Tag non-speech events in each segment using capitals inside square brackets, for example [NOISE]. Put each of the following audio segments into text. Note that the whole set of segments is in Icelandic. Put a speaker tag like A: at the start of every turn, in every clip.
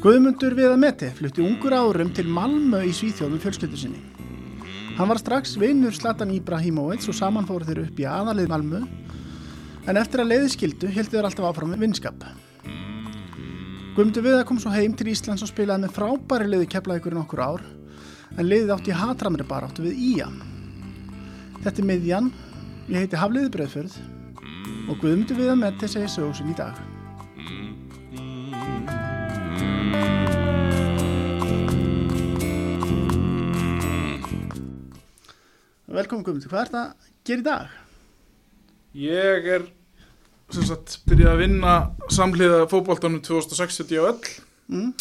A: Guðmundur við að meti flutti ungur árum til Malmö í Svíþjóðum fjölskyldu sinni. Hann var strax vinnur Slatan Ibrahimovic og saman fóru þeir upp í aðalið Malmö en eftir að leiði skildu hildi þeir alltaf áfram við vinskap. Guðmundur við kom svo heim til Íslands og spilaði með frábæri liði keflaðið ykkur nokkur ár en liðið átti í hatramri baráttu við Ía. Þetta er miðjan, ég heiti Hafliði Breiðfjörð og Guðmundur við að meti segir sögusinn í dag. Velkomin Guðmundur, hvað er þetta að gera í dag?
B: Ég er sem sagt byrjað að vinna samhliða fótboltanum 2060 á öll
A: Mm.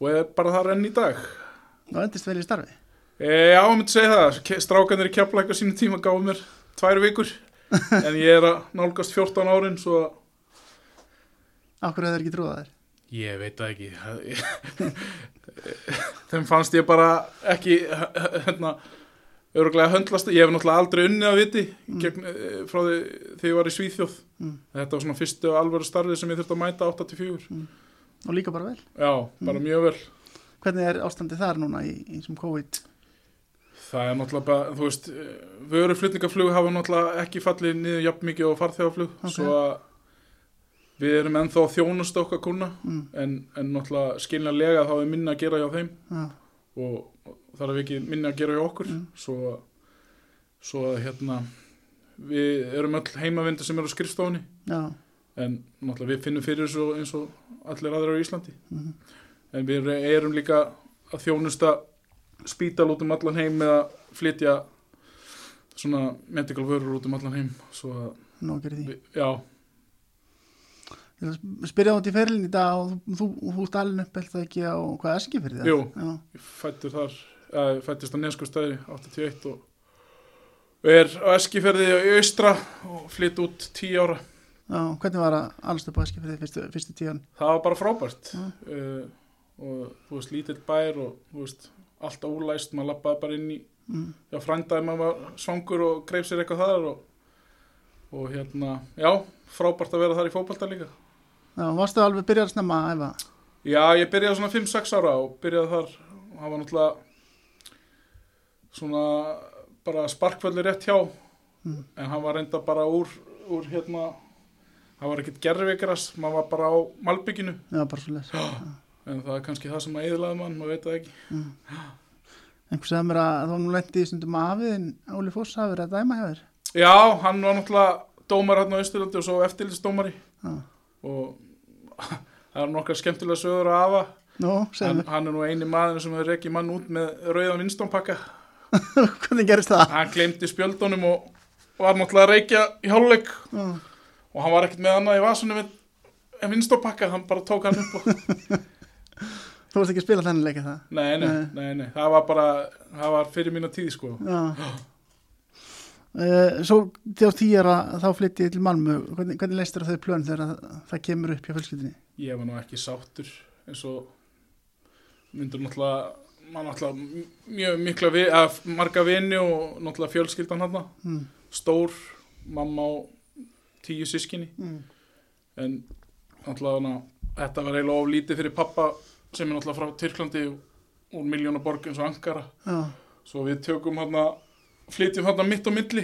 B: og er bara þar enn í dag.
A: Það endist vel í starfi.
B: E, já, ég myndi segja það, Ke- strákarnir í Keflæk á sínum tíma gáðu mér tvær vikur
A: [LAUGHS]
B: en ég er að nálgast 14 árin svo að
A: Akkur hefur ekki trúið að þér.
B: ég veit það ekki. [LAUGHS] Þeim fannst ég bara ekki hérna öruglega höndlast, ég hef náttúrulega aldrei unnið að viti gegn, eh, frá því þegar ég var í Svíþjóð
A: Mm.
B: þetta var svona fyrstu alvöru starfið sem ég þurfti að mæta 8-4
A: Og líka bara vel.
B: Já, bara mjög vel.
A: Hvernig er ástandið þar núna í, í sem COVID?
B: Það er náttúrulega bara, þú veist, vöruflutningaflug hafa náttúrulega ekki fallið niður jafn mikið og farþjóðaflug,
A: Ok.
B: svo að við erum ennþá að þjónusta okkar kuna,
A: Mm.
B: en, en náttúrulega skiljanlega þá er minna að gera hjá þeim
A: Já.
B: og og þar er ekki minna að gera hjá okkur, svo, að- svo að hérna, við erum öll heimavindu sem eru á skrifstofunni,
A: Já.
B: en náttúrulega við finnum fyrir þessu eins og allir aðra á Íslandi
A: Mhm.
B: en við erum líka að þjónusta spítal út um allan heim með að flytja svona medical vörur út um allan heim svo að,
A: Nó gerir því.
B: við, já,
A: Ég ætla að spyrja út í ferlinn í dag og þú, þú, þú stalin upp held það ekki á hvað er ekki fyrir það?
B: Jú.
A: Já.
B: ég fættur þar eða, ég fættist á Neskustæðri 81 og, og er á Eskiferði í austra og flytt út 10 ára
A: Já. Hvernig var að allast upp á eski fyrir því fyrstu, fyrstu tíðan?
B: það var bara frábært
A: Mm.
B: uh, og þú veist, lítill bær og þú veist, allt ólæst, maður lappaði bara inn í
A: Mm.
B: já, frændaði maður var svangur og greif sér eitthvað þar og, og hérna, já, frábært að vera þar í fótbolta líka.
A: Já. Varstu alveg byrjar snemma að æfa?
B: Já, ég byrjaði svona 5-6 ára og byrjaði þar og það var náttúrulega svona bara sparkvöldi rétt hjá
A: Mm.
B: en hann var reynda bara úr, úr hérna, það var ekkert gerðvigras, maður var bara á malbygginu
A: Já, bara svo leys.
B: en það er kannski það sem að eðlaði mann, maður veit það ekki.
A: Einhver sagði mér að þá nú lendi í stundum afiðin Óli Foss hafi verið að dæma hjá þér.
B: Já, hann var náttúrulega dómar hérna á Ísturlandi og svo eftirlitsdómari
A: Já.
B: og [LAUGHS] það er nokkar skemmtilega sögur að afa
A: Nú, segðu
B: hann,
A: mér.
B: hann er nú eini maður sem hefur rekkið mann út með rauðan vinstánpakka
A: [LAUGHS] Hvernig gerist það?
B: hann glemdi spjöldunum og var náttúrulega að reykja í hálfleik
A: Já.
B: og hann var ekkert með annað í vasunum en- en vinstánpakka, hann bara tók hann
A: [LAUGHS]
B: upp og...
A: Þú varst ekki að spila þennan leika það?
B: nei, nei,
A: Nei.
B: nei, nei, það var bara það var fyrir mína tíð sko
A: Já. Uh, svo þegar því er að þá flytti ég til Malmö, hvernig, hvernig leistur þau plön þegar að, það kemur upp hjá fjölskyldinni?
B: ég var nú ekki sáttur eins og myndur náttúrulega maður náttúrulega mjög mikla vi, að, marga vini og náttúrulega fjölskyldan hann
A: Mm.
B: stór, mamma og tíu sískinni
A: Mm.
B: en náttúrulega hana, þetta var eiginlega of lítið fyrir pappa sem er náttúrulega frá Tyrklandi og úr miljónaborg eins og Ankara
A: Já,
B: svo við tökum hann flytjum hann mitt og milli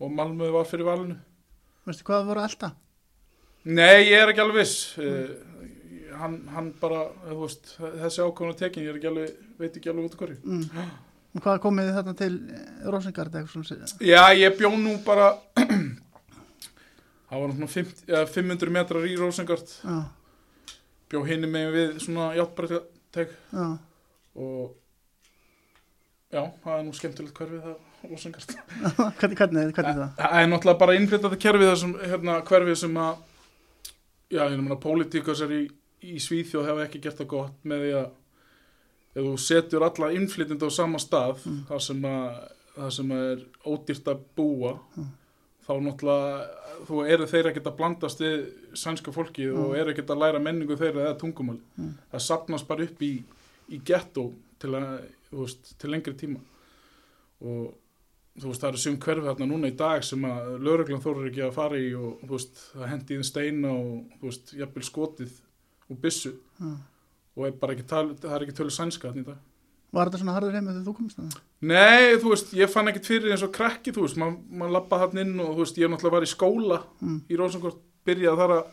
B: og Malmöð var fyrir valinu
A: veistu hvað það voru alltaf?
B: Nei, ég er ekki alveg viss mm. hann, hann bara þú veist, þessi ákvæmna tekin ég er ekki alveg, veit ekki alveg út af hverju
A: Mm. Og hvað komið þið þarna til Rósengard eitthvað svona? sér?
B: Já, ég bjó nú bara [CLEARS THROAT] það var svona 50, eða 500 metrar í Rósengard
A: Já,
B: bjó hinni megin við svona játbreyteg
A: já, [LAUGHS]
B: og já, það er nú skemmtilegt hverfið það Rósengard
A: hvernig, hvernig, hvernig það?
B: Það er náttúrulega bara innflytandi kerfið þessum hérna, hverfið sem að já, ég meina, pólitíkasar í, í Svíþjóð hefa ekki gert það gott með því að ef þú setur alla innflytjandi á sama stað þar sem að þar sem að er ódýrt að búa þá náttúrulega þú eru þeir ekkert að blandast við sænska fólkið og eru ekkert að læra menningu þeirra eða tungumál það sapnast bara upp í, í ghetto til, að, þú veist, til lengri tíma og þú veist það eru sum hverfi þarna núna í dag sem að lögreglan þórar ekki að fara í og þú veist það hendi í þeim steina og þú veist jafnvel skotið og byssu
A: Mm.
B: og er bara ekki tal, það er ekki tölu sænska þarna í dag
A: Var þetta svona harður heim þegar þú komist það?
B: Nei, þú veist, ég fann ekkert fyrir eins og krakki, þú veist, maður mað lappa hann inn og þú veist, ég náttúrulega var í skóla
A: Mm.
B: í Rósankort, byrjaði þar að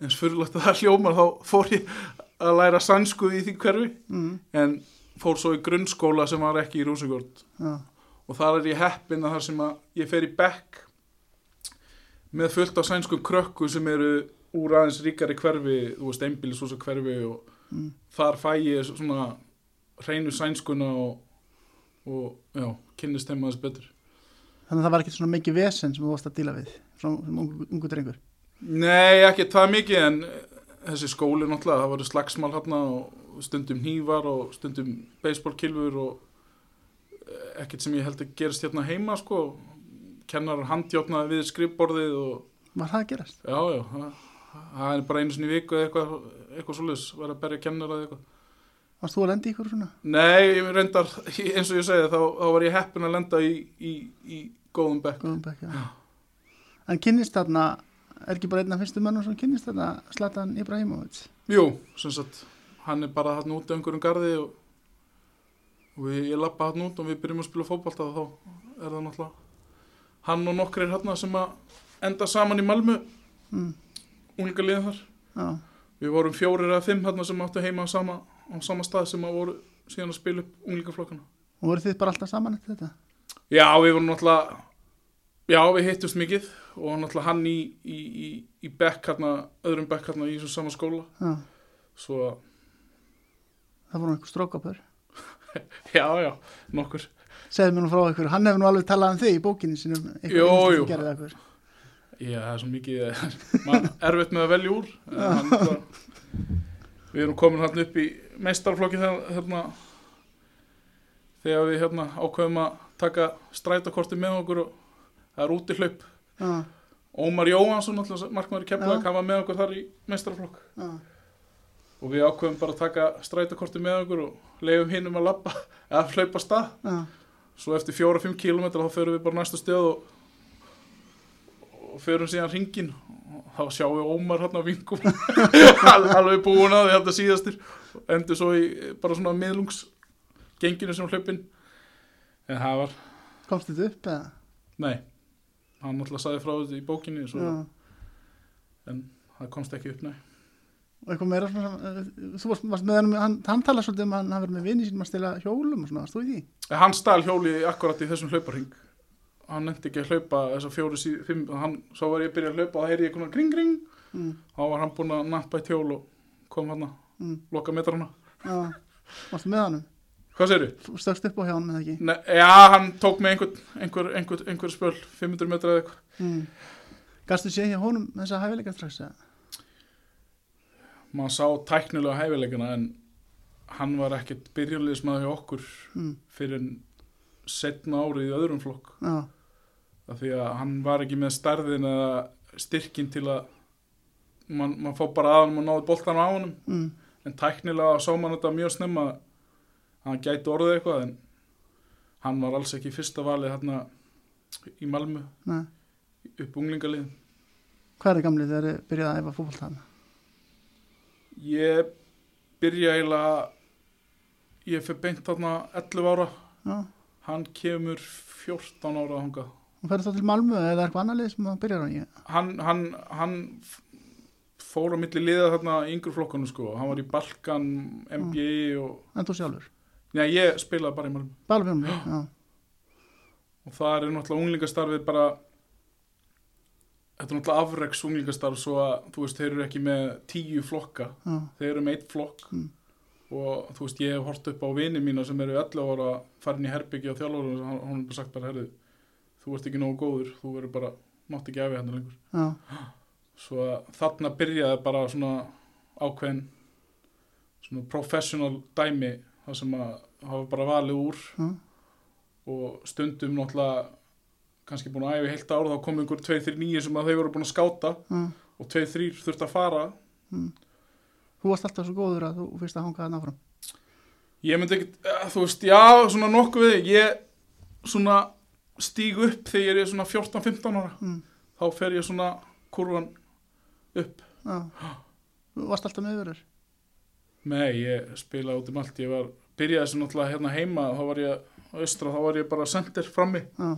B: eins fyrirlegt að það hljómar, þá fór ég að læra sænsku í því hverfi,
A: Mm.
B: en fór svo í grunnskóla sem var ekki í Rósankort
A: Já.
B: og þar er ég heppin að þar sem að ég fer í bekk með fullt af sænskum krökku sem eru úr aðeins ríkari hverfi, þú veist, einbýlisúsa hverfi og
A: Mm.
B: þar fæ ég svona hreinu sænskuna og, og já, kynnist þeim aðeins betur
A: Þannig að það var ekki svona mikið vesen sem þú varst að díla við svona sem ungu, ungu drengur.
B: Nei, ekki það mikið en þessi skóli náttúrulega, það voru slagsmál hérna og stundum hnífar og stundum baseballkilfur og eh, ekkert sem ég held að gerist hérna heima sko, kennar handjátnaði við skrifborðið og
A: Var það að gerast?
B: Já, já, það- það er bara einu sinni í viku eða eitthvað, eitthvað svoleiðis, verið að berja kennara eða eitthvað.
A: Varst þú að lenda í ykkur svona?
B: Nei, ég reyndar, [LAUGHS] eins og ég segi þá, þá var ég heppin að lenda í, í, í góðum bekk.
A: Góðum bekk, já. En kynnist þarna, er ekki bara einn af fyrstu mönnum sem kynnist þarna Zlatan Ibrahimovic?
B: Jú, sem sagt, hann er bara hann út af einhverjum garði og, og ég, ég lappa hann út og við byrjum að spila fótbalta og þá er það náttúrulega hann og nokkrir hann sem að enda saman í Malmö,
A: Mm.
B: unga liðið þar.
A: Já.
B: Við vorum fjórir eða fimm hann sem áttu heima á sama, á sama stað sem að voru síðan að spila upp unglingaflokkana. Og
A: Og voru þið bara alltaf saman eftir þetta?
B: Já, við vorum náttúrulega Já, við hittumst mikið og náttúrulega hann í, í, í, í bekk hérna, öðrum bekk hérna í þessum sama skóla
A: Já.
B: svo að,
A: Það voru einhver strókapör.
B: já, já, nokkur
A: Segðu mér nú frá ykkur, hann hefur nú alveg talað um þig í bókinni sinum.
B: Jú, jú.
A: Gerðið ykkur.
B: Já, það er svo mikið maður erfitt með að velja úr en hann, náttúrulega- Við erum komin hérna upp í meistarflokki þegar hérna, þegar við hérna ákveðum að taka strætakorti með okkur og það er úti hlaup
A: Já,
B: Ómar Jóhansson, náttúrulega markmaður í
A: Já.
B: Keflavík, hann var með okkur þar í meistarflokk
A: já.
B: og við ákveðum bara að taka strætakorti með okkur og leiðum hinum að lappa [LAUGHS] eða hlaupa af stað
A: Já.
B: svo eftir fjóra-fimm kílómetra þá förum við bara næsta stöð og, og förum síðan ringin og þá sjáum við Ómar hérna á vingum [LAUGHS] Al, alveg búin að því þetta síðastir og endur svo í eh, bara svona miðlungsgenginu sem hlaupin en það var,
A: Komst þetta upp eða?
B: nei hann náttúrulega sagði frá þetta í bókinni svo,
A: Já.
B: en það komst ekki upp, nei
A: Og eitthvað meira svona, eh, þú varst, varst með hann, hann, hann talað svolítið um að hann hafi verið með vinni sínum að stila hjólum og svona, varst þú í því?
B: En hann stál hjóli akkurat í þessum hlauparhing hann nefndi ekki að hlaupa þessar fjóru, sí, fimm, hann, svo var ég að byrja að hlaupa og það heyrði ég konar kring, kring
A: Mm.
B: þá var hann búinn að nappa í tjól og kom hann að
A: Mm.
B: loka metrana
A: Já, varstu með hann?
B: hvað segir þú?
A: Stökkst upp á hjá hann með ekki?
B: Já, hann tók með einhver, einhver, einhver, einhver spöl 500 metra eða eitthvað
A: Mm. Gastu sé hjá honum þessa hæfileika strax? eða?
B: maður sá tæknilega hæfileikana en hann var ekkert byrjulegismæður hjá okkur
A: Mm.
B: fyrir en setna árið í öðrum flokk
A: Já,
B: af því að hann var ekki með stærðin eða styrkin til að mann man fór bara að hann og náði boltan á honum
A: mm.
B: en tæknilega sá mann þetta mjög snemma að hann gæti orðið eitthvað en hann var alls ekki í fyrsta valið hérna í Malmö
A: Nei.
B: upp unglingalið
A: Hvað er það gamlið þegar þið byrjaði að æfa fótbolta hann?
B: ég byrja eiginlega ég fyrir beint þarna 11 ára
A: Já,
B: hann kemur 14 ára þangað
A: og ferði þá til Malmö eða eitthvað annað lið sem það byrjar hann í?
B: hann, hann, hann f- fór á milli liða þarna í yngur flokkunum sko hann var í Balkan, NBA og
A: En þú sjálfur?
B: Nei, ég spilaði bara í Malmö
A: Bara fyrir mig, já.
B: og það er náttúrulega unglingastarfið bara þetta er náttúrulega afreks unglingastarf svo að þú veist, þeir eru ekki með tíu flokka
A: já.
B: þeir eru með eitt flokk
A: Mm.
B: og þú veist, ég hef hort upp á vini mína sem eru 11 ára farin í herbyggja og þjálfur og hann hann er bara sagt bara, herðu þú ert ekki nógu góður, þú verður bara mátt ekki efið hérna lengur
A: Já,
B: svo að þarna byrjaði bara svona ákveðin svona professional dæmi það sem að hafa bara valið úr
A: Mm.
B: og stundum náttúrulega kannski búin að æfa í heilt ára þá kom einhver 2-3-9 sem að þau voru búin að skáta
A: Mm.
B: og 2-3 þurfti að fara
A: Þú varst alltaf svo góður að þú fyrst að hanga þarna áfram.
B: Ég myndi ekkert, eh, þú veist, já, svona nokkuð, ég svona stíg upp þegar ég er svona 14-15 ára,
A: Mm.
B: þá fer ég svona kurvan upp.
A: Já. Þú varst alltaf meðverður.
B: Nei, ég spilaði út um allt, ég var, byrjaði sem náttúrulega hérna heima, þá var ég á austra, þá var ég bara sendir frammi.
A: Já.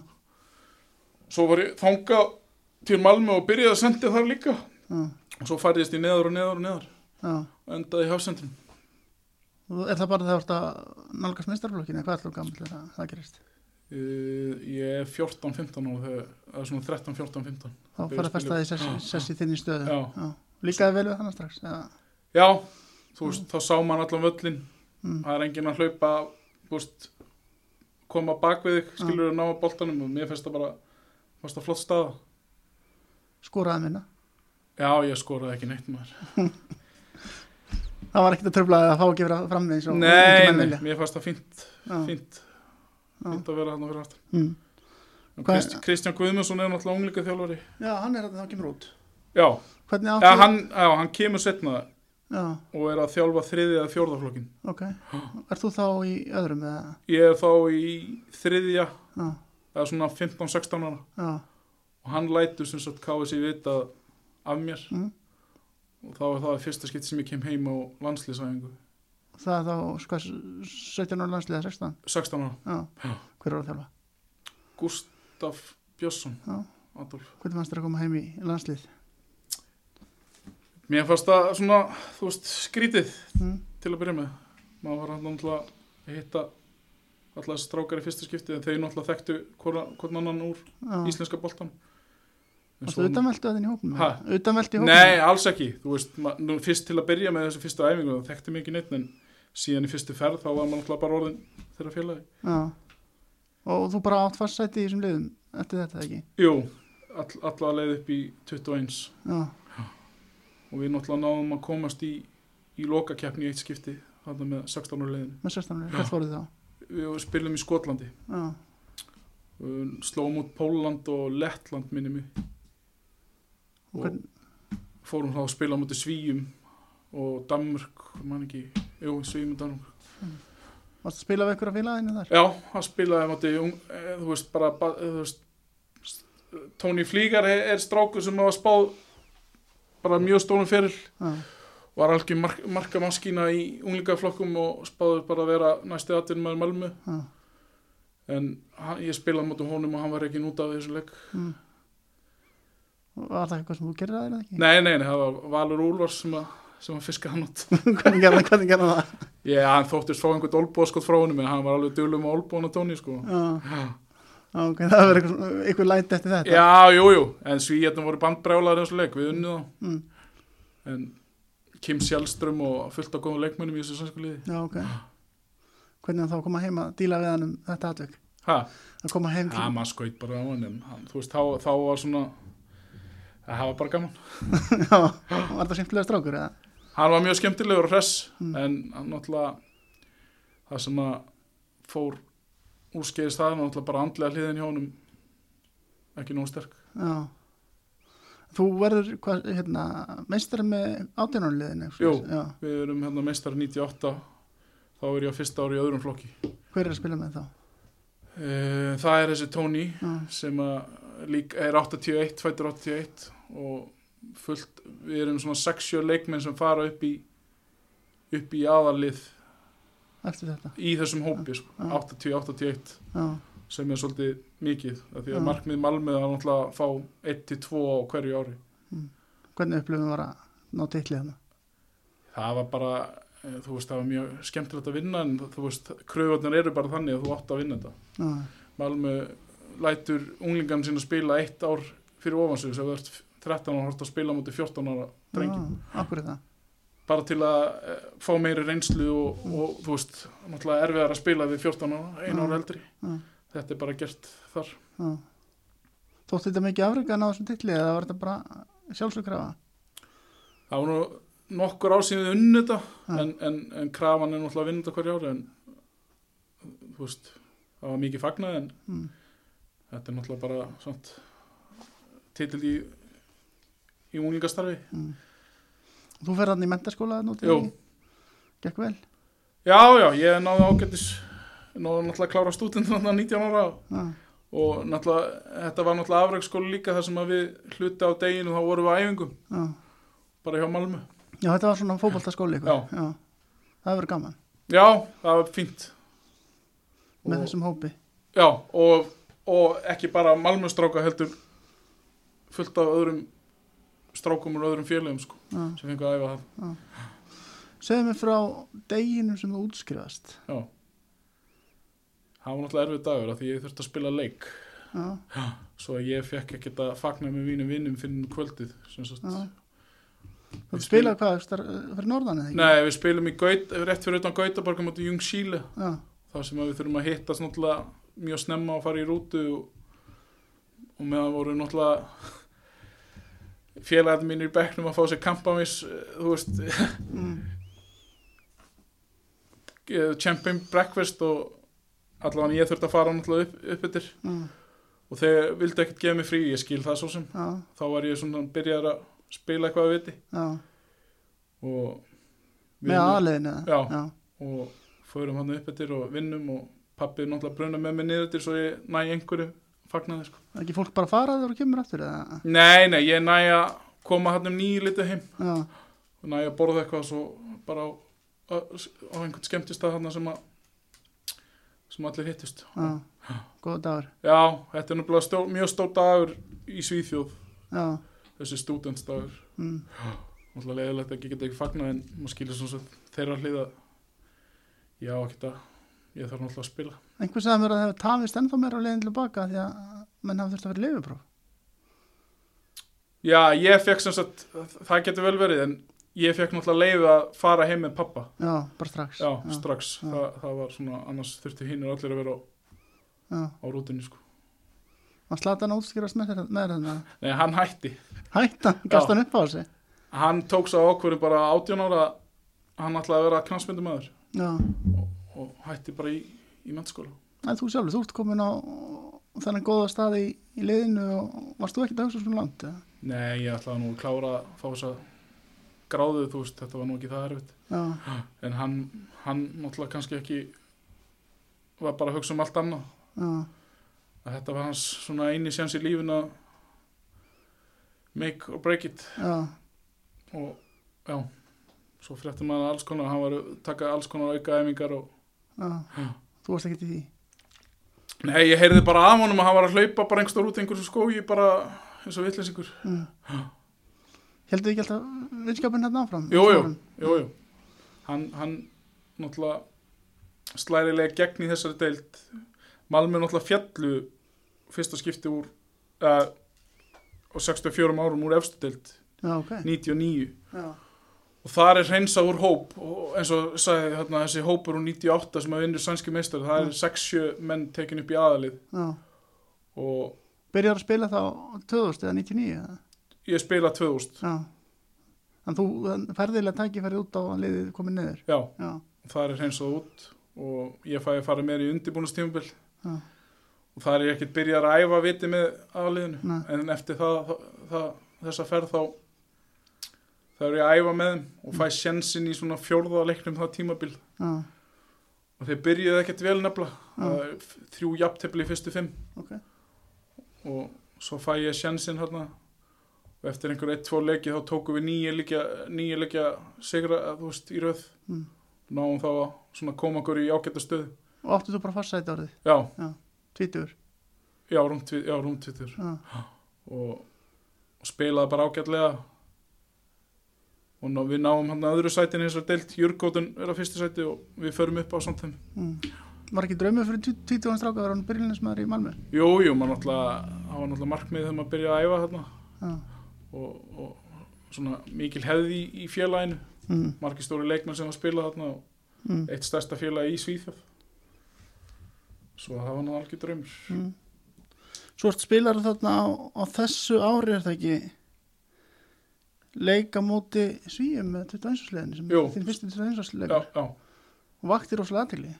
B: Svo var ég þangað til Malmö og byrjaði að sendi þar líka.
A: Já.
B: Og svo færðist ég neður og neður og neður
A: Já.
B: og endaði í hafsendrum.
A: Og Er það bara þegar þú ert að nálgast meistarflokkin eða hvað ætlum gammal þegar það- það gerist?
B: Uh, ég er 14-15 ára, þegar- það er svona 13-14-15.
A: Þá
B: Byrja
A: færðu
B: að
A: að festa
B: spila.
A: því sessi, sessi þinn í stöðu.
B: Já.
A: Líkaði vel við hann strax. Já.
B: Já, þú veist, þá sá maður allan völlin
A: Mm.
B: það er enginn að hlaupa þú veist, koma bak við þig skilur að ná að boltanum og mér finnst það bara fannst það flott staða
A: Skoraði minna.
B: Já, ég skoraði ekki neitt maður
A: Það var ekkert að tröfla að fá ekki vera fram eins og
B: Nei,
A: menn
B: nei,
A: vilja.
B: mér fannst það fínt
A: Já.
B: fínt,
A: Já.
B: fínt að vera hann að vera aftur
A: Mm. Hvað-
B: Krist, Kristján Guðmundsson er náttúrulega unglika þjálfari
A: Já, hann er að það kemur út.
B: Já,
A: Hvernig
B: ja,
A: áttu?
B: hann, já, hann kemur setna
A: Já,
B: og er að þjálfa þriðja eða fjórðaflokkin
A: ok. Er þú þá í öðrum eða?
B: Ég er þá í þriðja
A: Já,
B: eða svona 15-16 ára
A: já,
B: og hann lætur sem sagt KSI vita af mér
A: Mm.
B: og þá er það fyrsta skipti sem ég kem heim á landslýsæfingu
A: það er þá sko, 17 ára landsliða 16
B: 16 ára,
A: já.
B: Já.
A: hver ára þjálfa
B: Gustaf Björnsson
A: Já.
B: Adolf.
A: hvernig fannst þér að koma heim í landslið
B: Mér fannst það svona, þú veist, skrítið
A: mm.
B: til að byrja með maður var hann náttúrulega að hitta alltaf þessi strákar í fyrsta skipti en þeir náttúrulega þekktu hvora- hvorn annan úr
A: já.
B: íslenska boltan En
A: varstu utanveldu að þinn í hópnum
B: Ha?
A: eða? utanveldu í hópnum
B: Nei, alls ekki, þú veist, ma- nú, fyrst til að byrja með þessu fyrstu æfingu, það þekkti mikið neitt en síðan í fyrstu ferð þá var maður alltaf bara orðin þeirra félagi.
A: já. og þú bara átt fastsæti í þessum liðum eftir þetta eða ekki
B: Jú, all, alla leið upp í 21
A: já,
B: og við náttúrulega náðum að komast í, í lokakeppni í eitt skipti, þarna með 16 ára leiðinu.
A: með 16 ára, hvert voruð þá
B: Við spilum í Skotlandi,
A: já,
B: við slóum út Póland og Lettland minni mig
A: og
B: og
A: hvern,
B: fórum þá að spila á múti Svíum og Danmörk, man ekki, jú, Svíum og Danmörk.
A: varstu að spila við ykkur af félaginu þar
B: Já, hann spilaði mátti, þú veist, bara, ba- eh, þú veist, Tony Flígar er, er strákur sem hafa spáð bara mjög stónum fyrir,
A: já,
B: var algjör mark, markamaskína í unglingaflokkum og spáði bara að vera næsti aðtinn maður Malmö,
A: já,
B: en hann, ég spilaði mátti honum og hann var ekki út af þessu leik.
A: mm. Og var það eitthvað sem þú gerði að þér eða ekki
B: Nei, nei, nei, það var Valur Úlfars sem að, sem að fiska hann út.
A: [LAUGHS] hvernig gerði það, hvernig gerði það
B: Ég, hann þóttist fá einhvern olbóðskot frá honum, en hann var alveg dölum á olbóðan að Tony, sko.
A: já, já, ok, það verður eitthvað, eitthvað læti eftir þetta
B: Já, jú, jú, en svíjarnir voru bandbrjálaður eins og leik, við unnið þá.
A: Mm.
B: En Kim Sjálström og fullt af góðum leikmönnum í þessu sænsku liði.
A: Já, ok. Hvernig hann þá að koma heim að díla við hann um þetta atvik?
B: Hæ?
A: Að koma heim til...
B: Það maður skaut bara á hann, en hann, þú veist, þá, þá var svona, það var bara gaman.
A: [LAUGHS] Já, var þetta skemmtilega strákur eða?
B: Hann var mjög skemmtilegur og hress,
A: Mm.
B: en hann náttúrulega, það sem að fór úrskeiðis það, hann náttúrulega bara andlega hliðin hjá honum, ekki nóg sterk.
A: Já. Þú verður, hvað, hérna, meistari með átjónarliðinu?
B: Jú.
A: Já.
B: Við erum hérna meistar 98, þá er ég á fyrsta ári í öðrum flokki.
A: Hver er að spila með þá?
B: Eh, Það er þessi Tony
A: Já,
B: sem að lík, er 81, fættur 81 og fullt, við erum svona 6-7 leikmenn sem fara upp í upp í aðalið
A: eftir þetta.
B: í þessum hópi, sko,
A: Já.
B: 80-81
A: Já,
B: sem er svolítið mikið af því að
A: Já.
B: markmið Malmöð er náttúrulega að fá 1-2 á hverju ári
A: hvernig upplifum var að ná titlið hann?
B: það var bara, eh, þú veist, það var mjög skemmtilegt að vinna en þú veist, kröfarnir eru bara þannig að þú átt að vinna þetta
A: Já,
B: Malmö lætur unglingan sín að spila eitt ár fyrir ofansug sem þú ert 13 ára og hort að spila á móti 14 ára drengi
A: Já, akkur er það.
B: bara til að eh, fá meiri reynslu og, og þú veist, náttúrulega erfiðar að spila við 14 ára, einu
A: Mm.
B: ára eldri
A: Mm.
B: þetta er bara gert þar
A: Já. Þótti þetta mikið afrika að ná þessum titlið eða var þetta bara sjálfsögkrafa?
B: það var nú nokkur ásýðið unnu þetta en, en, en krafan er náttúrulega að vinna þetta hverja ári en þú veist það var mikið fagnað en
A: Mm.
B: þetta er náttúrulega bara svont, titil í í unglingastarfi
A: hmm. Þú fer hann í mentaskóla núti?
B: Jú.
A: Gekk vel?
B: já já, ég náði ágættis náði náttúrulega að klára stúdent náttúrulega 19 ára
A: Já,
B: og náttúrulega þetta var náttúrulega afrækskóla líka þar sem að við hluti á deginu þá vorum við á æfingum
A: já.
B: bara hjá Malmö
A: já, þetta var svona fótboltaskóli ykkur. Já. Það verður gaman
B: já, það var fínt
A: með
B: Og-
A: þessum hópi.
B: Já, og, og ekki bara Malmöstráka heldur fullt af öðrum strákum og öðrum félögum sko,
A: Já.
B: sem fengu að æfa það.
A: Segðu mér frá deginum sem þú útskrifast.
B: Já. Það var náttúrulega erfið dagur af því ég þurfti að spila leik
A: Já,
B: svo að ég fekk ekkert að fagna með mínum vinnum fyrir kvöldið. sem sagt.
A: já. Þú
B: Ég
A: spilaði hvað, star- fyrir norðan eða ekki?
B: Nei, við spilum í Gaut, rétt fyrir utan Gautaborg á móti Jungsíle
A: Já,
B: þar sem að við þurfum að hittast náttúrulega mjög snemma og fara í rútu og, og meðan voru náttúrulega [LAUGHS] félagarnir mínir í bekknum að fá sér kampamis þú veist
A: mm.
B: eh, champion breakfast og allavega ég þurfti að fara náttúrulega upp, upp yfir
A: já,
B: og þegar vildi ekkert gefa mig frí, ég skil það svo sem
A: já,
B: þá var ég svona byrjar að spila eitthvað að viti
A: já.
B: og
A: Með aðliðinu eða?
B: Já. og förum hann upp yfir og vinnum og pappið náttúrulega bruna með mig niður til svo ég næ einhverju fagnaði sko.
A: Er Ekki fólk bara að fara þegar þú kemur aftur eða?
B: Nei, nei, ég næ að koma hann um nýju litu heim
A: Já,
B: og næ að borða eitthvað svo bara á, á, á einhvern skemmtistað hann sem að sem allir hittust
A: já. Góða dagur.
B: Já, þetta er náttúrulega stó, mjög stór dagur í Svíþjóð,
A: Já,
B: þessi stúdentsdagur.
A: mm.
B: Náttúrulega leðilegt að ég get ekki fagnað en maður skilur svona sem þeirra hliða. Já, ekki það, ég þarf náttúrulega að spila.
A: Einhver sagði mér að það hefur tafist ennþá meira á leiðin til baka því að menn hafa þurft að vera leifupróf.
B: Já, ég fekk sem sagt, það getur vel verið en ég fekk náttúrulega leiði að fara heim með pappa.
A: Já, bara strax.
B: Já, strax,
A: já.
B: Þa, það var svona, annars þurftu hinnir allir að vera á,
A: Já,
B: á rútunni sko.
A: var Slatan að útskýrast með þér- með þarna?
B: Nei, hann hætti.
A: Hættan, gasta hann upp á þessi?
B: Hann tók svo ákvörðum bara 18 ára að hann ætlaði að vera knastmyndumæður
A: Já,
B: og hætti bara í, í mennskóla.
A: en þú sjálfur, þú ert komin á þennan góða staði í, í leiðinu og varst þú ekkert að hugsa svona langt? eða?
B: Nei, ég ætlaði nú að klára að fá þess að gráðu, þú veist, þetta var nú ekki það erfitt. [GASPS]
A: Já,
B: En hann, hann náttúrulega kannski ekki var bara að hugsa um allt annað.
A: já,
B: Að þetta var hans svona eini séns í lífinu að make or break it.
A: já,
B: Og já, svo fréttum maður alls konar, hann var að taka alls konar aukaæmingar og...
A: já. Þú varst ekkert í því?
B: Nei, ég heyrði bara af honum að hann var að hlaupa bara einhverjum út í einhversu skói, bara eins og vitleysingur.
A: Mm. Heldur ekki alltaf vinskapin hérna áfram?
B: Jú, jú, jú, jú. Hann, hann náttúrulega slærilega gegn í þessari deild Malmö náttúrulega fjallu fyrsta skipti úr uh, og 64 árum úr efstu deild
A: Já, ok.
B: 99
A: Já,
B: og þar er hreinsað úr hóp og eins og sagði þarna þessi hópur úr 98 sem að vinnur sænski meistari það
A: Mm.
B: er 6-7 menn tekin upp í aðalið
A: já.
B: og
A: Byrjar að spila þá 2000 eða 99 eða?
B: ég spila 2000
A: Já. En þú ferðilega tækifæri út á að liðið komið niður?
B: já,
A: Já,
B: þar er hreinsað út og ég fæ að fara meir í undirbúnastímabil
A: já,
B: og það er ég ekkert byrjar að æfa viti með aðliðinu
A: Nei.
B: en eftir það, það, það, þessa ferð þá þá er ég að æfa með þeim og fæ sjensin í svona fjórða leiknum það tímabil
A: já,
B: og þeir byrjuðu ekkert vel nefnilega það
A: já,
B: er f- þrjú jafntefli í fyrstu fimm
A: ok.
B: og svo fæ ég sjensin hérna og eftir einhver 1-2 leiki þá tókum við nýja leikja, nýja leikja sigra eða þú veist í röð
A: Mm.
B: náum þá að svona koma okkur í ágæta stöð
A: Og áttu þú bara farsæti árið?
B: já,
A: Tvítur?
B: já, rúmtvítur já, rúmtvítur
A: Já,
B: og, og spilaði bara ágætlega og ná, við náum hann að öðru sætin eins og deilt, Jörgóttun er á fyrsta sæti og við förum upp á samt þeim
A: mm. Var ekki draumið fyrir tvítugan stráka að vera hann byrjulinsmaður í Malmö?
B: Jú, jú, maður náttúrulega, það var náttúrulega markmið þegar maður byrjaði að æfa þarna
A: Já,
B: og, og svona mikil hefði í, í félaginu,
A: mm.
B: margir stóri leikmenn sem að spila þarna og
A: Mm.
B: eitt stærsta félagi í Svíþjóð svo það var náttúrulega algjör draumur
A: Mm. Svo ert spilar þarna á, á þessu ári er það ekki leik á móti svíum með 21. sleðinu sem
B: Jú.
A: er þinn fyrsti 21.
B: já,
A: sleðinu
B: já.
A: og vakti rosalega aðtili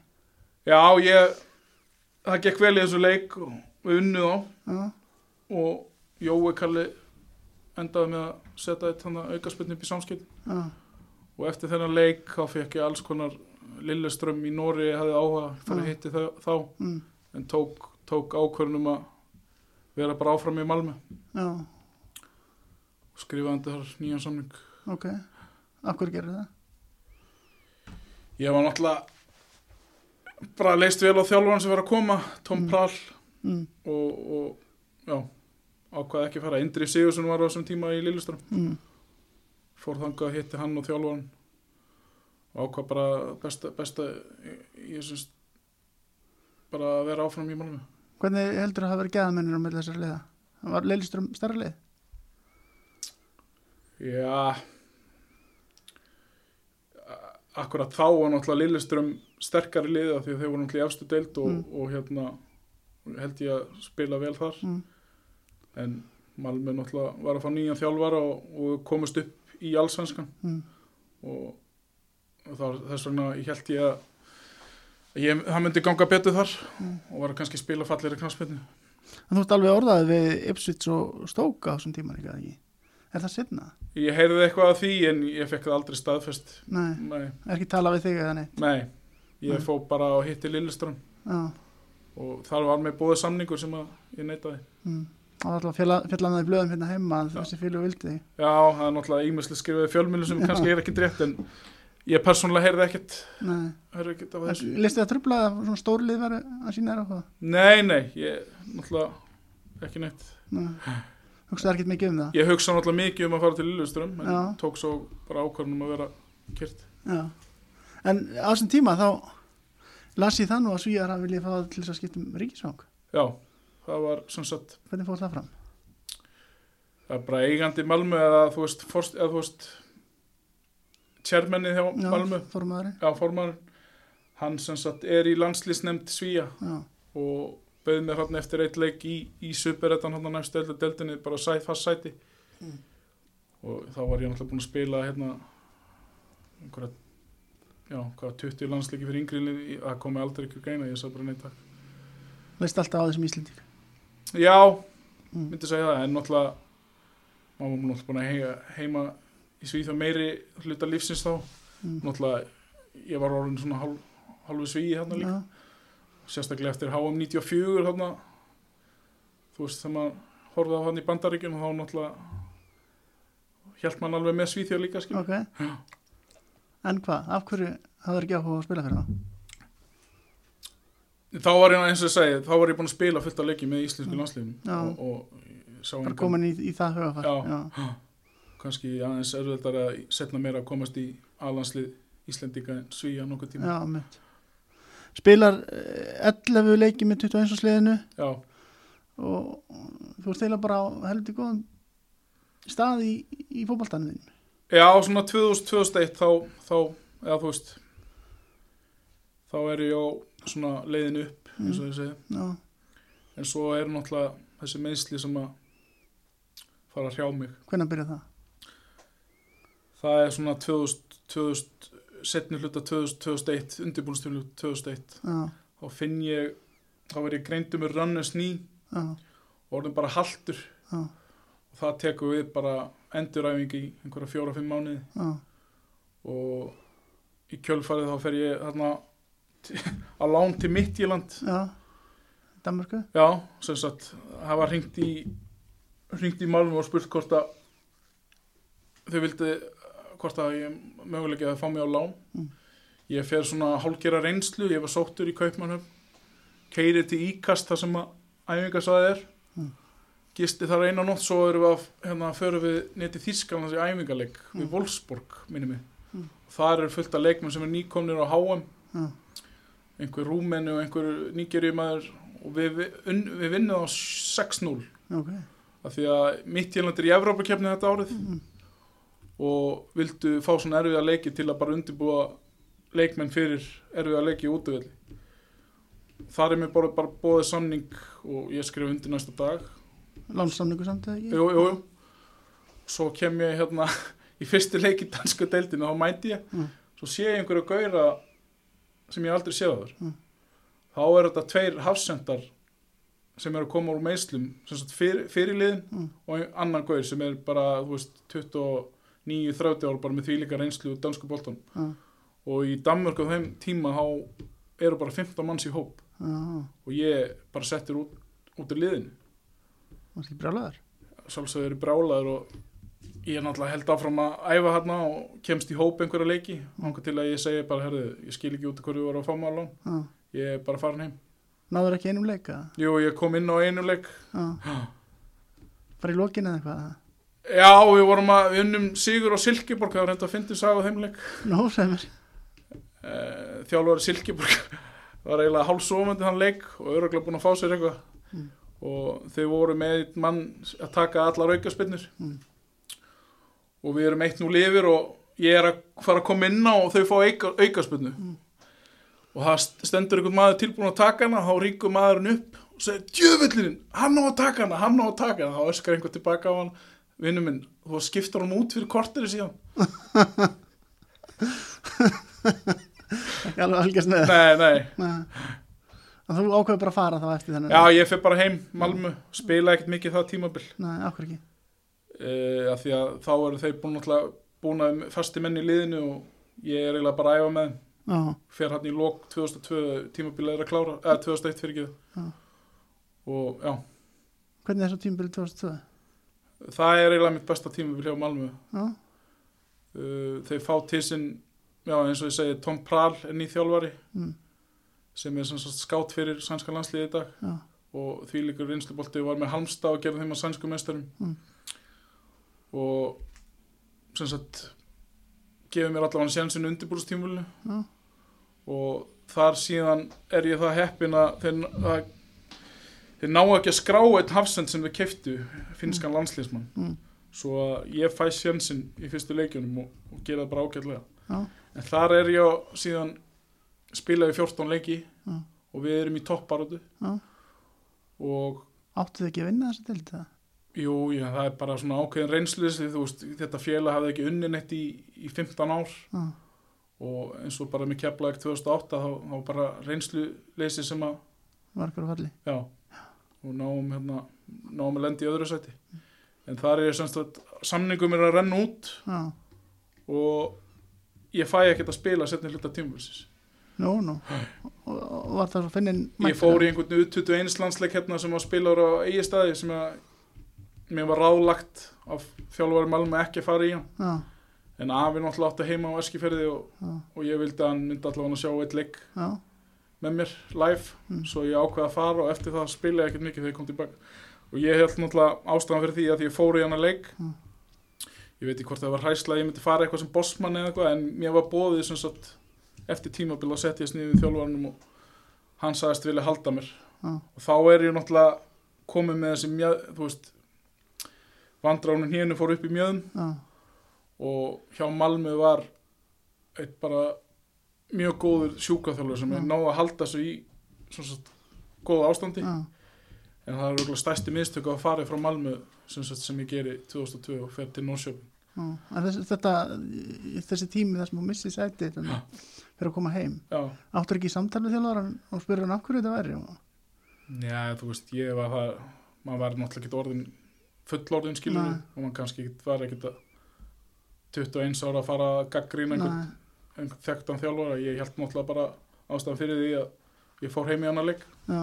B: já, ég það gekk vel í þessu leik og við unnu þá og Jói Kalli endaði með að setja eitt hann aukaspinn upp í samskipt og eftir þennan leik þá fekk ég alls konar Lilleström í Nóri hafði áhuga fyrir að
A: Já.
B: hitti þá, þá
A: mm,
B: en tók, tók ákvörnum að vera bara áfram í Malmö
A: já,
B: og skrifaði undir þar nýjan samning
A: ok af hverju gerir það?
B: Ég var náttúrulega bara leist vel á þjálfan sem var að koma, Tom
A: Mm.
B: Prall
A: Mm,
B: og, og já, ákvaði ekki að fara. Indri Sigursson var á þessum tíma í Lilleström,
A: mm,
B: fór þangað, hitti hann og þjálfan og ákvað bara besta, besta ég syns bara að vera áfram í Malmö.
A: hvernig heldur að hafa verið geðamennir á milli þessar liða? Það var Leilström starra lið?
B: Já Akkurat þá var náttúrulega Lilleström sterkari liða því að þeir voru náttúrulega í efstu deild og,
A: Mm.
B: og hérna held ég að spila vel þar
A: Mm,
B: en Malmö náttúrulega var að fá nýjan þjálfara og, og komist upp í allsvenskan
A: mm,
B: og, og það, þess vegna ég held ég að að Ég, það myndi ganga betur þar
A: Mm.
B: og var að kannski spila fallir í knarspinni.
A: En þú ert alveg orðað við Ipswich og Stoke á þessum tíma líka ekki? Er það sinna?
B: Ég heyrði eitthvað af því en ég fekk það aldrei staðfest.
A: Nei,
B: Nei,
A: er ekki talað við þig eða neitt?
B: nei. ég
A: Mm. Nei.
B: fó bara og hitti Lilleström.
A: Já,
B: og þar var mér bóðið samningur sem að ég neytaði.
A: mm. það var alltaf að fjalla annað í blöðum hérna heima að þessi félug vildi þig.
B: Já, það er náttúrulega ímjömslega skrifaði fjölmjölu sem
A: Já.
B: kannski er ekki drétt en ég persónulega heyrði ekkert,
A: Nei,
B: heyrði ekkert af þessu.
A: listi það trubla að svona stóri lið verið að sína þér á það?
B: Nei, nei, ég náttúrulega ekki neitt.
A: Nei, hugsaðu ekkert mikið um það?
B: Ég hugsa náttúrulega mikið um að fara til Lilleström en
A: Já.
B: tók svo bara ákvörnum að vera kyrt.
A: Já, en á þessum tíma þá las ég það nú að Svíjar að vilja fá það til þess að skipta um ríkisfang.
B: Já, það var sem sagt
A: Hvernig fór það fram?
B: það er bara eigandi Malmö eða þú veist, forst, eða, þú veist chairmanni hjá Malmö,
A: Formaðurinn.
B: já, formarinn hann sem sagt er í landslýsnefnd Svíja
A: Já,
B: og bauð mér hann eftir eitt leik í, í superettan hann næst elda deldinni bara sæt, fast sæti
A: Mm.
B: og þá var ég náttúrulega búinn að spila hérna einhverja já, hvað, 20 landsleiki fyrir yngri lið, í- það komi aldrei ekki að greina, ég sagði bara neitt takk
A: veist alltaf á þessum Íslending.
B: já,
A: Mm.
B: myndi segja það, en náttúrulega maður var náttúrulega búin að heima, heima í Svíþjóð meiri hluta lífsins þá
A: Mm.
B: náttúrulega, ég var orðin svona hálf, hálfu svíi hérna líka
A: Já,
B: sérstaklega eftir HM 94 þarna, þú veist þegar maður horfði á hann í bandaríkjum þá náttúrulega hjælt mann alveg með Svíþjóð líka skil.
A: ok. En hvað, af hverju hafður ekki áhuga á að spila fyrir það?
B: þá var ég eins og ég segi, þá var ég búinn að spila fullt af leiki með íslensku
A: Mm. Já.
B: landsliðum og, og sá
A: Bara
B: hann
A: komin í, í það hugafar.
B: Já. kannski aðeins erfildar að setna mér að komast í alanslið Íslendinga en Svíja nokkuð
A: já,
B: tíma
A: já mitt. Spilar eh, 11 leiki með 21 sliðinu
B: Já.
A: og þú ert eiginlega bara á heldur góðum stað í, í fótboltanum þinn.
B: Já, svona 2000-2001 þá, þá, eða þú veist þá er ég á svona leiðinu upp, eins og ég segi
A: Mm, Já,
B: en svo er náttúrulega þessi meðsli sem að fara að hrjá mig
A: hvernig byrja það?
B: það er svona 2000, 2000 setni hluta 2000, 2001 undirbúinstjónu 2001
A: Já,
B: þá finn ég, þá verð ég greindu með rannus ný
A: já,
B: og orðin bara haltur
A: já,
B: og það tekur við bara enduræfingi í einhverja fjóra-fimm mánuði
A: já.
B: og í kjölfarið þá fer ég þarna [LAUGHS] t- á lán til Midtjylland
A: Já, Danmarku
B: Já, sem sagt, það var hringt í hringt í málum og spurt hvort að þau vildi hvort að ég möguleika að fá mig á lán
A: Mm.
B: ég fer svona hálgera reynslu, ég var sóttur í Kaupmannhöfn keiri til Íkast þar sem að æfingasaði er
A: Mm.
B: gisti þar eina nótt svo erum við að hérna, förum við neti Þískalans í æfingaleg við Wolfsburg, minni mig
A: Mm.
B: þar er fullt af leikmenn sem er nýkomnir á HM
A: Já,
B: einhver rúmenu og einhver nýgerjumæður og við, við, unn- við vinnum á 6-0
A: ok
B: af því að mitt Írland er í Evrópakefni þetta árið
A: mm.
B: og vildu fá svona erfiða leiki til að bara undirbúa leikmenn fyrir erfiða leiki í útvöldi þar er mér bara, bara bóðið samning og ég skrif undir næsta dag
A: Lánsamningu samt eða ekki?
B: jú, jú, jú. svo kem ég hérna [LAUGHS] í fyrstu leik í dansku deildinu þá mæti ég
A: Mm.
B: svo sé ég einhverju gauðra sem ég aldrei séð áður
A: Mm.
B: þá er þetta tveir hafsendar sem eru að koma úr meislum sem sagt fyrir, fyrirliðin
A: Mm.
B: og ein- annar gauð sem er bara þú veist 29-30 ára bara með því líka reynslu úr dansku boltan
A: Já,
B: og í Danmörku á þeim tíma þá eru bara 15 manns í hóp
A: já, já.
B: og ég bara settir út, út í liðinu
A: Varst ekki brjálæður?
B: sjálfsögður eru brálaður og ég er náttúrulega held áfram að æfa hérna og kemst í hóp einhverja leiki hanga til að ég segi bara, herðu, ég skil ekki út af hverju þú voru að fá maður lán,
A: Já.
B: ég er bara farin heim
A: Náður ekki einum leika?
B: Jú, ég kom inn á einu leik [GASPS]
A: Já. Bara í lokin eða eitthvað?
B: Já, við vorum að, við unnum Sigur og Silkeborg, það var reynda að fyndi saga á þeim leik
A: Nó, sem er.
B: Eh, þjálfari Silkeborg [LAUGHS] var eiginlega hálfsofandi þann leik og öruglega búin að fá sér eitthvað
A: Mm.
B: og þau voru með einn mann að taka allar aukaspinnur
A: Mm.
B: og við erum eitt nú lifir og ég er að fara að koma inn á og þau fá auka, aukaspinnu
A: Mm.
B: og það st- stendur einhvern maður tilbúin að taka hana þá ríkur maðurinn upp og segir djöfullin, hann á að taka hana, hann á að taka hana þá öskar einhver tilbaka á hann vinnum minn, þú skiptar hann út fyrir korteri
A: [LAUGHS]
B: síðan
A: Ekki alveg algjörst með það.
B: nei, nei,
A: Nei. En þú ákveður bara að fara þá eftir þennan?
B: Já, ég fyrir bara heim, Malmö, spila ekkert mikið það tímabil
A: Nei, okkur ekki.
B: uh, af því að þá eru þeir búin alltaf búin að fasti menn í liðinu og ég er eiginlega bara að æfa með þeim
A: Já,
B: fer hann í lok 2002 tímabil er að klára, eh, eða 2001 fyrir
A: Já.
B: ekki og já,
A: hvernig er svo tímbil 2002?
B: það er eiginlega mitt besta tímabil hjá Malmö
A: Já,
B: uh, þeir fá til sinn já, eins og ég segi, Tom Prahl er nýþjálfari
A: Mm.
B: sem er sem sagt skátt fyrir sænska landsliði í dag
A: já.
B: og því líkur reynslubolti var með Halmstad og gerði þeim að sænsku meistarum
A: Mm.
B: og sem sagt gefið mér allavega sjansinu undirbúrstímulinu
A: Já.
B: og þar síðan er ég það heppin að þeir, að, þeir ná ekki að skrá eitt hafsend sem þeir keftu finskan mm. landslýsmann
A: Mm.
B: svo að ég fæ sjansin í fyrstu leikjunum og, og gera það bara ágætlega
A: Já.
B: en þar er ég á- síðan spilaði 14 leiki
A: Já.
B: og við erum í topparótu
A: Já.
B: og
A: Áttu þið ekki að vinna þessa deild það?
B: Jú, já, það er bara svona ákveðin reynsluðis þú veist, þetta félag hafði ekki unni neitt í, í 15 ár
A: Já,
B: og eins og bara með keflaðið 2008 þá, þá var bara reynsluðleysi sem að,
A: var okkur að falli.
B: já og náum hérna, náum að lenda í öðru sæti en þar er semst að samningum er að renna út
A: Já,
B: og ég fæ ekkert að spila setni hluta tímavölsins
A: nú, nú. Og, og var það svo finnin
B: ég fór í einhvern U21 landsleik hérna sem að spila á eigistæði sem að mér var ráðlagt af þjálfari Malma ekki að fara í hann
A: Já,
B: En afi náttúrulega átti heima á Eskifjörði og,
A: já,
B: og ég vildi að hann myndi allavega að sjá eitt leik
A: já.
B: með mér live
A: Mm.
B: svo ég ákveði að fara og eftir það spila ég ekkert mikið þegar ég kom tilbaka og ég held náttúrulega ástæðan fyrir því að ég fór í hann að leik
A: Mm.
B: ég veit ekki hvort það var hræsla að ég myndi fara eitthvað sem bossmann eða eitthvað en mér var bóðið sem sagt eftir tímabil að setja ég sniðið þjálfarnum og hann sagðist vilja halda mér
A: Mm.
B: og þá er ég náttúrulega komið með þessi mjöð, þú veist vandránun hérna fór upp í mjöðum
A: Já,
B: og hjá Malmö var eitt bara mjög góður sjúkaþjálfur sem er
A: Mm.
B: náð að halda svo í svona sagt, góða ástandi
A: já,
B: en það er auðvitað stærsti miðstöku að fara frá Malmö sem, sagt, sem ég geri 2002 og fer til Norrköping
A: já. En Þess, þetta, þessi tími þar sem hún missi sætið
B: Já.
A: þannig, fyrir að koma heim.
B: já.
A: Áttu ekki í samtal við þjálfaran og spurði hann af hverju þetta væri? Og,
B: já, þú veist, ég var það maður var náttúrulega ekki orðin fullorðin skilur
A: Nei.
B: og maður kannski ekkit- var ekkit að 21 ára að fara að gaggrína einhvern
A: Nei,
B: einhvern þekktan þjálfara ég held náttúrulega bara ástæðan fyrir því að ég fór heim í annar leik
A: já.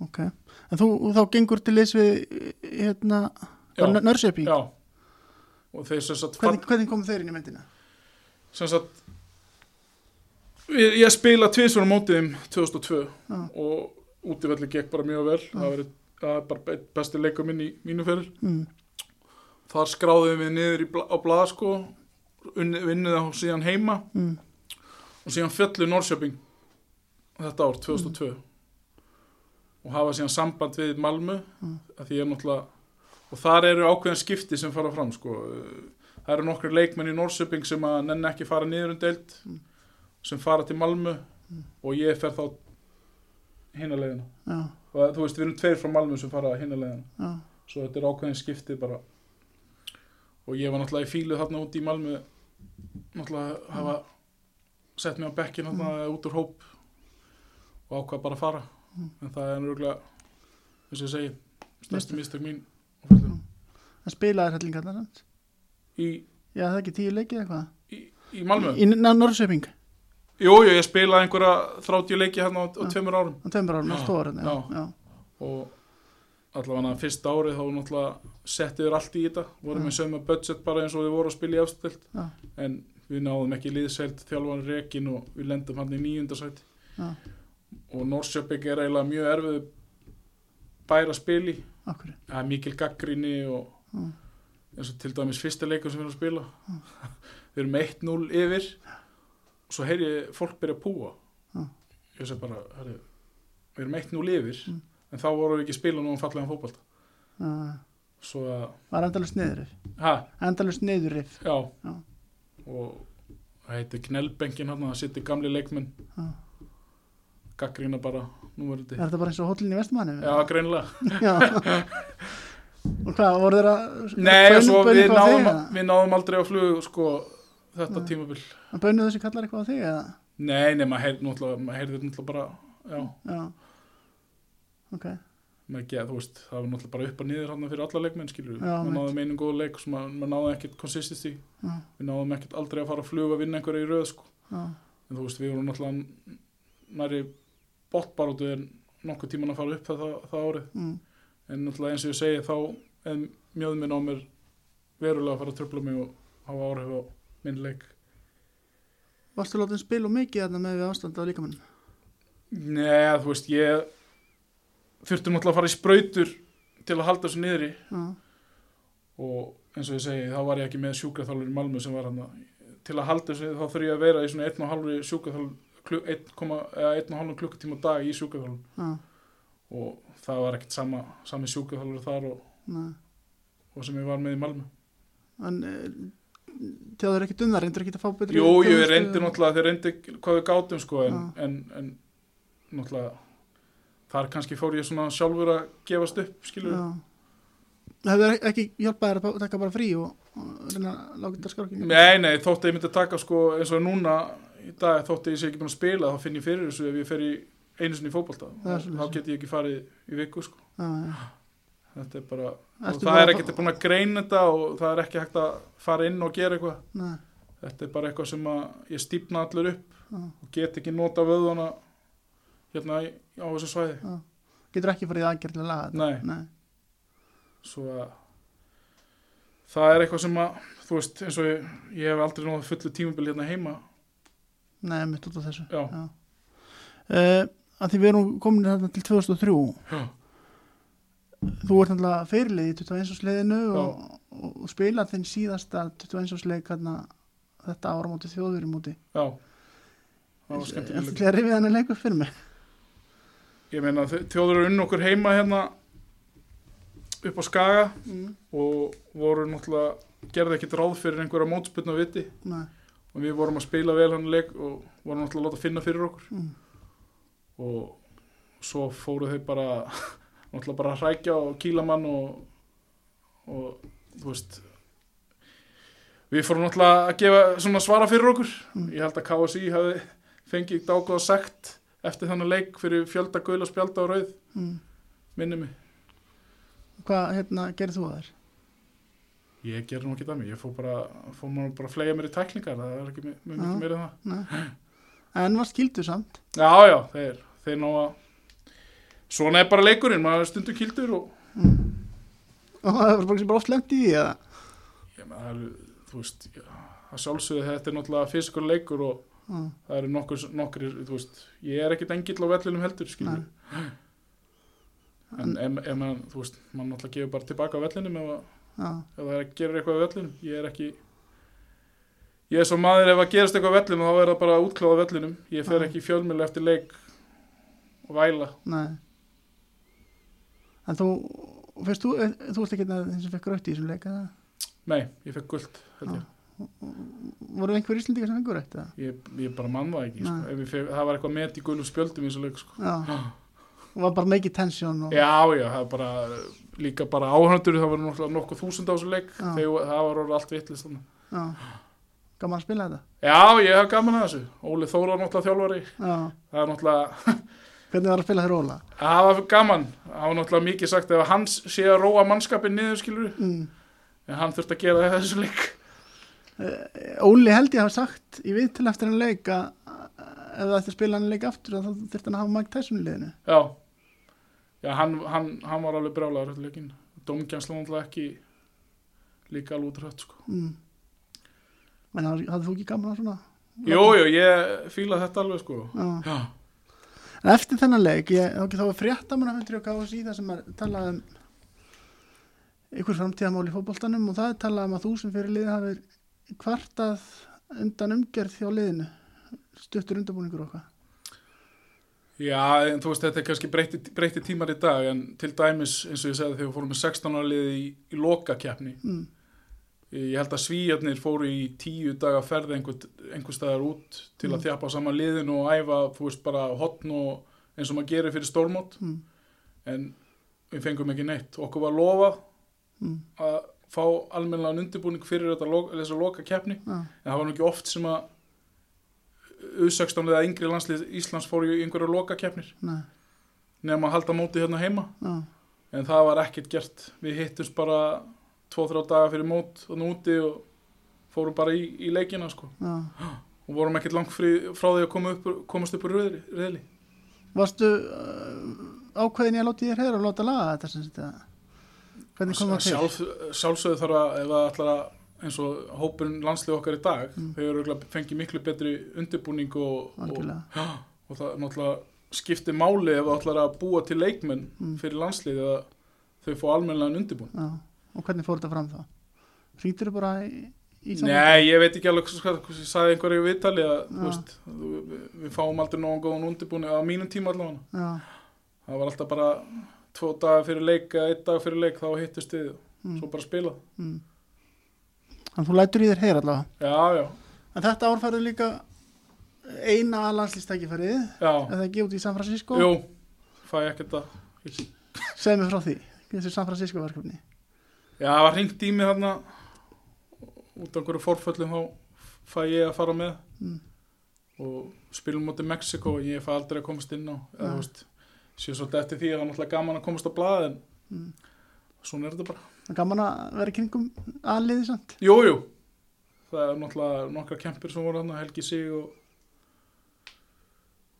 A: Ok. En þú þá gengur til liðs við, hérna,
B: Já.
A: Nörsjöping?
B: já og þeir sem sagt
A: Hvernig, hvernig kom þeir inn í myndina?
B: sem sagt ég, ég spila tvísvara mótiðum 2002
A: Já.
B: og útivelli gekk bara mjög vel það var, það var bara be- besti leikum minn í mínu fyrir
A: Mm.
B: þar skráðum við niður í bla, á blað sko unni- vinnið á síðan heima
A: Mm.
B: og síðan fjallu Norrköping þetta ár, 2002 og hafa síðan samband við Malmö
A: Mm.
B: að því ég er náttúrulega og þar eru ákveðin skipti sem fara fram sko. það eru nokkri leikmenn í Norrköping sem að nenni ekki fara niður um deild sem fara til Malmö og ég fer þá hinna leiðina
A: Já,
B: og þú veist, við erum tveir frá Malmö sem fara hinna leiðina
A: já,
B: svo þetta er ákveðin skiptið bara og ég var náttúrulega í fílu þarna út í Malmö náttúrulega hafa sett mig á bekkin þarna
A: Mm.
B: út úr hóp og ákvað bara að fara en það er nörgulega eins og ég segi, stærstu mistök mín á ferlinum.
A: Það spilaði hellingarnar hans.
B: í,
A: Já, það er ekki tíu leikið eitthvað.
B: í, í Malmö
A: Mm. Í Norrköping,
B: Jú, jú, ég spilaði einhverja 30 leiki hérna á, á tveimur árum
A: á tveimur árum, á stóðarinn. Já,
B: Já.
A: já.
B: og allavega fyrsta árið þá náttúrulega settiður allt í þetta
A: Mm.
B: vorum við sömu budget bara eins og við vorum að spila í afstöld
A: Já.
B: en við náðum ekki liðsælt þjálfan rekin og við lendum hann í nýjundasæti
A: Já.
B: og Norsjöping er eiginlega mjög erfið bæra spili
A: Akkur.
B: það er mikil gaggrinni og
A: Mm.
B: eins og til dæmis fyrsta leikum sem við erum að spila [LAUGHS] við erum 1-0 yfir og svo heyri ég fólk byrja að púa
A: Mm.
B: ég sé bara heyri, við erum 1-0 yfir
A: Mm.
B: en þá vorum við ekki að spila núna fallega fótbalta
A: Já.
B: svo að,
A: Var endalust niðurrif.
B: hæ,
A: Endalust niðurrif.
B: já
A: Já.
B: og það heitir knellbengin hann það sittir gamli leikmenn
A: Já.
B: gaggrína bara númerandi
A: Er þetta bara eins og hóllin í vestmanni?
B: já, greinilega
A: já.
B: [LAUGHS]
A: Og hvað, voru þeirra...
B: nei, og svo við náðum,
A: Við...
B: við náðum aldrei á flug sko, þetta tímabil
A: Bönuðu þessi kallar eitthvað á þig eða?
B: nei, nei, maður heyrði náttúrulega, maður heyrði náttúrulega bara já,
A: Já. Ok.
B: maður geða, þú veist, það var náttúrulega bara upp og niður hann fyrir alla leikmenn, skilur við,
A: Já,
B: maður
A: mitt.
B: náðum einum góð leik sem maður, maður náðum ekkert consistency
A: Já.
B: við náðum ekkert aldrei að fara að fluga að vinna einhverja í röð, sko,
A: Já.
B: en þú veist, við vorum náttúrulega næri bóttbarótu en nokkuð tíman að fara upp það, það, það árið,
A: Mm.
B: en náttúrulega eins og ég segi þá en mjög minn á mér verulega að fara að tröfla mig og hafa áhrif á minn leik
A: Varstu látið spil og mikið þarna með við ástand á líkamannum?
B: Nei, þú veist, ég þurfti náttúrulega að fara í sprautur til að halda þessu niðri
A: Já.
B: og eins og ég segi, þá var ég ekki með sjúkraþjálfur í Malmö sem var hann til að halda þessu, þá þurfi ég að vera í svona 1,5 sjúkraþjálfur 1,5 klukkutíma á dag í sjúkraþjálfur
A: Já.
B: og það var ekkert sama, sami sjúkraþjálfur þar og,
A: Nei.
B: og sem ég var með í Malmö
A: En tjáður ekkert um það, reyndur ekkert að fá betri...
B: Jú, ég
A: þjónustu?
B: reyndi náttúrulega, þeir reyndi hvað við gátum sko, en, en, en náttúrulega þar kannski fór ég svona sjálfur að gefast upp, skilur
A: Já. Það hefur ekki hjálpað þér að taka bara frí og, og reyna að lága þetta skorkingu?
B: Nei, nei, þótt að ég myndi að taka sko eins og núna í dag, þótt að ég sé ekki búin að spila þá finn ég fyrir þessu ef ég fer í einu sinni í fótbolta
A: Það er
B: þá
A: svoleiðis.
B: þá get ég ekki farið í viku sko
A: Já, já.
B: þetta er bara, og
A: Ertu
B: það
A: bara
B: er
A: að-
B: ekki búin að greina þetta og það er ekki hægt að fara inn og gera eitthvað
A: Nei,
B: þetta er bara eitthvað sem að ég stípna allur upp
A: já.
B: og get ekki nota vöðuna hérna í- á þessu svæði
A: Getur ekki farið í aðgerð til að laga þetta?
B: Nei.
A: Nei.
B: svo að það er eitthvað sem að, þú veist, eins og ég, ég hef aldrei náða fullu tímabili hérna heima
A: Nei, mitt út á þessu.
B: Já.
A: Uh, að því við erum komin þarna til 2003,
B: Já.
A: þú ert náttúrulega fyrirlið í 21. sliðinu og, og, og spila þinn síðasta 21. slið þarna þetta ára móti þjóðveru móti.
B: Já Það var
A: Ertu
B: skemmtileg leikur.
A: til að rifið hann að leika fyrir mig?
B: ég meina þ- þjóður eru unn okkur heima hérna upp á Skaga
A: Mm.
B: og voru náttúrulega gerði ekkert ráð fyrir einhverja mótspilna viti
A: Nei.
B: og við vorum að spila vel hann leik og vorum náttúrulega að láta finna fyrir okkur
A: Mm.
B: og svo fóru þau bara [LAUGHS] náttúrulega bara að hrækja og kýla mann og, og þú veist við fórum náttúrulega að gefa svona svara fyrir okkur ég held að KSI hafi fengið dágóða sekt eftir þannig leik fyrir fjölda gula spjálda og rauð
A: Mm.
B: minni mig
A: Hvað, hérna, gerir þú þær?
B: Ég gerði nú ekki dæmi, ég fór bara, fór maður bara að flega mér í tæklingar, það er ekki mi- mjög mikið
A: Já.
B: meira en það.
A: Nei. En var skildu samt?
B: Já, já, þeir, þeir ná að, svona er bara leikurinn, maður er stundu kildur og,
A: Og það var bara, bara oft lemt í því eða?
B: ég með það eru, þú veist, já, að sjálfsögðu þetta er náttúrulega fysikur leikur og
A: Mm.
B: það eru nokkur, nokkri, þú veist, ég er ekkit engill á vellinum heldur, skiljum. En ef, ef maður, þú veist, maður náttúrulega gefur bara tilbaka á vellinum ef, að-
A: Já,
B: ef það er að gera eitthvað á vellinum, ég er ekki, ég er svo maður ef að gerast eitthvað á vellinum, þá er það bara útkláð á vellinum, ég fer
A: Já.
B: ekki fjölmjölu eftir leik og væla.
A: nei. En þú, fyrst þú, eh, þú ert ekki hérna þeim sem fekk rautt í þessum leik eða?
B: Nei, ég fekk guld, held ég.
A: Voru einhver íslendingar sem fengur rautt eða?
B: Ég, ég bara mann það ekki, sko.
A: Nei.
B: Ef ég fekk, það var eitthvað met í gulum spjöldum í þessu leik, sko.
A: Já. var bara mikið tensjón og...
B: Já, já, það er bara líka bara áhöndur, það var náttúrulega nokkuð þúsund á þessu leik,
A: Já.
B: þegar það var orðið allt vittlist þannig.
A: Já. Gaman að spila þetta
B: Já, ég hef gaman að þessu. Óli Þóra náttúrulega þjálfari,
A: Já.
B: það er náttúrulega,
A: Hvernig var að spila þér Óla?
B: það var gaman, það var náttúrulega mikið sagt ef hans sé að róa mannskapin niður skilur,
A: Mm.
B: en hann þurft að gera það í þessu leik. [LAUGHS]
A: Óli held ég hafa sagt í viðtil eftir hann leik að ef það ætti að spila hann leik aftur þá þurfti hann að hafa Mike Tyson í liðinu
B: Já, já, hann, hann, hann var alveg brjálaður þetta leikinn. Dómgjansla náttúrulega ekki líka alveg út rött, sko.
A: mm. En hafði þú ekki gaman að svona?
B: Jú, jú, ég fíla þetta alveg, sko.
A: Já.
B: Já,
A: En eftir þennan leik, ég, þá þá var fréttamannafundur og gáðs í það sem er talað um ykkur framtíðamál í fótboltanum og það er talað um að þú sem fyrir liðin hafið kvartað undan umgerð hjá liðinu stuttur undanbúningur okkar
B: Já, en þú veist, þetta er kannski breyti, breyti tímar í dag, en til dæmis, eins og ég segði, þegar við fórum með 16 ára liði í, í lokakeppni,
A: mm.
B: ég held að svíjarnir fóru í tíu daga ferði einhver, einhver staðar út til að þjapa saman liðin og æfa, þú veist, bara hotn og eins og maður gerir fyrir stórmót,
A: Mm.
B: en við fengum ekki neitt. Okkur var lofað
A: Mm.
B: að fá almennilegan undirbúning fyrir þetta, lo- þessa lokakeppni,
A: Já,
B: en það var nú ekki oft sem að U16 eða yngri landslið Íslands fóru í einhverju lokakeppnir
A: nei,
B: nefn að halda móti hérna heima
A: já,
B: en það var ekkert gert við hittumst bara 2-3 daga fyrir mót og núti og fórum bara í, í leikina sko
A: já
B: og vorum ekkert langt frí, frá því að koma upp, komast upp úr reyðli, reyðli.
A: Varstu uh, ákveðin ég að láta í þér heyra og láta laga þetta sem þetta Hvernig kom það til?
B: Sjálf, sjálfsögðu þarf að ef það ætlar að eins og hópurinn landslið okkar í dag
A: Mm.
B: þau eru örugglega- fengið miklu betri undirbúning og, og,
A: Algjörlega.
B: já, og það náttúrulega skiptir máli ef það ætlar að búa til leikmenn
A: Mm.
B: fyrir landslið að þau fá almennlegan undirbúning
A: Já, og hvernig fór þetta fram þá? Hrýtur bara í, í saman?
B: Nei, ég veit ekki alveg hvað, hvað ég sagði einhverju viðtali að, þú
A: Já.
B: veist, þú- við, við fáum aldrei nógu góðan undirbúni á mínum tíma allavega.
A: Já,
B: Það var alltaf bara tvo daga fyrir leik eða einn dag fyrir leik þá hittust við og
A: mm,
B: svo bara spila.
A: mm. Þannig þú lætur í þér heyra allavega
B: Já, já,
A: En þetta ár færðu líka eina landslýstækifærið
B: já,
A: eða ekki út í San Francisco
B: jú, fæ ég ekkert að,
A: segð mér frá því, þessu San Francisco verkefni
B: já, það var hringt í mig þarna út af einhverju forföllum þá fæ ég að fara með
A: Mm.
B: og spilum mútið Mexiko og ég fæ aldrei að komast inn á, eða
A: Já.
B: þú veist, sé svolítið eftir því að það er náttúrulega gaman að komast á blaðin,
A: Mm.
B: svona er þetta bara.
A: Það er gaman að vera í kringum aðliði samt
B: Jú, jú. Það er náttúrulega nokkra kempir sem voru hann, Helgi Sig og,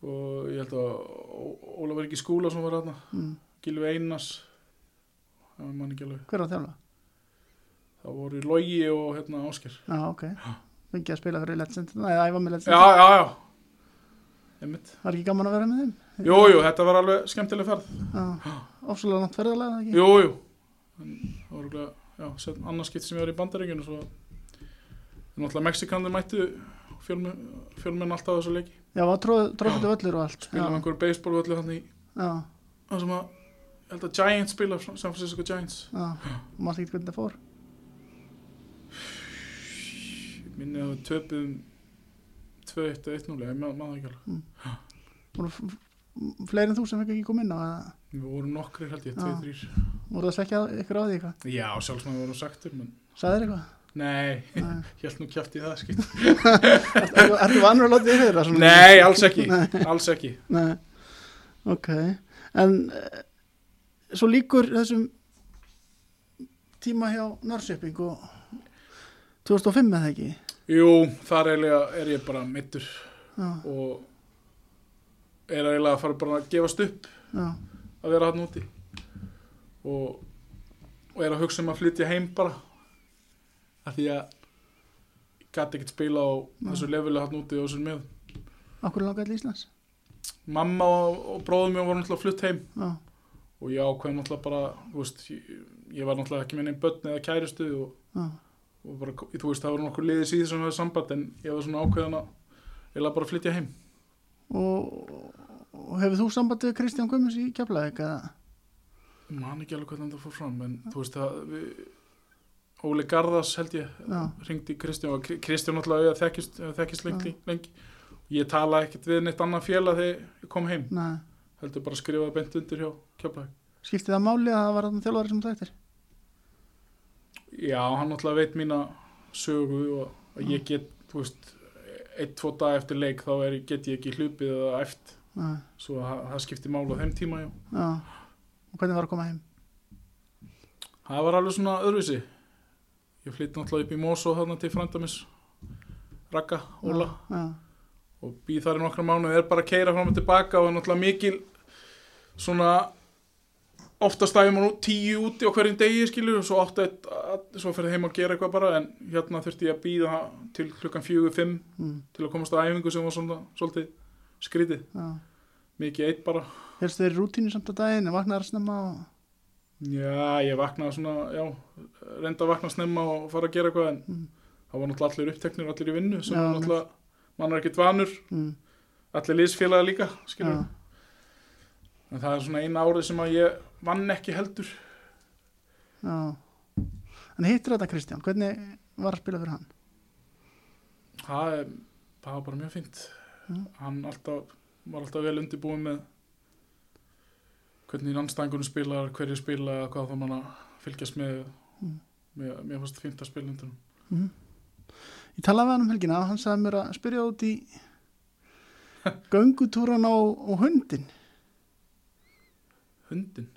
B: og ég held að Ó- Ólafur ekki skúla sem var hann,
A: mm.
B: Gilvi Einars, það var mann ekki alveg.
A: Hver var að þjálfa?
B: Það voru Logi og hérna Ásker.
A: Já, ok, fengið að spila fyrir Let's Center eða æfa með Let's
B: Já,
A: Center,
B: já, já. Einmitt.
A: var ekki gaman að vera með þeim?
B: Jú, jú, þetta var alveg skemmtileg ferð.
A: Já, ofsalega langt ferðalega eða ekki?
B: Jú, jú. En það voru glæð, já, sett annarskipt sem ég var í bandaríkjunum, svo náttúrulega Mexikanir mættu fjölmenn, fjölmenn alltaf á þessu leiki.
A: Já, var trófandi völlur og allt
B: Spilum
A: já,
B: einhverju beisbólvöldu hann í
A: já,
B: það sem að ég held að Giants spila San Francisco Giants
A: já, og maður ekki hvernig það fór
B: minni að við töpuðum 2-1 eða 1-0 ég maður maður ekki alveg
A: voru f- f- fleiri en þú sem fekk ekki kom inn á eða
B: við vorum nokkri held ég,
A: Já.
B: 2-3
A: voru það svekkja ykkur á því eitthvað?
B: já, sjálfsmaður við vorum sagtur menn
A: Sæðir eitthvað?
B: nei,
A: Nei.
B: ég held nú kjátt í það skipt
A: [LAUGHS] Ertu ertu vanur að láta því heyra? svona?
B: nei, alls ekki, alls ekki
A: Nei, ok En uh, svo líkur þessum tíma hjá Norrköping og 2005 eða ekki
B: jú, þar eiginlega er ég bara mittur
A: Já,
B: og er eiginlega að fara bara að gefast upp
A: já,
B: að vera hann úti og, og er að hugsa um að flytja heim bara af því að ég gæti ekkert spila á þessu leveli hann úti og þessum með
A: okkur langaði til Íslands
B: mamma og, og bróðum mér voru náttúrulega flutt heim
A: Já,
B: og ég ákveð náttúrulega bara þú veist, ég, ég var náttúrulega ekki með neinn börn eða kæristu og,
A: já,
B: og bara, þú veist það voru nokkur liðið síðan sem hefur samband en ég var svona ákveðan að ég laði bara að flytja heim
A: og, og hefur þú samband við Kristján Guðmunds í Keflavík eða?
B: ég man ekki alveg hvernig þetta fór fram en þú veist það við, Óli Garðas held ég
A: Já,
B: ringdi Kristján og Kri- Kristján náttúrulega við þekkist, þekkist lengi, lengi ég talaði ekkert við neitt annað félag þegar ég kom heim
A: nei,
B: heldur bara að skrifa beint undir hjá Keflæk
A: Skipti það máli að það var þarna þjálfari sem þú þekktir?
B: Já, hann náttúrulega veit mína sögu og að ég get, þú veist, eitt, tvo dag eftir leik þá er, get ég ekki hlupið eða eft,
A: Já,
B: svo það, það skipti mála þeim tíma, já.
A: já. Og hvernig var að koma heim?
B: Það var alveg svona öðruvísi. Ég flytti náttúrulega upp í Mosó þarna til frændamis, Raka, Óla,
A: Já,
B: og býð þar í nokkra mánuði, er bara að keira fram og tilbaka og náttúrulega mikil svona oftast dæmi maður nú tíu úti á hverjum degi skilur og svo átti eitt, að- svo ferði heim að gera eitthvað bara en hérna þurfti ég að býða til klukkan fjögur, fimm
A: mm,
B: til að komast að æfingu sem var svona svolítið skrítið,
A: já.
B: mikið eitt bara
A: Fyrstu þeir í rútínu samt á daginn, vaknaðar snemma og...
B: já, ég vaknaði svona, já reynda að vakna snemma og fara að gera eitthvað en
A: Mm.
B: það var náttúrulega allir uppteknir allir í vinnu sem
A: Já,
B: er náttúrulega, mann er ekkert vanur
A: Mm,
B: allir liðsfélaga líka,
A: já,
B: skilur en það er svona eina árið sem að ég vann ekki heldur
A: já. En hittir þetta Kristján, hvernig var að spila fyrir hann?
B: það, er, það var bara mjög fínt
A: Mm.
B: hann alltaf, var alltaf vel undirbúin með hvernig anstæðingunum spilar, hverju spila hvað þá mann að fylgjast með
A: Mm.
B: mér, mér fannst fínt að spila undir
A: Mm. Ég talaði við hann um helgina og hann sagði mér að spyrja út [LAUGHS] í göngutúran á, á hundin.
B: hundin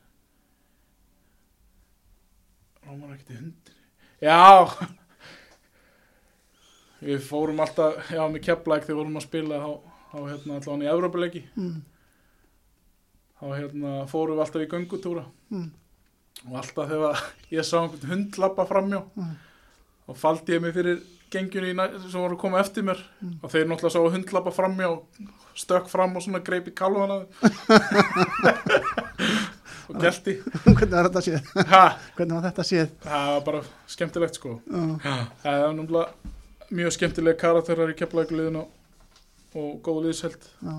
B: rámar ekkert í hundin já við fórum alltaf já með keflæk þegar við vorum að spila þá, þá hérna allan í Evrópuleiki
A: Mm,
B: þá hérna fórum við alltaf í göngutúra
A: mm,
B: og alltaf þegar ég sá einhvern hund lappa framjá
A: Mm.
B: þá faldi ég mig fyrir gengjunni í næ- sem voru að koma eftir mér
A: Mm.
B: og þeir náttúrulega sáu hund lappa framjá stökk fram og svona greip í kalvan
A: [LAUGHS]
B: og gelti
A: [LAUGHS] hvernig var þetta séð?
B: ha,
A: Hvernig var þetta séð?
B: það var bara skemmtilegt sko
A: Já,
B: það var náttúrulega mjög skemmtilega karakterar í keflaugleðinu og góð liðsheld
A: já.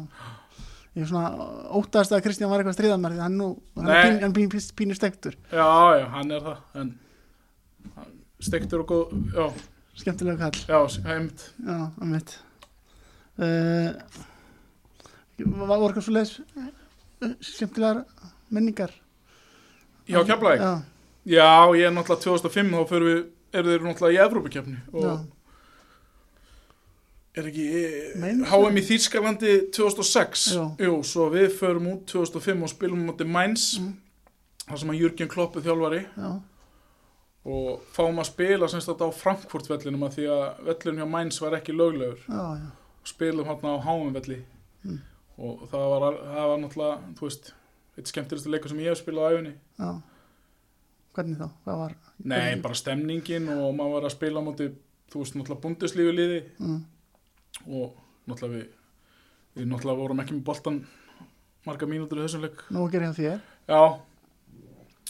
A: Ég svona óttaðast að Kristján var eitthvað stríðan mér því að hann nú, hann er
B: Nei.
A: pín, hann pín, pín, pínur stektur.
B: já, já, hann er það en stektur og góð já,
A: Skemmtilega kall.
B: já, heimt
A: Já, að mitt. Uh, var voru eitthvað svo leiðis skemmtilegar minningar?
B: já, keflaug
A: Já,
B: Já, ég er náttúrulega 2005 þá fyrir við, eru þeir náttúrulega í Evrópakefni og
A: já.
B: er ekki
A: Meinarðu?
B: eh, HM í Þýrskalandi 2006
A: Já.
B: Jú, svo við förum út 2005 og spilum á móti Mainz
A: Mm.
B: þar sem að Jürgen Klopp er þjálfari
A: já.
B: og fáum að spila semst þetta á Frankfurt vellinum að því að vellin hjá Mainz var ekki löglegur
A: Já, já.
B: og spilum hérna á HM velli
A: Mm.
B: og það var, al- það var náttúrulega, þú veist eitt skemmtilegstu leikur sem ég hef spilað á æfinni
A: Já. Hvernig þá? Hvað var?
B: Nei, bara stemningin og maður var að spila á móti, þú veist, náttúrulega bundeslífi liði
A: Mm,
B: og náttúrulega við, við náttúrulega vorum ekki með boltan marga mínútur í þessum leik
A: nú að gera hjá þér.
B: já,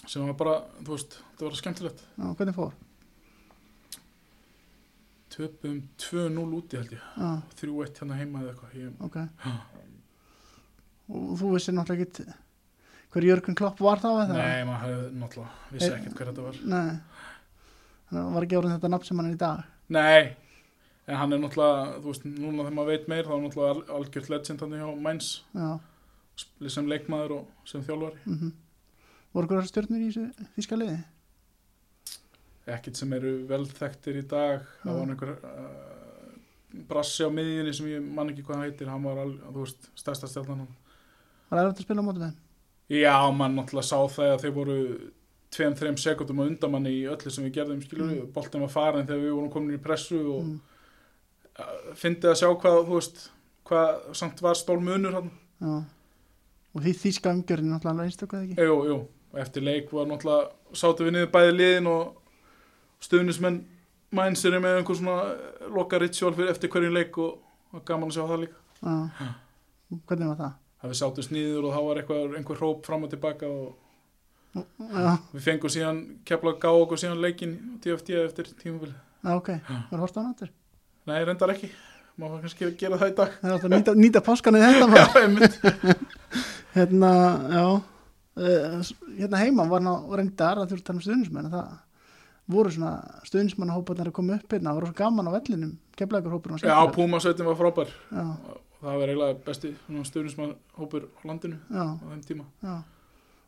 B: sem var bara, þú veist, það var skemmtilegt
A: Já, hvernig fór?
B: töpum 2-0 úti held ég
A: Já,
B: 3-1 hérna heima eða eitthvað ég,
A: ok.
B: Já.
A: Og þú vissir náttúrulega ekki hver Jörgur Klopp var þá eða?
B: nei, maður hefði náttúrulega, vissi
A: Er-
B: ekkert hver þetta var
A: Nei. Þannig að hann var ekki árið þetta nafn sem hann er í dag.
B: nei, en hann er náttúrulega þú veist, núna þegar maður veit meir þá er náttúrulega al- algjört legend hann hjá Mainz
A: Já.
B: sp- sem leikmaður og sem þjálfari
A: Mm Voru hverjar stjörnur í þessu þíska liði?
B: ekkert sem eru vel þekktir í dag það
A: Já.
B: var einhver uh, brassi á miðjunni sem ég man ekki hvað hann heitir hann var alveg, þú veist, stærsta stjarnan
A: Var það að spila á mótum þeim?
B: já, mann náttúrulega sá það að þeir voru tveim, þreim sekundum á undamanni í öllu sem við gerðum, skilur við, boltin var farin þegar við vorum komin í pressu og
A: Mm.
B: uh, fyndið að sjá hvað, þú veist hvað samt var stól munur hann
A: Já. Og því þíska umgjörðin náttúrulega alveg einstaklega ekki?
B: jú, jú, og eftir leik var náttúrulega sátum við niður bæði liðin og stuðnismenn mænsir með einhver svona eh, loka ritual fyrir eftir hverjum leik og og gaman að sjá það líka
A: Já. Hvernig var það?
B: að við sátum sníður og þá var eitthvað, einhver hróp fram og tilbaka og
A: Já,
B: við fengum síðan, keflaði gá okkur síðan leikin DFD eftir tímafél
A: já ok. Var það hortan áttur?
B: Nei, reyndar ekki, maður var kannski að gera það í dag [LAUGHS]
A: Það er alltaf að nýta, nýta páskanu þetta
B: Já,
A: bara.
B: einmitt
A: Hérna, já. Uh, hérna heima var ná reyndar að þú ert að tala um stuðnismenn. Það voru svona stuðnismannahóparnar að koma upp hérna. Það voru svo gaman á vellinum. Keflækurhópurinn var
B: Já,
A: skemmtilegur.
B: Púmasveitin var frábær
A: Já,
B: það það var eiginlega besti stuðnismann hópur á landinu
A: já,
B: á þeim tíma
A: já.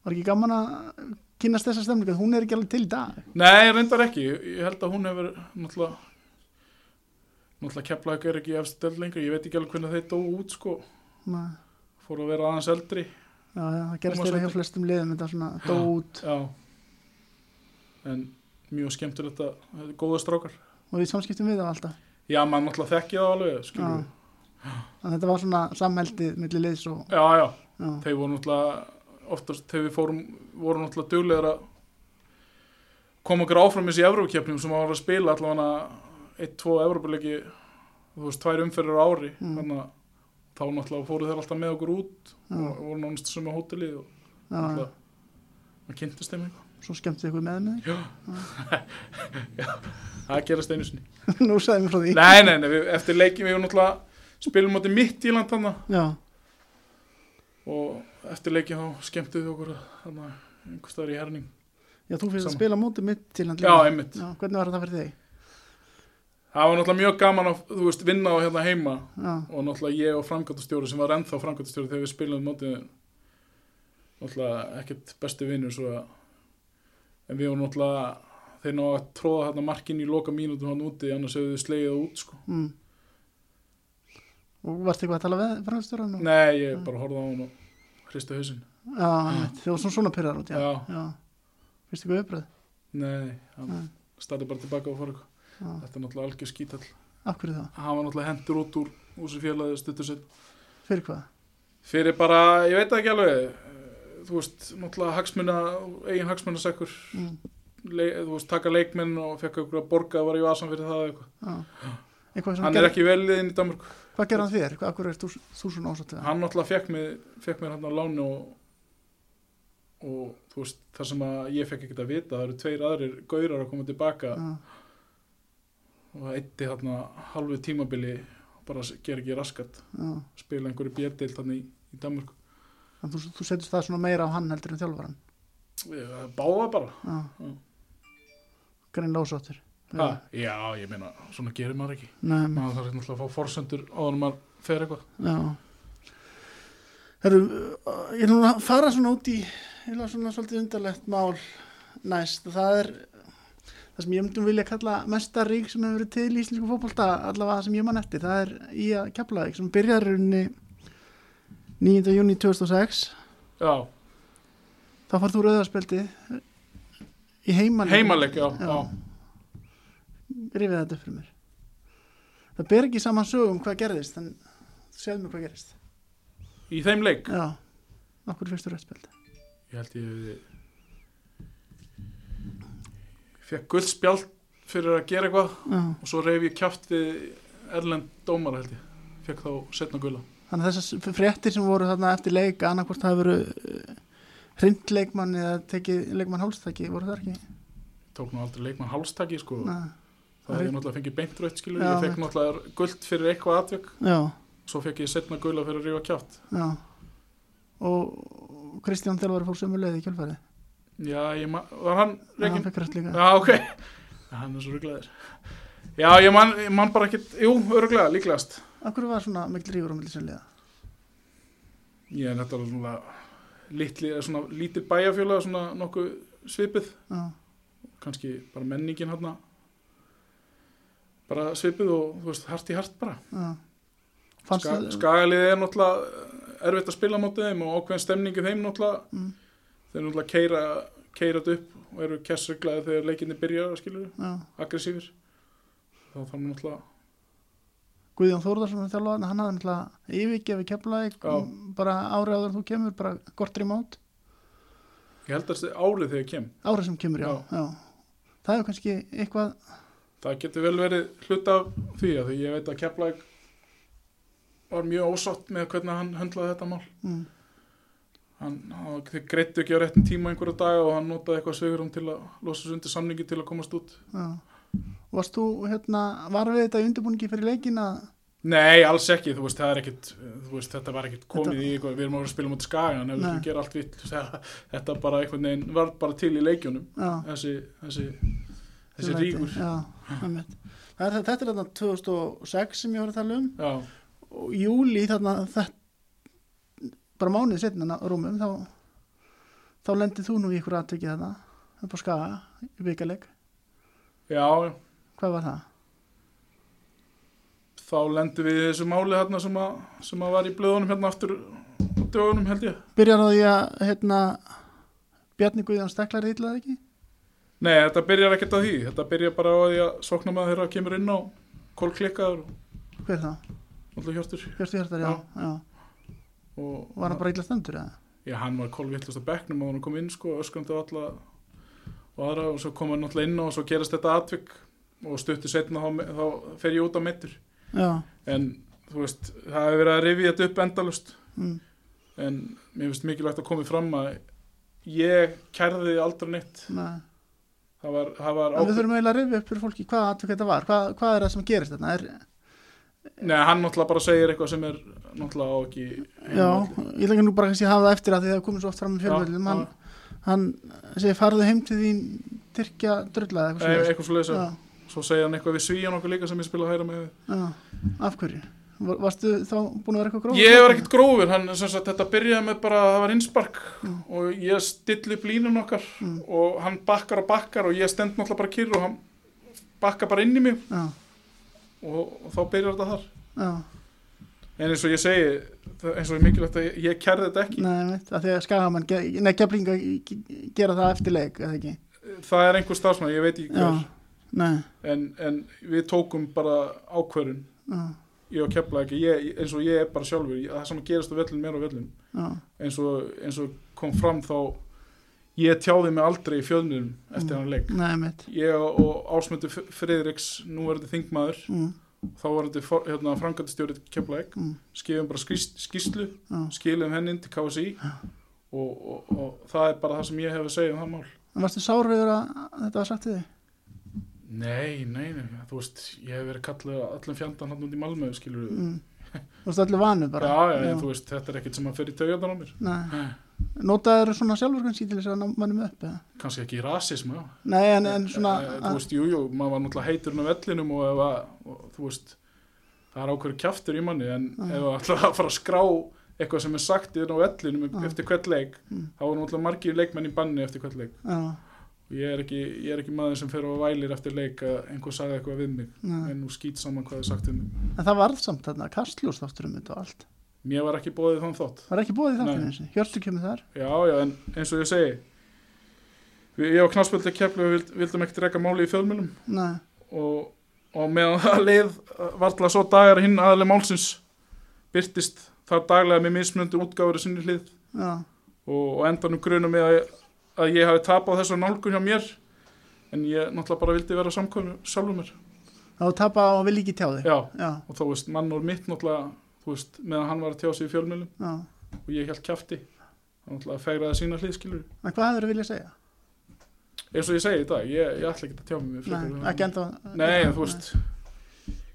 A: Var ekki gaman að kynast þessa stemningu, hún er ekki alveg til í dag.
B: Nei, reyndar ekki, ég held að hún hefur náttúrulega náttúrulega keflaðið er ekki í efstu delt lengur ég veit ekki alveg hvernig þeir dóu út sko
A: Svona,
B: fóru að vera aðeins eldri
A: já, já, það gerast
B: Tómas
A: þeirra hjá
B: Oddi.
A: flestum liðum, þetta svona
B: Já.
A: dó út
B: já en mjög skemmtilegt að þetta er góða strákar
A: og við samskiptum við það alltaf.
B: já, maður náttúrulega þekki það alveg
A: Já.
B: skilur við.
A: En þetta var svona samheldið milli liðs og,
B: já, já,
A: já,
B: þeir voru náttúrulega oftast þegar við fórum voru náttúrulega duglegar að koma okkur áfram í þessi Evrópkeppnum sem maður var að spila allavega eitt, tvo Evrópuleiki þú veist, tvær umferðar á ári
A: Mm.
B: þannig að þá náttúrulega fóru þeir alltaf með okkur út
A: já,
B: og voru nánast sem að hótelið og
A: já, já.
B: náttúrulega maður kynntist þeim eitthvað
A: Svo skemmtið ykkur með mig.
B: [LAUGHS] það gerast einu sinni
A: [LAUGHS] Nú sagði mér frá því.
B: nei, nei, nei, við, eftir leikin við náttúrulega spilum átti mitt í land þannig
A: Já,
B: og eftir leikin þá skemmtuðu okkur þannig einhvers staðar í herning
A: já, þú fyrir að
B: Sama.
A: spila á móti mitt til hann
B: já, einmitt
A: Já, hvernig var þetta fyrir þig?
B: Það var náttúrulega mjög gaman að, þú veist, vinna á hérna heima
A: Já,
B: og náttúrulega ég og framkvæmtastjóri sem var ennþá framkvæmtastjóri þegar við spilum mótið náttúrulega ekkert bestu vinnur svo að en við vorum náttúrulega þeir ná að tróða hérna markinn í loka mínútum hann úti annars hefur við slegið það út sko
A: mm. Og varstu eitthvað að tala við framstjóran? og-
B: Nei, ég bara horfði á hann og hristi hausinn
A: Já, einmitt. þið var svona svona pyrrar út, já.
B: Já.
A: já. Fyrstu ykkur uppröð?
B: Nei, hann
A: Mm.
B: starði bara tilbaka og fór eitthvað
A: Já,
B: Þetta er náttúrulega algjör skítall
A: af hverju það?
B: Hann var náttúrulega hendur út úr úr sem félagið stuttur sinn
A: Fyrir hvað?
B: fyrir bara, ég veit það ekki alveg eh, þú veist, náttúrulega hagsmuna eigin hagsmunasekkur
A: Mm.
B: le, eh, þú veist, taka leikmenn og fekk okkur að borga var ég aðsam fyrir það eða eitthvað
A: Já. Eitthvað sem
B: hann er ekki veliðin í Danmark
A: Hvað gerði hann þér? Hvað, af hverju er þú, þú svona ásættið?
B: hann náttúrulega fekk mér, fekk mér hann á láni og, og þú veist, þar sem að ég fekk ekkert að vita það eru tveir aðrir gaurar að koma tilbaka
A: Já,
B: og það eitti hann halvu tímabili bara s- gera ekki raskat
A: já.
B: spila einhverju björdild þannig í, í Danmark
A: En þú, þú setjast það svona meira á hann heldur en þjálfvaran.
B: Eh, báða bara
A: Já.
B: Mm.
A: Greinlega ósáttur.
B: ha, já, ég meina, svona gerir maður ekki
A: Nei, nei.
B: maður þarf náttúrulega að fá forsendur áður en maður fer eitthvað
A: Já. Herru, uh, ég er núna að fara svona út í, ég er svona svolítið undarlegt mál næst. Það er það sem ég myndum vilja kalla mesta rík sem hefur verið til í íslensku fótbolta, allavega það sem ég man eftir. Það er í að keflaðið, sem byrjar runni 9. júni 2006.
B: já,
A: Þá far þú rauðarspeldi í heimaleik.
B: heimaleg, já,
A: Já.
B: já.
A: Rifið þetta upp fyrir mér. Það ber ekki saman sögum hvað gerðist, en þú séð mér hvað gerðist.
B: í þeim leik
A: Já, okkur fyrstu rauðarspeldi.
B: ég held ég hefði fekk gull spjald fyrir að gera eitthvað
A: Já,
B: og svo reyf ég kjátt við erlend dómara held ég fekk þá setna gulla
A: þannig að þessar fréttir sem voru þarna eftir leik, annarkvort það hefur hrind leikmann eða tekið leikmann hálstæki, voru það ekki?
B: tók nú aldrei leikmann hálstaki sko
A: Nei.
B: það hefði ég náttúrulega fengið beint rautt skilu
A: Já,
B: ég fekk náttúrulega gullt fyrir eitthvað atvik
A: Já,
B: svo fekk ég setna gulla fyrir að rífa kjátt
A: já. Og Kristján Þjálfari fór sömu leið í kjölfarið.
B: já, ég ma- var hann
A: Hann
B: reikin
A: fekk rætt líka.
B: Já, ok. Já, hann er svo rugglaður. Já, ég man, ég man bara ekkert, jú, öruglega, líklegast.
A: Akkur var svona mikil rífur á milli sem liða?
B: Ég er þetta svona litli, eða svona lítil bæjarfjóla, svona nokkuð svipið,
A: Já,
B: kannski bara menningin hérna, bara svipið og, þú veist, hart í hart bara.
A: já. Fannst
B: Ska,
A: það?
B: skagalið er náttúrulega erfitt að spila mótið þeim og ákveðin stemningi þeim náttúrulega,
A: Mm.
B: þeir náttúrulega keira, keirat upp og eru kessuglaðið þegar leikinni byrja, skilur,
A: Já.
B: aggressífir. Þá þarf maður náttúrulega
A: Guðjón Þórðarsson þjálfaðan, hann hafði náttúrulega yfirgefi keflaðik
B: Já.
A: bara árið áður en þú kemur, bara gortri mót
B: Ég held að þetta árið þegar ég kem.
A: árið sem kemur, já, já. það hefur kannski eitthvað
B: Það getur vel verið hlut af því að því ég veit að Keflæk var mjög ósátt með hvernig hann höndlaði þetta mál.
A: mm,
B: Hann, hann þeir greittu ekki á réttin tíma einhverja daga og hann notaði eitthvað sveigurum til að losa sig undir samningi til að komast út.
A: já. Og varst þú hérna, var við þetta í undirbúningi fyrir leikin að
B: Nei, alls ekki, þú veist, það er ekkit, þú veist, þetta var ekkit komið í eitthvað, við erum að vera að spila mútið skagan, ef við
A: Nei.
B: erum að gera allt [LAUGHS] vitt, þetta bara einhvern veginn var bara til í leikjunum,
A: já,
B: þessi, þessi,
A: fyrir
B: þessi
A: leikinn,
B: ríkur.
A: já, einmitt. það er, þetta er þarna 2006 sem ég var að tala um
B: Já,
A: og í júli þarna þetta, bara mánuði setna rúmum þá, þá lendið þú nú í ykkur aðtökið þarna upp á skaga í byggaleg
B: já,
A: hvað var það?
B: þá lendum við í þessu máli hérna sem að, sem að var í blöðunum hérna aftur á dögunum held ég
A: Byrjar á því að hérna, Bjarni Guðjón Steklar rýtlaði ekki?
B: Nei, þetta byrjar ekkert á því, þetta byrjar bara á því að sókna maður þeirra kemur inn á kólklikkaður og
A: Hver það?
B: alltaf hjortur
A: Hjörstu Hjartar, já. já.
B: og
A: Var hann bara illa stendur eða?
B: já, hann var kólvillast á bekknum og hann kom inn sko, öskrandi á alla og aðra og svo kom hann alltaf inn á og svo gerast þetta atvik og stuttu setna þá, þá fer ég út á meittur
A: Já.
B: en þú veist, það hefur verið að rifja þetta upp endalust
A: Mm.
B: en mér finnst mikilvægt að komi fram að ég kærði aldrei neitt
A: nei.
B: það var, það var
A: En Við þurfum eiginlega að rifja upp fyrir fólki hvað atvik þetta var, hvað, hvað er það sem gerist þarna? Er,
B: Nei, hann náttúrulega bara segir eitthvað sem er náttúrulega á ekki
A: já, ég lengi nú bara kannski að hafa það eftir að því það komið svo oft fram í
B: Já,
A: fjölmjölum. Hann, hann segir farðu heim til þín Tyrkja drulla eða
B: Nei,
A: eitthvað
B: eitthvað svo
A: Já,
B: leysa Svo segir hann eitthvað við svíjan okkur líka sem ég spila hæra með
A: já. Af hverju? Var- Varstu þá búin að vera eitthvað gróð?
B: Ég var ekkert grófur, hann, sem sagt, þetta byrjaði með bara það var innspark og ég stilli upp línun okkar
A: Mm,
B: og hann bakkar og bakkar og ég stend náttúrulega bara kyrr og hann bakkar bara inn í mig
A: Já,
B: og, og þá byrjar þetta þar
A: já.
B: En eins og ég segi, það- eins og ég mikilvægt að ég, ég kerði þetta ekki
A: Nei, veit, að því að skagamann, ge- nei, keflinga gera það eftir leik, eða ekki?
B: Það er einhver starfsmann, ég veit ekki
A: Já,
B: hver
A: nei,
B: en, en við tókum bara ákvörun
A: já,
B: ég og kepla ekki, ég, eins og ég er bara sjálfur ég, það sem gerist á vellin mér á vellin
A: já,
B: eins og, eins og kom fram þá ég tjáði mig aldrei í fjölnum eftir
A: Mm.
B: hann leik
A: nei, mitt.
B: ég og Ásmundur F- Friðriks nú er þetta þingmaður,
A: Mm,
B: þá var þetta for- hérna, frangatistjóri kepla ekki,
A: mm,
B: skifum bara skýst, skýslu,
A: já.
B: skilum hennin til KSI og, og, og það er bara það sem ég hef að segja um það mál
A: En varstu sárvegur að þetta var sagt við þig?
B: nei, nei, nei, þú veist ég hef verið kallið allan fjandan hann út í Malmö skilur við,
A: Mm. Þú varstu allir vanur bara?
B: já, já, en þú veist þetta er ekkert sem að fer í taugarnar á mér
A: Nei, notaður svona sjálfur kannski til þess að ná mannum upp, eða?
B: kannski ekki rasismu, já
A: Nei, en, en svona,
B: Eh, þú
A: að,
B: veist, jú, jú, maður var náttúrulega heiturinn á vellinum og ef að, og, þú veist það er ákveður kjaftur í manni en
A: Já.
B: ef að alltaf að fara að skrá eitthvað sem er sagt inn á vellinum
A: Já.
B: eftir hvert leik
A: Mm.
B: þá er náttúrulega margir leikmenn í banni eftir hvert leik
A: já,
B: og ég er ekki, ég er ekki maður sem fer og vælir eftir leik að einhver sagði eitthvað við mig
A: nei.
B: en nú skýt saman hvað er sagt um mig
A: En það varð samt þarna, kastljós þáttur um þetta og allt.
B: mér var ekki bóðið þann þátt
A: Var ekki búið í þáttinu
B: Nei.
A: eins og, Hjörtur kemur þar?
B: já, já, en eins og ég segi við, ég og knarsböldi kefli við vildum ekkert reka máli í fjölmjölum
A: Nei,
B: og, og meðan það leið varðla svo dagar hinn aðalega málsins byrtist þar daglega með mismunandi útgáfur í sinni hlið
A: já,
B: og, og endanum grunum með að, að ég hafi tapað þessu nálgun hjá mér en ég náttúrulega bara vildi vera samkvæmur sjálfur mér
A: þá tapa og vil ekki tjá þig.
B: já,
A: Já,
B: og þá veist, mann úr mitt náttúrulega þú veist, meðan hann var að tjá sig í fjölmjölum
A: já.
B: og ég held kjafti hann náttúrulega fegraði sína hlið skilur
A: En hvað hefur þú viljað segja?
B: eins og ég segi í dag, ég, ég ætla ekki að tjá mig mér
A: Nei,
B: frekar.
A: ekki enda.
B: Nei, en þú veist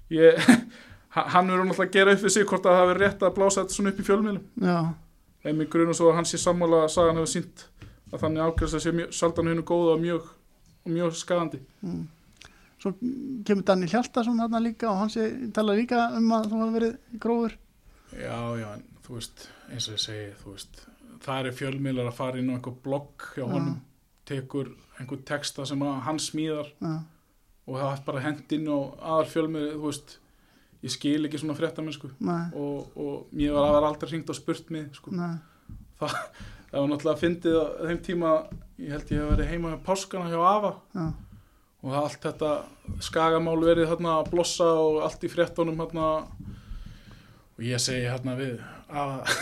B: ég, [LAUGHS] ha- Hann verður náttúrulega að gera upp við sig hvort að það hafi rétt að blása þetta svona upp í fjölmiðlum
A: Já,
B: en mig grunum svo að hann sé sammála að sagan hefur sínt að þannig ákvæmst að sé mjög, saldan hennu góða og mjög, og mjög skadandi
A: Mm. Svo kemur Danni Hjaltarsson þarna líka og hann sé, talar líka um að þú hafa verið grófur.
B: Já, já, en þú veist eins og ég segi, þú veist það er fjölmiðlar að fara inn á einhver blogg hjá honum, tekur einhver texta sem að hann smíðar
A: Já,
B: og það er bara hent inn á aðal fjölmiðli, þú veist ég skil ekki svona fréttamennsku
A: nei,
B: og, og mér var, það var aldrei hringt og spurt mig sko.
A: nei,
B: Það var náttúrulega fyndið á þeim tíma, ég held ég hef verið heima með páskana hjá Ava
A: já,
B: og það allt þetta skagamál verið þarna að blossa og allt í fréttunum þarna og ég segi þarna við Ava, [LAUGHS]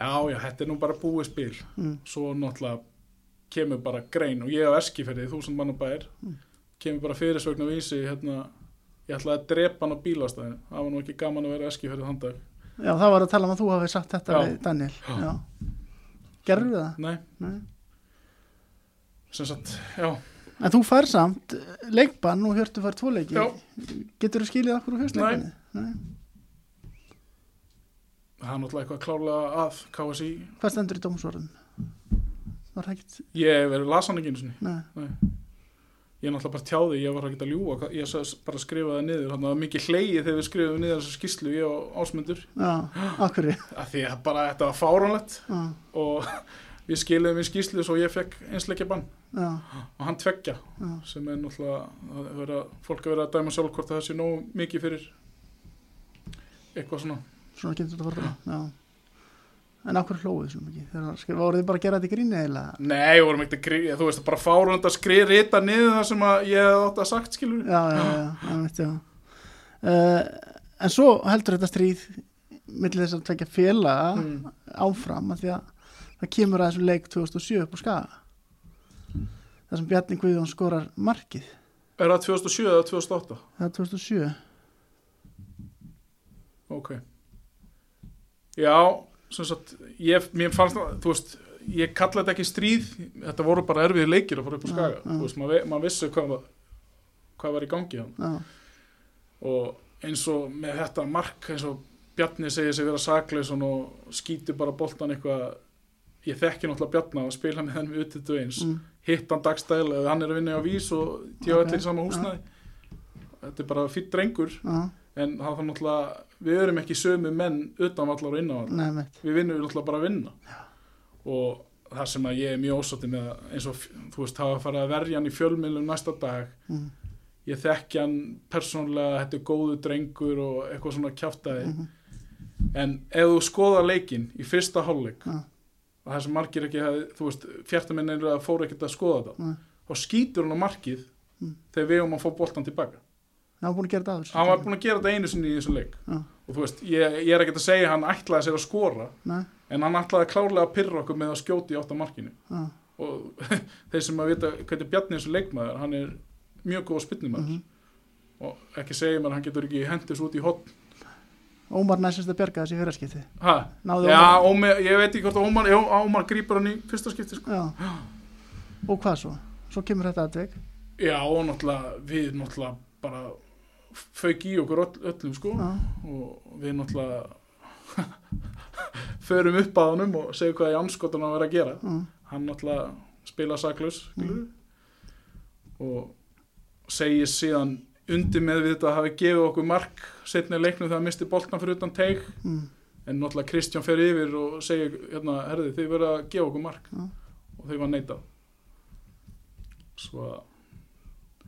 B: já já, þetta er nú bara búið spil.
A: mm,
B: Svo náttúrulega kemur bara grein og ég á Eskifjörði, þúsund mann og bær,
A: Mm.
B: kemur bara fyrirsvögn og vísi hérna, ég ætlaði að drepa hann á bílastæðinu, það var nú ekki gaman að vera á Eskifjörði þann dag.
A: já, það var að tala um að þú hafi sagt þetta
B: Já.
A: við Daniel.
B: Já.
A: Já. Gerðu það?
B: Nei,
A: Nei.
B: sem sagt, já,
A: En þú fær samt eh, leikbann og hjörtu fær tvo leiki.
B: já,
A: Getur þú skilið okkur úr fyrstleikinni? Nei.
B: það er náttúrulega eitthvað klálega að KSI
A: Hvað stendur í dómsvörðum? Var það ekkert?
B: Ég hef verið lasan ekki einu sinni
A: Nei.
B: Nei. ég náttúrulega bara tjáði, ég var ekkert að ljúa hvað- ég sagði, bara skrifaði það niður, þannig að það var mikið hleyið þegar við skrifum niður þessa skýslu ég og Ásmundur,
A: já, akkurri
B: af því að bara þetta var fáránlegt
A: já,
B: og [LAUGHS] við skiluðum í skýslu svo ég fekk einsleikja bann
A: já,
B: og hann tveggja
A: já,
B: sem er náttúrulega að vera, fólk að vera að dæma sjálf hvort það sé nógu mikið fyrir eitthvað svona
A: svona getur þetta fara já. en akkur hlóðu svona mikið þegar það skrifa, voruð þið bara að gera þetta í gríni eða
B: Nei, vorum ekkert að gríða, þú veist, bara fárönd að skrið rita niður það sem að ég hef átt að sagt, skilur
A: já, já, já,
B: Ah.
A: já, veit, já. Uh, en svo heldur þetta stríð millir þess að tekja félaga
B: Mm.
A: áfram af því að það kemur að þessum leik 2007 upp á skaga þar sem Bjarni Guðjón skorar markið
B: Er það 2007 eða 2008?
A: það er 2007
B: Ok. Já, sem sagt, ég, mér fannst það, þú veist, ég kalla þetta ekki stríð, þetta voru bara erfiði leikir að fara upp á
A: Já,
B: skaga,
A: já.
B: þú veist, maður vi- maður vissi hvað, var- hvað var í gangi hann.
A: já,
B: Og eins og með þetta mark, eins og Bjarni segir sig vera sakleis og skýti bara boltan eitthvað, ég þekki náttúrulega Bjarni og spila með henni við utið eins.
A: mm,
B: hittan dagstæl eða hann er að vinna á vís og tjóða
A: Ok,
B: allir í sama húsnæði þetta er bara fyrir drengur
A: já,
B: en það þarf náttúrulega, við erum ekki sömu menn utan vallar og innan vallar
A: nei, mitt
B: við vinnum náttúrulega bara að vinna og það sem að ég er mjög ósátti með eins og þú veist, það að fara að verja hann í fjölmiðlum næsta dag
A: mm,
B: ég þekki hann persónlega, þetta er góðu drengur og eitthvað svona kjáftæði
A: Mhm.
B: en ef þú skoða leikin í fyrsta hálfleik
A: Já.
B: og það sem margir ekki, hafði, þú veist, fjartamenn er að fóra ekkert að skoða það
A: Nei.
B: þá skýtur hann á markið
A: Mm.
B: þegar við erum að fá boltan tilbaka
A: hann var búin að gera þetta aður
B: hann var búin að gera þetta einu sinni í þessum leik
A: Já.
B: og þú veist, ég, ég er ekkert að segja að hann ætlaði sér að skora
A: nei,
B: en hann ætlaði klárlega að pyrra okkur með að skjóti átt af markinu
A: já,
B: og [LAUGHS] þeir sem að vita hvernig Bjarni er þessu leikmaður, hann er mjög góð spinnumæður
A: Mhm.
B: og ekki segja mér að hann getur ekki hendis út í hotn
A: Ómar næstist að bjarga þessi fyrirskipti
B: ha?
A: náðu
B: Já,
A: Ómar
B: Ómar, ég veit ekki hvort Ómar, já, Ómar grýpar hann í fyrsta skipti sko.
A: já. og hvað svo svo kemur þetta aðveg
B: Já, og náttúrulega, við náttúrulega bara fauk í okkur öll, öllum sko
A: já,
B: og við náttúrulega [LAUGHS] förum upp að honum og segjum hvað í anskotan að vera að gera
A: já,
B: hann náttúrulega spila saklaus mm. og segir síðan undir með við þetta að hafi gefið okkur mark setna í leiknum þegar hann misti boltna fyrir utan teig
A: mm,
B: en náttúrulega Kristján fer yfir og segir hérna, herði þið verða að gefa okkur mark
A: Mm.
B: og þau var neitað svo að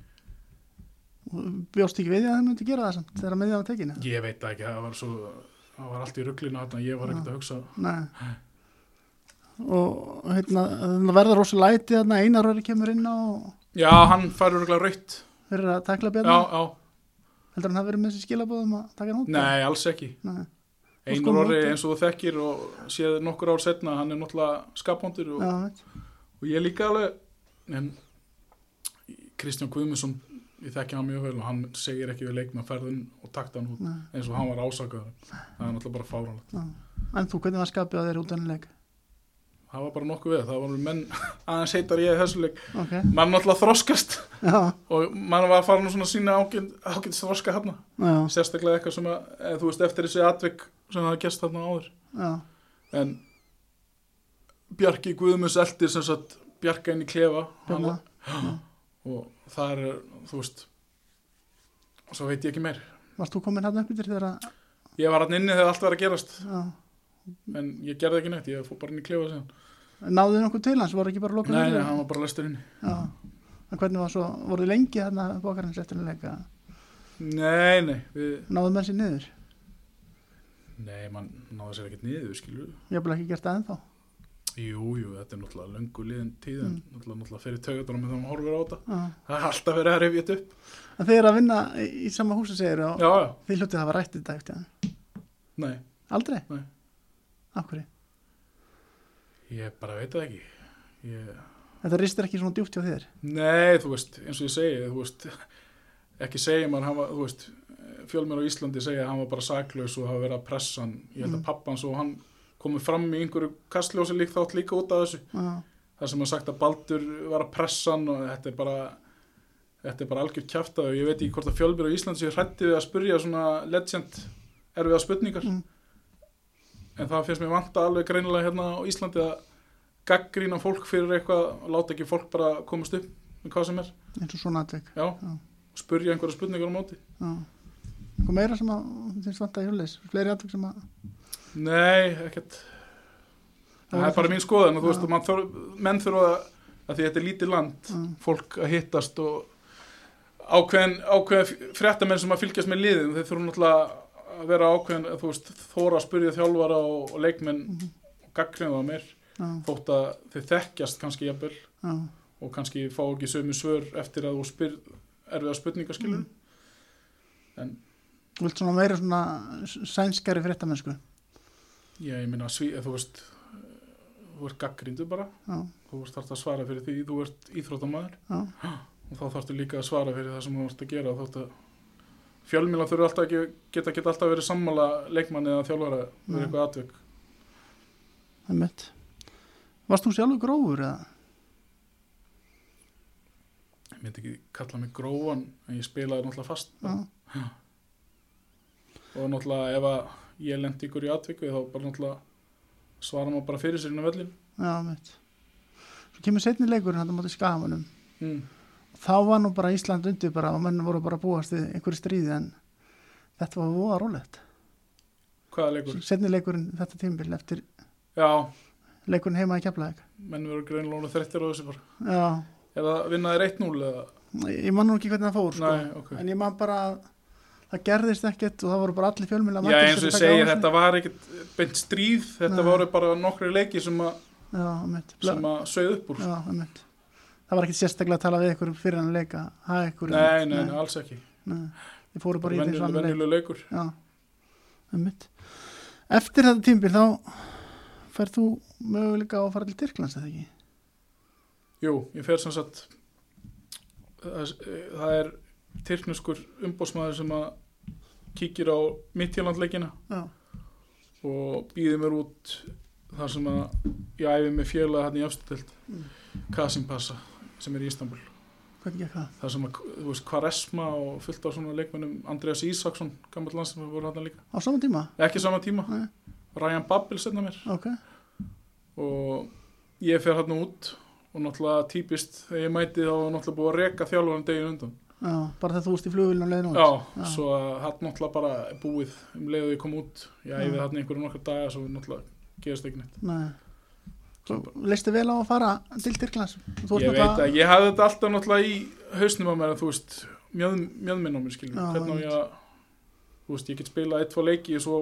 A: Og bjóst ekki við því að það myndi gera það samt þegar að miðjan var tekinu
B: ég veit það ekki, það var svo það var allt í rugglinu þarna, ég var ekkert að hugsa
A: Nei og hérna, það verður rosa læti þarna Einar Röri kemur inn á
B: já, hann fær örgulega raut
A: fyrir að takla
B: já,
A: björna
B: já,
A: heldur hann hafi verið með þessi skilabóðum að taka hann út
B: nei, alls ekki
A: Nei. Og sko,
B: Einar orri
A: móti.
B: eins og þú þekkir og séð nokkur ár setna, hann er náttúrulega skaphóndur og,
A: Já, veit.
B: og ég líka alveg en Kristján Guðmundsson ég þekki hann mjög vel og hann segir ekki við leikmenn ferðin og takta hann út
A: Nei.
B: eins og hann var ásakaður það er náttúrulega bara fáránlegt
A: Já. en þú, hvernig var skapið að þeir út ennileg
B: það var bara nokkuð við, það var menn [LAUGHS] aðeins heitar ég í þessu leik
A: ok,
B: mann náttúrulega þroskast
A: já, og
B: og mann var að fara nú svona sína ágjönd, ágjönd þroska hann
A: já,
B: sérstaklega eitthvað sem að eða, þú veist eftir þessi atvik sem það gerst þarna áður
A: já,
B: en Bjarki Guðmunds eldi sem sagt Bjarka inn í klefa hann-
A: björna
B: og það er, þú veist svo veit ég ekki meir
A: varst þú komin hann upp yfir þegar að
B: ég var hann inni þegar allt var að gerast
A: já.
B: en ég gerði ekki neitt, ég fór bara inn í klefa síðan
A: náðu þið nokkuð til hans, voru ekki bara lokað
B: nei, nei,
A: inni?
B: hann var bara lestur inni
A: já, en hvernig var svo voru þið lengi þarna bókarins eftir ennileg
B: nei, nei, við
A: náðu menn sér niður,
B: nei, mann náði sér ekkert niður, skilur við.
A: ég hef bara ekki gert það ennþá
B: jú, jú, þetta er náttúrulega löngu liðin tíð en
A: Mm.
B: náttúrulega, náttúrulega fyrir taugatunum þegar maður horfir á þetta
A: já.
B: það er alltaf verið að rifja þetta upp
A: en þeir eru að vinna í, í sama húsi segir og
B: já, já,
A: þið hljótið að hafa rætt þetta eftir hann
B: nei,
A: Aldrei?
B: Nei.
A: Af hverju?
B: ég bara veit það ekki ég
A: Þetta ristir ekki svona djúpt hjá þér?
B: Nei, þú veist, eins og ég segi, þú veist, ekki segja mann, hann var, þú veist, fjölmér á Íslandi segja að hann var bara saklaus og hafa verið að pressa hann, ég held að
A: Mm.
B: pappan svo hann komið fram í einhverju kastljósi líkt þátt líka út af þessu,
A: Já,
B: þar sem hann sagt að Baldur var að pressa hann og þetta er bara, þetta er bara algjör kjaftaðu, ég veit ekki hvort að fjölmér á Íslandi séu hrætti við að spurja svona legend erfiða spurningar,
A: Mm.
B: en það finnst mér vanta alveg greinilega hérna á Íslandi að gaggrína fólk fyrir eitthvað, láta ekki fólk bara komast upp með hvað sem er
A: eins og svona atvik
B: já, spurja einhverja spurningar á móti
A: Já. Eitthvað meira sem að finnst vant að hjóleis, fleiri atvik sem að
B: nei, ekkert það er bara mín skoðan og þú veist, mann þarf, menn þurfa að, að því þetta er lítið land
A: Mm.
B: fólk að hittast og ákveðin, ákveðin fréttamenn sem að fylgjast með liðin, þeir þurfa náttúrulega að vera ákveðin, að, þú veist, þóra að spyrja þjálfara og, og leikmenn
A: Mhm.
B: og gagnrýna það meir,
A: já,
B: þótt að þeir þekkjast kannski jafnvel
A: já,
B: og kannski fá ekki sömu svör eftir að þú spyr erfiða spurningaskilur mm.
A: Mm. þú vilt svona meira svona s- sænskari fréttamennsku
B: já, ég meina, sví, þú veist þú ert gaggríndu bara
A: já,
B: þú ert þarft að svara fyrir því, þú ert íþróttamæður
A: já,
B: og þá þarftu líka að svara fyrir það sem þú ert að gera þótt að fjölmjöla þurfa alltaf ekki geta geta alltaf verið sammála leikmann eða þjálfara
A: Nei.
B: við eitthvað atvik
A: það er mitt Varst þú sjálfur grófur eða?
B: ég myndi ekki kalla mig gróan en ég spilaði náttúrulega fast
A: Já,
B: og náttúrulega ef að ég lendi ykkur í atviku þá bara náttúrulega svara maður bara fyrir sér inn á vellin
A: já, mitt Svo kemur setni leikurinn hann á móti skafanum
B: mm.
A: þá var nú bara Ísland undir bara og menn voru bara að búast við einhverju stríði en þetta var voða rólegt
B: hvaða leikur?
A: setni leikurinn þetta tímbil eftir
B: já,
A: leikurinn heima í Keflavík
B: menn verður greinlónu þreyttir á þessu bara
A: já,
B: er það vinnaðir 1-0 eða?
A: ég ég man nú ekki hvernig það fór sko.
B: Nei, ok
A: en ég man bara að það gerðist ekkert og það voru bara allir fjölmjöla
B: Já, eins og ég segi, þetta var ekkert beint stríð, þetta
A: Nei.
B: voru bara nokkri leiki sem að,
A: já, einmitt.
B: sem að sögðu upp úr
A: já, einmitt. það var ekkert sérstaklega að tala við ykkur fyrir hann að leika ha, ykkur,
B: Nei, nei, nei, alls ekki
A: nei. þið fóru bara í þessu
B: Venjuleg-
A: annar leik
B: Venjuleg leikur
A: já, einmitt eftir þetta tímbil þá færð þú möguleika á að fara til Tyrklands eða ekki
B: Jú, ég fer sem sagt það það er tyrknuskur umbósmaður sem að kíkir á mittjölandleikina
A: já,
B: og býði mér út þar sem að ég æfi með fjöla hann í afstöld
A: Mm.
B: Kasimpasa sem er í Istanbul
A: hvernig gekk það
B: þar sem að, þú veist, Quaresma og fullt af svona leikmennum Andreas Ísaksson, gammal landslæðar voru hann líka
A: á sama tíma
B: ekki sama tíma,
A: Nei.
B: Ryan Babel setna mér
A: ok,
B: og ég fer hann út og náttúrulega típist þegar ég mæti þá var náttúrulega búið að reka þjálfurinn degin undan
A: já, bara þegar þú varst í flugvilinu og leiðin út
B: já,
A: Já.
B: svo að hann náttúrulega bara er búið um leið og ég kom út ég æfið
A: Já.
B: hann einhverjum nokkar daga svo náttúrulega gerist ekki neitt
A: Nei. Þú leistu vel á að fara til Tyrklands Þú ert
B: ég veit
A: náttúrulega-
B: að ég hafði þetta alltaf náttúrulega í hausnum á mér að þú veist mjöð, mjöðminn á mér skilur
A: Já,
B: hvernig á ég að þú veist ég get spilað eitt, tvo leiki og svo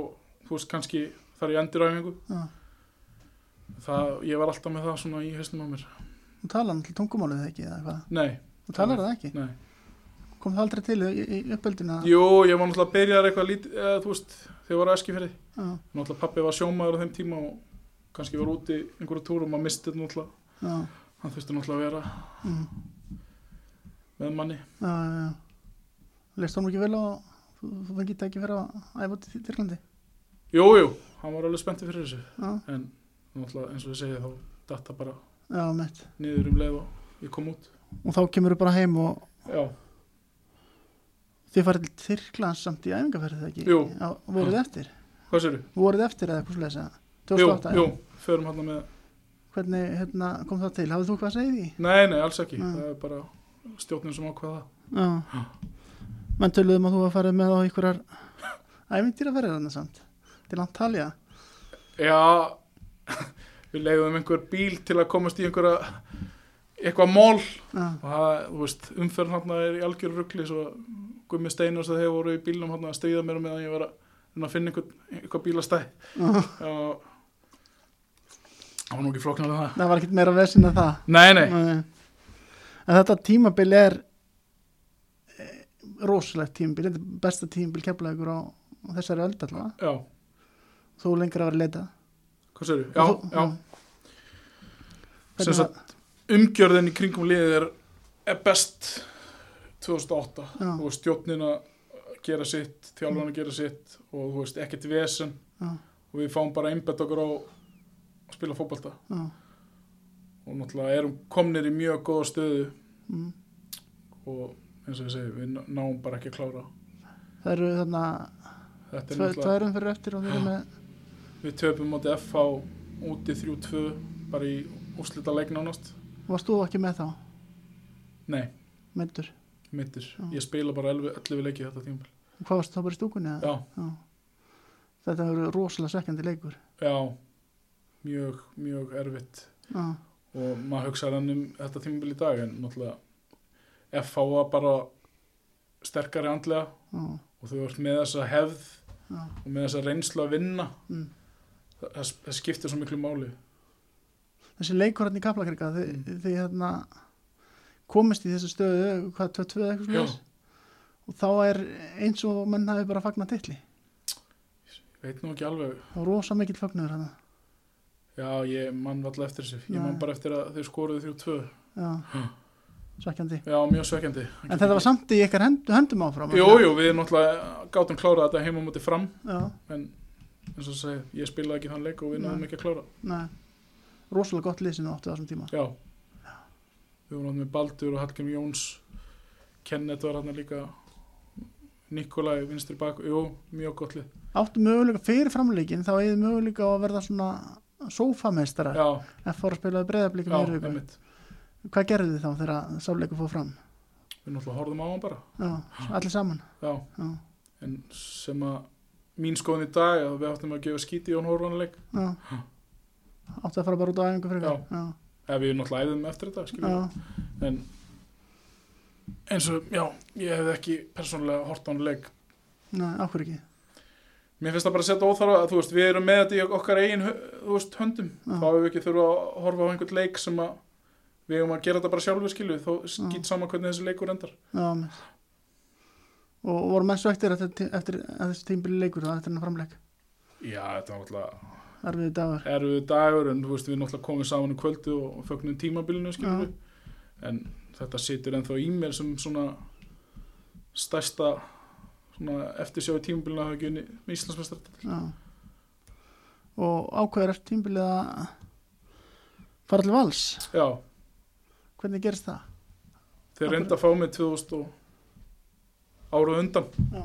B: þú veist kannski þar ég enduræfingu
A: Já.
B: það, ég var alltaf með það svona í hausnum á mér
A: Þú talar náttúrulega tungumálið eða ekki eða hvað?
B: nei,
A: Þú talar það ekki?
B: nei
A: Kom það aldrei til í, í uppeldinu?
B: Jú, ég var náttúrulega byrjaðar eitthvað lítið, eða, þú veist, þegar ég var á Eskifirði.
A: Já,
B: Náttúrulega pappi var sjómaður á þeim tíma og kannski var úti einhverju túrum að misti þetta náttúrulega.
A: já,
B: Hann þurfti náttúrulega að vera
A: mm,
B: með manni.
A: já, já, já. Leistu hann ekki vel á, þú, þú fengið ekki fyrir að æfa til Tyrklandi?
B: Jú, jú, hann var alveg spenntið fyrir þessu.
A: Já,
B: En náttúrulega eins og ég segi þá datta bara
A: já, mitt.
B: niður um leið og ég kom út.
A: Og þá kemur þú bara heim og
B: Já,
A: þið farið til Tyrklands samt í æfingaferðið ekki?
B: Jú.
A: Já, voruð þið eftir?
B: hvað séru?
A: Voruð þið eftir eða eitthvað slúlega þess að?
B: Jú,
A: 2008?
B: jú, förum hann með...
A: Hvernig hérna, kom það til? Hafið þú hvað að segja í því?
B: Nei, nei, alls ekki.
A: Mm.
B: Það er bara stjórnum sem ákvaða það.
A: Já. Menn töluðum að þú var farið með á einhverjar æfintýraferðir hann samt til Antalja.
B: Já, [LAUGHS] við leiðum einhver bíl til að komast í einhverja, eitthvað mól
A: Já,
B: og það, þú veist, umferðin hann er í algjör ruggli svo Gummi Steinars að þeir voru í bílnum hann að stríða mér meðan ég var að, reyna að finna einhvern, einhver bílastæð
A: já.
B: og það var nú ekki flóknar en það
A: Það var ekkert meira vesinn en það.
B: Nei, nei,
A: En þetta tímabil er eh, rosalegt tímabil, þetta er besta tímabil keflaðugur á á þessari öld allavega.
B: já,
A: Þú lengur að vera leita.
B: hvað sér Já,
A: Og þú-
B: já, Sem
A: Hvernig
B: sagt- umgjörðin í kringum liðið er, er best 2008
A: Já.
B: og stjórnin að gera sitt, þjálfarinn að gera sitt og þú veist, ekkert vesen
A: Já.
B: og við fáum bara einbett okkur á að spila fótbolta
A: var- Já,
B: og náttúrulega erum komnir í mjög góða stöðu
A: mm.
B: og eins og ég segi, við ná- náum bara ekki að klára
A: Það eru þarna
B: þetta er
A: tvö-
B: náttúrulega,
A: tvær umferður eftir og þeir eru með
B: við töpum átti FH úti 3-2 bara í úrslita leik nánast
A: varst þú ekki með þá?
B: Nei,
A: meittur?
B: mittur.
A: Já.
B: Ég spila bara 11 11 leiki þetta tímpil.
A: Hvað varst þá bara í stúkunni? eða?
B: Já,
A: Já. Þetta voru rosalega svekkjandi leikur.
B: já, mjög, mjög erfitt
A: Já,
B: og maður hugsaði hann um þetta tímpil í dag en náttúrulega FH var bara sterkari andlega
A: já,
B: og þú ert með þessa hefð
A: já.
B: og með þessa reynslu að vinna
A: Mm.
B: það, það það skiptir svo miklu máli.
A: Þessi leikur hann í Kaplakrika, þið,
B: Mm.
A: þið hérna komist í þessu stöðu, hvað, 22 eða eitthvað
B: Já.
A: slúðis? Og þá er eins og menn hafi bara fagnat titli.
B: Ég veit nú ekki alveg,
A: Það var rosa mikill fagnuður hann.
B: já ég mann valla eftir þessu, ég
A: Nei.
B: mann bara eftir að þau skoruðu þrjú tvö.
A: Já, svekkjandi.
B: Já, mjög svekkjandi.
A: En þetta var samt í ykkar hendu, höndum áfram.
B: Jú, jú, við náttúrulega gátum klárað þetta heima á móti fram
A: Já,
B: en eins og segja, ég spilaði ekki þann leik og við
A: Nei.
B: náðum ekki að klára.
A: nei. Rosalega gott lið sem þú áttu á þessum tíma.
B: Já. Við vorum hann með Baldur og Hallgrim Jóns, Kenneth var hann líka, Nikolai, vinstri bak, jú, mjög gott lið.
A: Áttu möguleika fyrir framleikin, þá eigið möguleika á að verða svona sófameistara.
B: Já,
A: F fór að spila
B: já,
A: breyðablíkum í Rúgu.
B: einmitt.
A: Hvað gerðu þið þá þegar sáleikur fór fram?
B: Við náttúrulega horfðum á hann bara.
A: Já, allir saman.
B: Já,
A: Já,
B: en sem að mín skoðin í dag, að við áttum að gefa skíti í hann horfanleik,
A: já. Áttu að fara bara út á æfingu fyrir
B: Já. ef við náttúrulega æðum eftir þetta,
A: Já,
B: skiljum. en eins og, já, ég hef ekki persónulega hort á hann leik
A: nei, áhver ekki.
B: mér finnst það bara að setja óþara að þú veist, við erum með þetta í okkar eigin hö- þú veist, höndum,
A: Já.
B: þá hefur við ekki þurfa að horfa á einhvern leik sem að við hefum að gera þetta bara sjálfur skilju, þó skýt saman hvernig þessi leikur endar
A: Já, mér. Og voru menn svo eftir, eftir, eftir að þessi tímbili leikur, það eftir hennar framleik.
B: já, þetta var náttúrulega
A: Erfiði dagur.
B: erfið dagur en þú veist, við náttúrulega komum saman um kvöldu og fögnum tímabilinu skilju en þetta situr ennþá í mér sem svona stærsta svona eftirsjáu tímabilinu að hafa ekki unni Íslandsmestrat
A: Já. Og ákveður eftir tímbilið að fara allir vals.
B: já,
A: Hvernig gerist það?
B: Þeir
A: Akkur-
B: reynda að fá mig 2000 og ára undan
A: Já,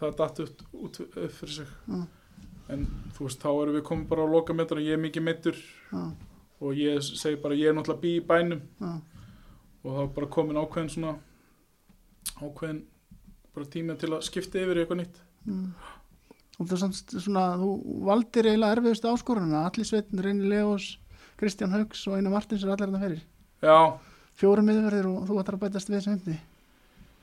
B: það datt út, út upp fyrir sig
A: Mm.
B: en þú veist þá erum við komið bara á lokametur og ég er mikið meittur
A: já,
B: og ég segi bara ég er náttúrulega bí í bænum
A: já,
B: og það var bara komin ákveðin svona ákveðin bara tíma til að skipta yfir í eitthvað nýtt
A: mm. Og þú samt svona, þú valdir eiginlega erfiðustu áskorunina, Alli Sveitn, Reyni Leós, Kristján Haugs og Einar Martins er allir hérna fyrir.
B: já,
A: Fjórum miðverðir og þú ætlar að bætast við sem hindi.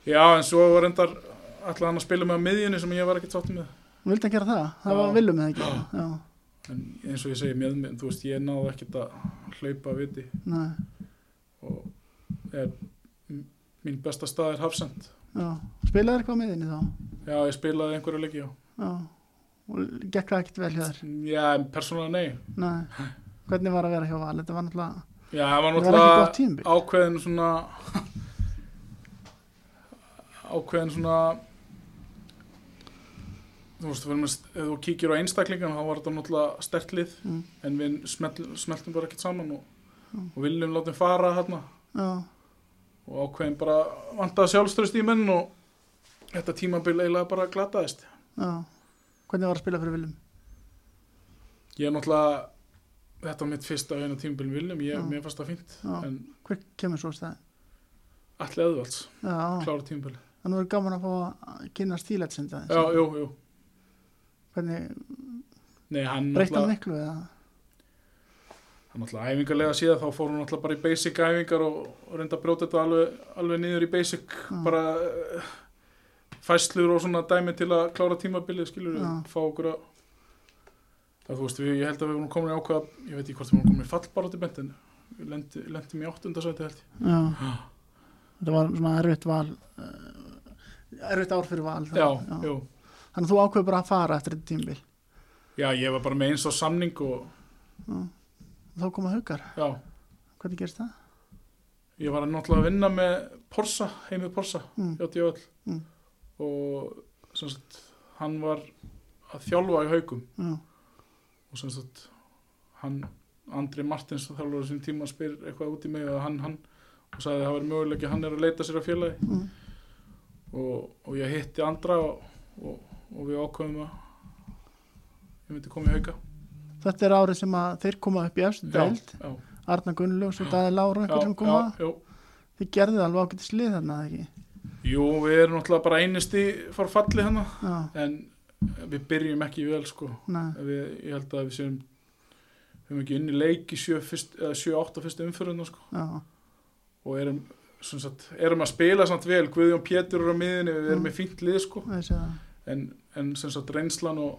B: já en svo var reyndar alltaf hann að spila með á miðjunni sem ég var ekki tótt með
A: Þú vildi að gera það, það
B: Já.
A: var viljum eða ekki. Já,
B: en eins og ég segi með, með þú veist ég náði ekkert að hlaupa viti
A: næ,
B: og er mín besta stað er hafsend
A: já. Spilaði eitthvað með þinni þá?
B: Já, ég spilaði einhverju leiki, já.
A: Já. Og gekk það ekkert vel hjá þér?
B: Já, en persónulega nei.
A: Nei. Hvernig var að vera hjá Val? Þetta var náttúrulega,
B: Já, það var
A: þetta var ekki gott
B: náttúrulega
A: tímbil.
B: ákveðin svona ákveðin svona þú veist, við erum að, ef þú kíkir á einstaklingan þá var þetta náttúrulega stertlið
A: Mm.
B: en við smelt, smeltum bara ekkert saman og, og viljum látum fara þarna
A: Já,
B: og ákveðin bara vantaði sjálfströst í menn og þetta tímabil eiginlega bara glataðist.
A: já. Hvernig var að spila fyrir viljum?
B: Ég er náttúrulega þetta var mitt fyrsta eina tímabil viljum, ég,
A: Já.
B: mér fannst það fínt
A: Já.
B: en
A: Hver kemur svo stæði?
B: Alli Eðvalds,
A: Já, já.
B: klára tímbili.
A: þannig verður gaman að fá að kynast tílætt sem það.
B: Já, jú, jú.
A: Hvernig,
B: Nei, hann
A: breytt hann
B: náttúrulega,
A: miklu eða?
B: hann náttúrulega æfingarlega síðan þá fór hann náttúrulega bara í basic æfingar og, og reynda að brjóta þetta alveg, alveg niður í basic,
A: Já.
B: bara uh, fæslur og svona dæmi til að klára tímabilið, skilur við,
A: Já.
B: fá okkur að Það þú veist, við, ég held að við vorum komin í ákveða, ég veit ekki hvort við vorum komin í fallbarátti bent, en við lendi, lendum í áttundasæti held ég.
A: Já. Þetta var svona erfitt val, eh, erfitt ár fyrir val.
B: Já, jú.
A: Þannig að þú ákveður bara að fara eftir þetta tímbil.
B: Já, ég var bara með eins og samning og,
A: Þá koma haugar.
B: já,
A: Hvernig gerist það?
B: ég var náttúrulega að vinna með Porsa, heimið Porsa
A: Mm.
B: hjá Djöfell
A: Mm.
B: og sem sagt, hann var að þjálfa í haugum
A: Já,
B: og sem sagt, hann Andri Martins þjálfur á þessum tíma spyr eitthvað út í mig og hann, hann og sagði að það var möguleiki, hann er að leita sér að félagi
A: Mm.
B: og, og ég hitti Andra og, og, og við ákveðum að ég myndi koma í hauga
A: Þetta er árið sem að þeir koma upp í efstu deild
B: já,
A: Arna Gunnlaugs og Daði Láru
B: já,
A: einhver sem
B: já,
A: koma
B: já,
A: Þið gerðuð alveg ágætis lið þarna, eða ekki?
B: Jú, við erum náttúrulega bara einist í fór falli hana
A: Já,
B: en við byrjum ekki vel sko
A: næ,
B: við, ég held að við séum við höfum ekki unni leik í 7-8 fyrstu umfyrirna sko
A: já,
B: og erum, sem sagt, erum að spila samt vel, Guðjón Pétur er á miðinni við erum
A: Mm.
B: með fínt lið sko
A: það sé það.
B: en, en sem sagt reynslan og,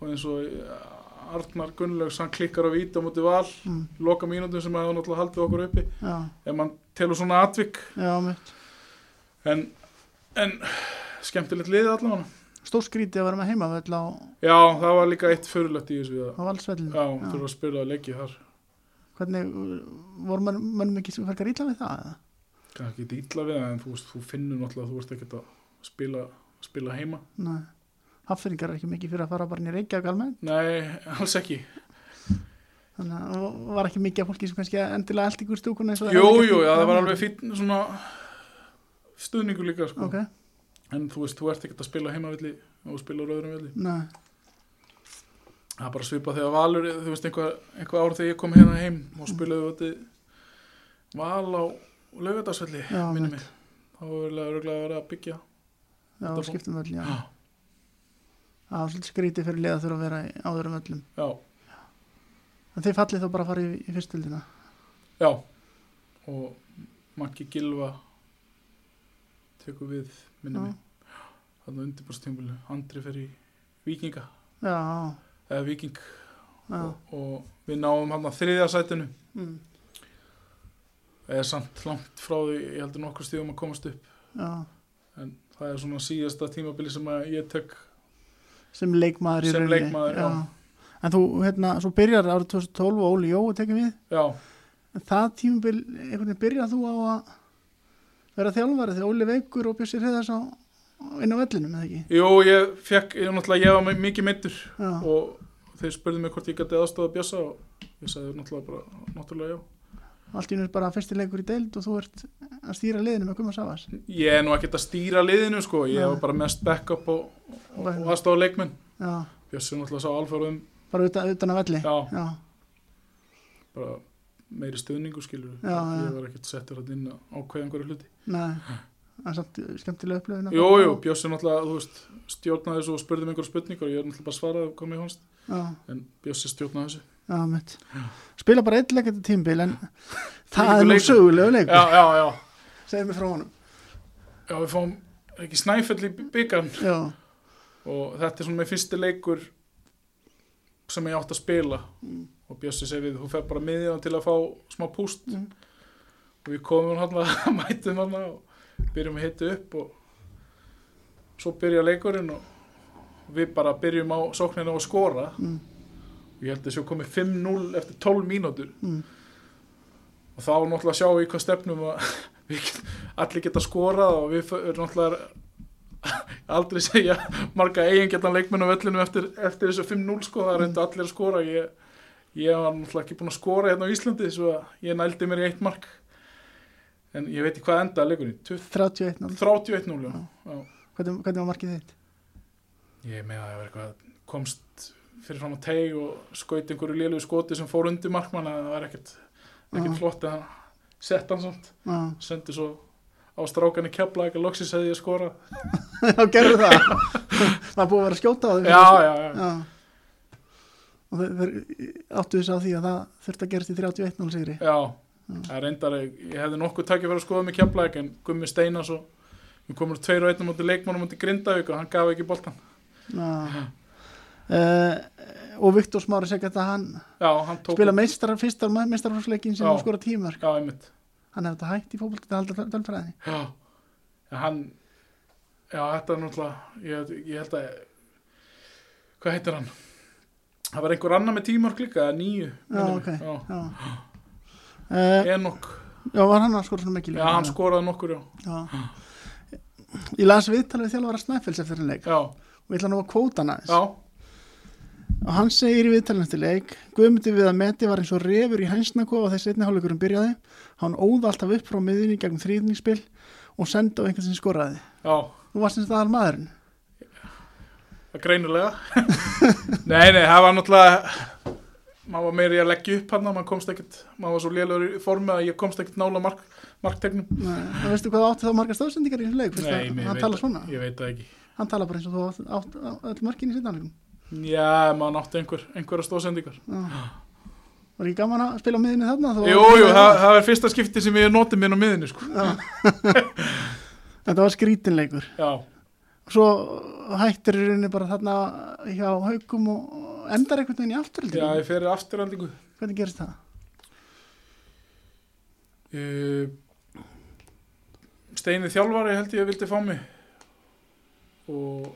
B: og eins og eh, Arnar Gunnlaugs hann klikkar á víta múti val
A: Mm,
B: loka mínútum sem hefur náttúrulega haldið okkur uppi
A: já,
B: ef mann telur svona atvik
A: já, mitt.
B: en, en skemmtilegt liðið allavega
A: Stór skrítið að vera með heimavöll á,
B: já, það var líka eitt fyrirlegt í þessu við
A: á
B: það
A: valsvellinu.
B: já, þurfa að spila að leggja þar
A: Hvernig, uh, voru mann, mannum ekki sem færkar ítla við það, eða?
B: það er ekki ítla við það en þú, veist, þú finnur náttúrulega að þú ert ekkert að spila, spila heima
A: Næ, haffyrringar er ekki mikið fyrir að fara bara inn í Reykjavík almennt,
B: nei, alls ekki
A: þannig að og var ekki mikið af fólki sem kannski endilega allt ykkur stúkun eins og...
B: jú, jú, já, það var alveg fín svona stuðningu líka sko.
A: Ok,
B: en þú veist, þú ert ekkert að spila heimavilli og spila rauðurum villi
A: næ,
B: það er bara svipað þegar Valur þú veist, einhver, einhver ár þegar ég kom hérna heim og spilaði við Val á laugadagsvelli
A: Já,
B: minni mig þá var verið að vera að byggja
A: já,
B: Þetta fólk-
A: skiptum völl, já.
B: já,
A: Það var svolítið skrítið fyrir liða þurfa að vera í- á öðrum völlum.
B: já,
A: En þið fallið þá bara að fara í, í fyrstöldina.
B: já. og Maggi Gilva tekur við minni
A: Já.
B: mig þannig undirbúrstímbulu, Andri fer í Víkinga,
A: Já,
B: eða Víking
A: já, já.
B: og, og við náum hann að þriðja sætinu
A: Mm.
B: eða samt langt frá því ég heldur nokkur stíðum að komast upp
A: Já,
B: en það er svona síðasta tímabili sem að ég tek
A: sem leikmaður í
B: Sem
A: rauninni.
B: leikmaður, já.
A: En þú, hérna, svo byrjar árið 2012 og Óli Jó tekið við.
B: já,
A: En það tímubil, einhvern veginn byrjar þú á að vera þjálfarið þegar Óli veikur og bjössir heiðars á inn á vellinum, eða ekki?
B: jú ég fekk ég, náttúrulega, ég var mi- mikið meittur
A: Já,
B: og þeir spurðu mig hvort ég gæti aðstofa að bjösa og ég sagði náttúrulega bara náttúrulega já,
A: allt í nú er bara fyrsti leikur í deild og þú ert að stýra liðinu með Guðmar Savas.
B: ég er nú ekkert að stýra liðinu sko,
A: Nei.
B: ég var bara mest backup og, og,
A: Bæði.
B: og aðstofa leikmenn
A: Já,
B: bjössi náttúrulega sá alfæruðum
A: bara utan, utan að velli.
B: já,
A: já,
B: bara meiri stuðningu skilur
A: Já, já.
B: ég var ekkert settur að inn að ákveða einhverju hluti
A: nei, það er samt skemmtilega upplöfina.
B: Jú, jú, Bjössi náttúrulega, þú veist, stjórnaði þessu og spurði mig einhverja spurningar og ég er náttúrulega bara svaraði og komið í hans,
A: Já.
B: en Bjössi stjórnaði
A: [LAUGHS]
B: þessu.
A: Já, mitt. Spila bara eitt leik þetta tímbil
B: [LAUGHS]
A: en það
B: Þvílíkur
A: er nú
B: leikur.
A: sögulegu
B: Já,
A: leikur.
B: já, já,
A: Segðu mig frá honum.
B: já, við fáum ekki snæfell í byggarn
A: Já,
B: og þetta er svona með fyrsti leikur sem ég átt að spila og Bjössi segi við, þú fer bara miðjan til að fá smá púst
A: Mm.
B: og við komum hann að [LAUGHS] mætum hann og byrjum að hita upp og svo byrja leikurinn og við bara byrjum á sóknina og skora
A: mm,
B: og ég held að séu komið 5-0 eftir 12 mínútur
A: mm,
B: og þá náttúrulega sjáum við í hvað stefnum að [LAUGHS] við get, allir geta skorað og við erum náttúrulega [LAUGHS] aldrei segja marga eigin getan leikmenn á vellinu eftir, eftir þessu 5-0 sko, það reyndu allir að skora ég, ég var náttúrulega ekki búinn að skora hérna á Íslandi svo að ég nældi mér í eitt mark en ég veit ekki hvað enda leikunni 20
A: 31 0
B: 31-0 já. Já.
A: hvernig, hvernig var markið þitt?
B: ég meina að það var eitthvað komst fyrir fram á teig og skaut einhverju lélugu skoti sem fór undir markmann að það var ekkert, ekkert
A: Já.
B: flott en hann sett hann samt
A: Já, [LAUGHS]
B: sendi svo á strákan í kefla ekki loksins hefði ég skorað
A: já gerðu það. [LAUGHS] það er búið að vera að skjóta á því.
B: já, já, já,
A: já. Og þeir, þeir áttu þess að því að það þurfti að gerast í 31 0 sigri.
B: já það er reyndar, að ég hefði nokkuð takkja fyrir að skoða með kefla en Gummi Steinas og við komum tveir og einnum mútið leikmannum mútið Grindavík og hann gaf ekki boltan
A: Já. Uh, og Viktor Smári segja að hann
B: já, hann tók
A: spila meistarar fyrsta meistararfleikin sem
B: Já.
A: hann skora tímar.
B: já, einmitt
A: Hann hefði þetta hægt í fókbalt þetta halda tölfræðinni.
B: já, en hann já, þetta er náttúrulega ég, ég held að hvað heitir hann? það var einhver annar með tímörk líka, eða níu
A: Já,
B: minnir
A: ok.
B: mig.
A: Já. Uh,
B: já. Enok,
A: Já, var hann að skora svona mikið
B: já, hann skoraði nokkur já,
A: Já. Ég las viðtal við þjálfara Snæfells eftir hann leik
B: já,
A: og ég ætla nú að kvóta hann aðeins.
B: já,
A: Og hann segir í viðtalinu eftir leik, Guðmundi við að meti var eins og refur í hænsnakofa þegar setni hálfleikurinn byrjaði. Hann óða alltaf upp frá miðinni gegn þrýðningsspil og sendi á einhvern sem skoraði.
B: já.
A: Þú varst eins og það alveg maðurinn.
B: [LAUGHS] Það er greinilega. nei, nei, það var náttúrulega, maður var meiri að leggja upp hann maður komst ekkert, maður var svo lélegur í formi að ég komst ekkert nála mark, marktegnum
A: Nei, en veistu hvað átti þá margar stóðsendingar í þessum leik? Nei,
B: mér
A: hann
B: veit
A: talar
B: það-
A: svona.
B: ég veit það ekki
A: Hann talar bara eins og þú átt, átt, átt öll mörkin í sýndanleikum.
B: já, maður nátti einhver, einhverja stóðsendingar
A: Var ekki gaman að spila á miðinni þarna? Þú-
B: jú, jú, það, það er fyrsta skipti sem ég notið minn á miðinni sko.
A: Mm. Þetta var skrítinleikur.
B: já,
A: Svo hættir í rauninni bara þarna hjá haugum og endar einhvern veginn í
B: já,
A: afturöldingu.
B: ég fer afturhaldingu
A: Hvernig gerist það?
B: uh, Steini þjálfari held ég að vildi fá mig og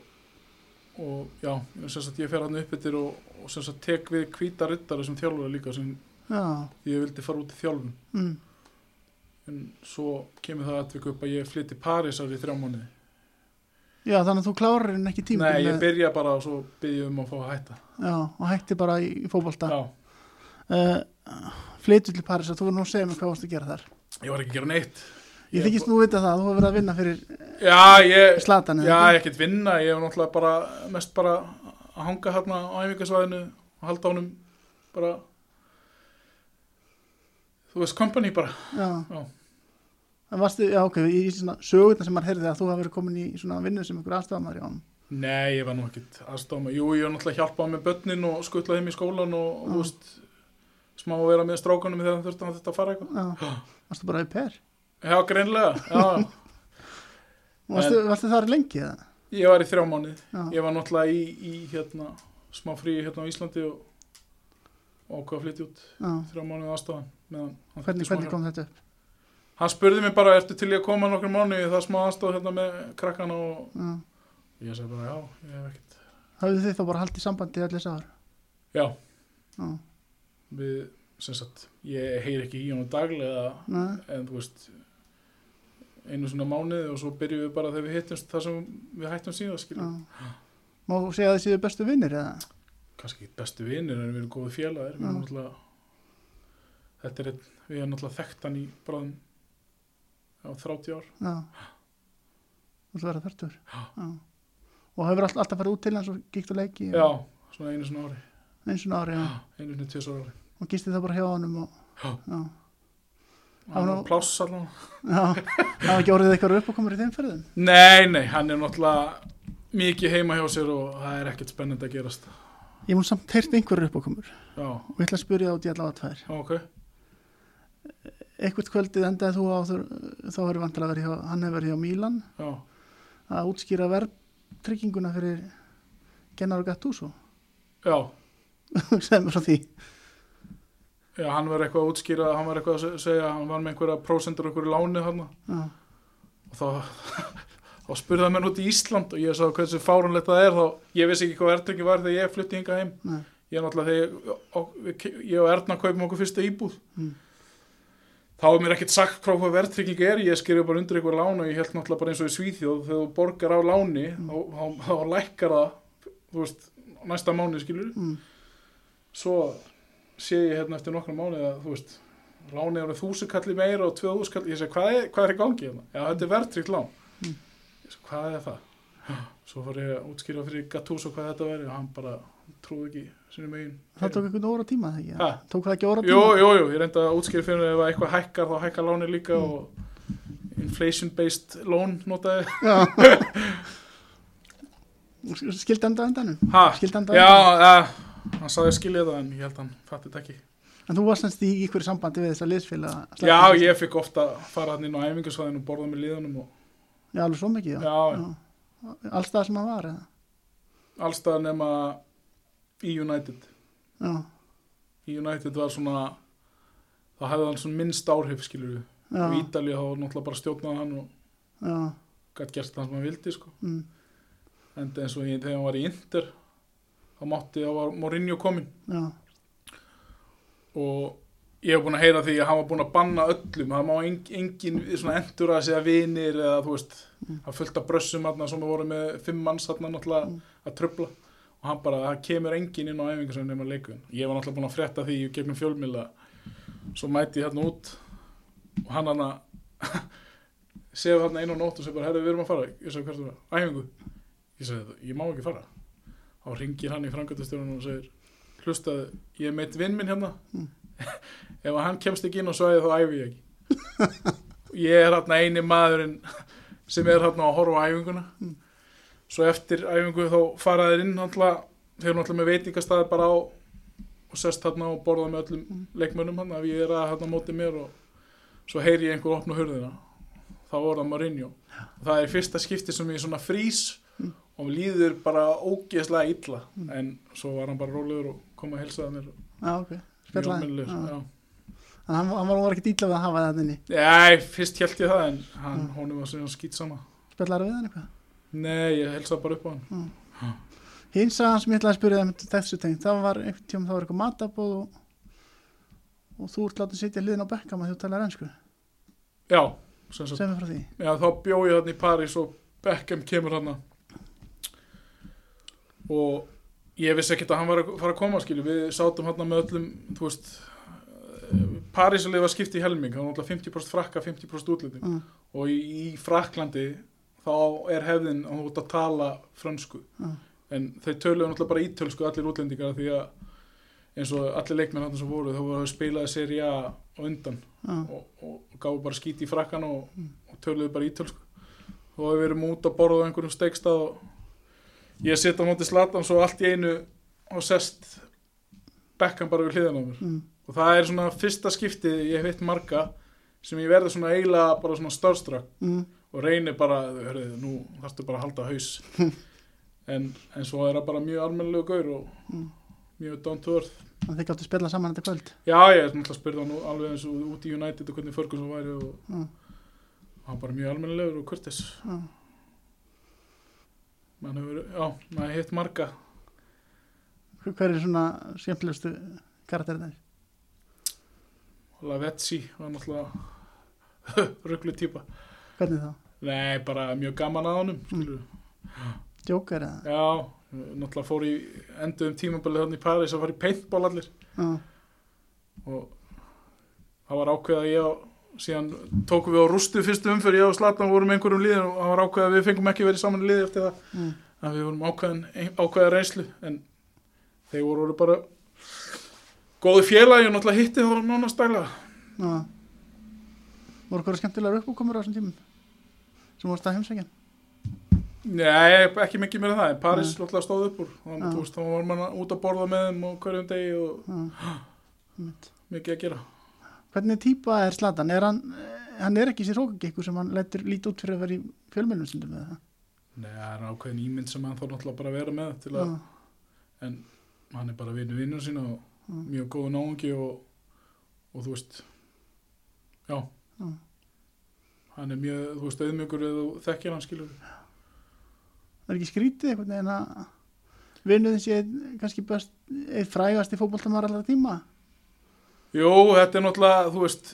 B: og já, sem sagt ég fer hann upp yfir og, og sem sagt tek við hvíta rittara sem þjálfari líka sem
A: Já,
B: ég vildi fara út í þjálfun
A: mm,
B: en svo kemur það atvik upp að ég flytti Parísar í þrjá mánuði
A: já þannig að þú klárar henni ekki tíma.
B: Nei, ég byrja bara og svo byrja um að fá að hætta
A: Já, og hættir bara í, í fótbolta.
B: Já,
A: Uh, flytur til Paris að þú verður nú að segja mér hvað varst að gera þar.
B: ég var ekki að gera neitt
A: Ég
B: Ég
A: þykist nú vita það, þú hefur verið að vinna fyrir
B: Já, ég,
A: Slatan.
B: já, ég ekkert vinna ég hef náttúrulega bara, mest bara að hanga hérna á æfingasvæðinu og halda honum bara þú veist, company bara
A: Já.
B: Já.
A: En varstu, já ok, í, í svona sögurna sem maður heyrði að þú hafi verið komin í svona vinnu sem ykkur aðstofamæður í honum.
B: Nei, ég var nú ekkert aðstofma Jú, ég hef náttúrulega hjálpað með börnin og skutlað þeim í skólan og, og
A: Já.
B: þú veist, smá að vera með strákanum þegar þurfti hann þetta að fara eitthvað
A: Já, varstu bara í per.
B: Já, greinlega, já
A: Varstu, varstu þar lengi eða?
B: Ég var í þrjá mánuð
A: Já.
B: Ég var náttúrulega í, í hérna, smá frí hérna á Íslandi og og ákvað að flytja út
A: Já.
B: þrjá mánuð aðstofan meðan hann
A: Hvernig,
B: þurfti smá hjálp.
A: hvernig kom þetta upp?
B: Hann spurði mig bara, ertu til í að koma nokkur mánu í það smá aðstof hérna með krakkana og
A: Já.
B: ég sagði bara, já, ég hef ekkert.
A: Hafðu þið þá bara haldið sambandi í allir sár?
B: Já,
A: Já.
B: við, sem sagt, ég heyr ekki í honum daglega
A: Nei.
B: en þú veist, einu svona mánuði og svo byrjum við bara þegar við hittumst það sem við hættum síðan,
A: Já.
B: skiljum.
A: Má þú segja að þið séu bestu vinnir eða?
B: Kanski ekki bestu vinir en við erum góði félagir, við erum
A: Já.
B: náttúrulega, þetta er einn, við erum náttúrulega þekkt hann í bráðum, já, 30 ár.
A: Já. Þú ætla að vera þörtur. Já. Og hefur all, alltaf farið út til hans og gíkt og leiki?
B: Já, svona einu svona ári,
A: Eins og ári, já.
B: einu svona tvis ári.
A: Og gistið það bara hjá honum og...
B: Já.
A: Já.
B: Hann
A: nú-
B: var pláss allan.
A: Já. Það var ekki orðið eitthvað upp og komur í þeim ferðum?
B: Nei, nei, hann er náttúrulega mikið heima hjá sér og það er ekkert spennandi að gerast.
A: Ég mun samt heyrt einhverju upp og komur.
B: Já,
A: og ég ætla að spyrja út í allavega tvær
B: ok.
A: eitthvað kvöldið endaði þú á þur, þá verður vantilega verið hjá, hann hefur verið hjá Mílan
B: Já,
A: að útskýra verðtrygginguna fyrir Gennar og Gattuso [LAUGHS]
B: já,
A: segð mér frá því
B: já hann var eitthvað að útskýra, hann var eitthvað að se- segja, hann var með einhverja prósendur okkur í láni þarna
A: já,
B: og þá, [LAUGHS] þá spurði hann mér út í Ísland og ég sagði hversu fárunlegt það er þá ég vissi ekki hvað ertringi var þegar ég flutti hingað heim.
A: nei,
B: Ég er náttúrulega þegar og- við ke- ég og Erna kaupum okkur fyrsta íbúð.
A: Mm.
B: Þá er mér ekkert sagt frá hvað verðtrygging er, ég skrifa bara undir eitthvað lán og ég held náttúrulega bara eins og í Svíþjóð, þegar þú borgar á láni,
A: Mm.
B: þá, þá, þá lækkar það, þú veist, næsta mánu skilur.
A: mm,
B: Svo sé ég hérna eftir nokkra mánu að, þú veist, lánið er þúsukalli meira og tvöðuskall, ég segi, hvað er, hvað er í gangi hérna? Já, þetta er verðtryggt lán.
A: Mm.
B: Ég segi, hvað er það? [GASPS] Svo fór ég að útskýra fyrir Gattuso hvað þetta væri og hann bara trúði ekki sinni megin.
A: það tók eitthvað óra tíma þegar ég
B: Ha?
A: tók það ekki óra
B: Jú,
A: tíma
B: jú, jú, ég reyndi að útskýra fyrir henni ef eitthvað hækkar þá hækkar láni
A: Mm.
B: líka og inflation-based lón notaði.
A: já skild enda á endanum
B: Ha,
A: skild enda á
B: já,
A: endanum
B: uh, hann sagði að skilja það en ég held hann fatti þetta ekki.
A: en þú varst semst í ykkur sambandi við þess að liðsfélaga
B: Já, ég fikk ofta fara hann inn á æfingarsvæðinu og borða með liðunum og
A: já, alveg svo mikið, já,
B: já,
A: já. allstað sem hann var eða?
B: allstað nema í United.
A: já,
B: Í United var svona, það hefði hann svona minnst áhrif, skilur við.
A: já,
B: Í Ítalíu þá náttúrulega bara stjórnaði hann og
A: já
B: gætt gert það sem hann vildi, sko.
A: mm,
B: En eins og ég, þegar hann var í Inter, þá mátti, þá var Mourinho kominn.
A: já,
B: og ég hef búin að heyra því að hann var búin að banna öllum það má en, engin svona endur að segja vinir eða þú veist, það fullt af brössum hann sem voru með fimm manns hann náttúrulega að tröfla og hann bara, það kemur engin inn á æfingu sem nema leikun ég var náttúrulega búin að frétta því í gegnum fjölmila svo mæti ég hérna út og hann hann [LAUGHS] að segja hann einu á nótt og segja bara, herru við erum að fara ég sagði hvert þú það, æfingu ég sagði, ég má ekki fara þá ringir hann í frangatastjórun og segir hlustaðu, ég er meitt vinn minn hérna ef að hann kemst ekki inn á svæði þá æfi ég
A: [LAUGHS]
B: ekki ég er hérna eini maðurinn sem er hérna að horfa á æfinguna
A: Mm.
B: svo eftir æfingu þá fara þeir inn náttúrulega, þeir eru náttúrulega með veitingastæði bara á og sest hérna og borða með öllum
A: Mm.
B: leikmönnum hann ef ég er að hérna móti mér og svo heyri ég einhver opna hurðina þá er það Mourinho það er fyrsta skipti sem ég svona frýs
A: Mm.
B: og mér líður bara ógeðslega illa en svo var hann bara rólegur og kom að helsaða mér og
A: Já, ok.
B: mjög
A: Spjallaði.
B: almennilegur,
A: Já.
B: já.
A: En hann, hann var ekki dýla við að hafa það inni.
B: Nei, fyrst held ég það en hann, honum var svona skýt sama
A: Spjallaði við hann eitthvað.
B: Nei, ég helsaði bara upp á hann
A: Hins að hann sem ég ætlaði að spyrja það með þessu tengt, það var einhvern tíma það var eitthvað matabóð og, og þú ert látið að sitja hliðin á bekkam að þú talar ennsku,
B: Já, sem sagt
A: sem er frá því.
B: Já, þá bjó ég hann í París og Beckham kemur hann og ég vissi ekkert að hann var að fara að koma skilju, við sátum hann með öllum þú veist Parísalið var skipt í helming, hann var alltaf 50% frakka 50% útlending
A: Mm.
B: og í, í Fraklandi þá er hefðin að þú út að tala frönsku
A: Mm.
B: en þau töluðu náttúrulega bara ítölsku allir útlendingar því að eins og allir leikmenn hann sem voru þá voru að spilaði seri A á undan
A: Já,
B: og, og, og gáðu bara skít í frakkan og, og töluðu bara ítölsku og við erum út að borða á einhverjum steikstað og ég sitt á móti slatan svo allt í einu og sest bekkan bara við hliðan á mér
A: mm,
B: og það er svona fyrsta skiptið ég hef hitt marga sem ég verði svona eiginlega bara svona starstruck
A: mm,
B: og reyni bara, hörðu, nú þarftu bara að halda
A: [LAUGHS]
B: haus en, en svo er það bara mjög almennilegu gaur og
A: Mm.
B: mjög down to earth
A: þannig að þið gáttu að spjalla saman þetta kvöld.
B: Já, ég er náttúrulega að spyrja hann alveg eins og út í United og hvernig Ferguson væri og
A: Mm.
B: hann bara mjög almennilegur og kurtis.
A: Já.
B: Man hefur, já, maður hefur hitt marga.
A: Hver hver er svona skemmtilegustu karakterið þeir?
B: Lavetsi var náttúrulega [LAUGHS] rugglu típa.
A: Hvernig þá?
B: Nei, bara mjög gaman að honum, skilur.
A: Mm. Joker eða?
B: Já, náttúrulega fór í enduðum tímabilið hann í Paris að fara í paintball allir
A: Já,
B: og það var ákveð að ég á síðan tókum við á rústu fyrstu umfyrir ég og Zlatan vorum í einhverjum liðin og það var ákveð að við fengum ekki verið saman í liði eftir það
A: mm,
B: að við vorum ákveðin, ákveða reynslu en þeir voru, voru bara góði félagi og náttúrulega hitti þá nánast dæla
A: já. Voru hverju skemmtilegar uppákomur á þessum tímum? Sem vorst að heimsækja?
B: Nei, ekki mikið meira en það en Paris
A: Nei.
B: náttúrulega stóð upp úr þannig
A: Já.
B: þú veist, þá var mann út að borða með þeim og hverjum degi og
A: Já, mitt.
B: mikið að gera
A: Hvernig típa er Zlatan? Er hann, eh, hann er ekki sér hókagekku sem hann lætur lítið út fyrir að vera í fjölmjölum stundum eða það?
B: Nei, það er ákveðin ímynd sem hann þá náttúrulega bara að vera með til að, en hann er bara vinnu vinnur sína og
A: Mm.
B: mjög góð náungi og, og þú veist já
A: Mm.
B: hann er mjög, þú veist, auðmjögur eða þú þekkir hann skilur
A: Það er ekki skrítið einhvern veginn að vinnuðin sé einn- kannski best, eitt frægast í fótboltamar allra tíma.
B: Jú, þetta er náttúrulega, þú veist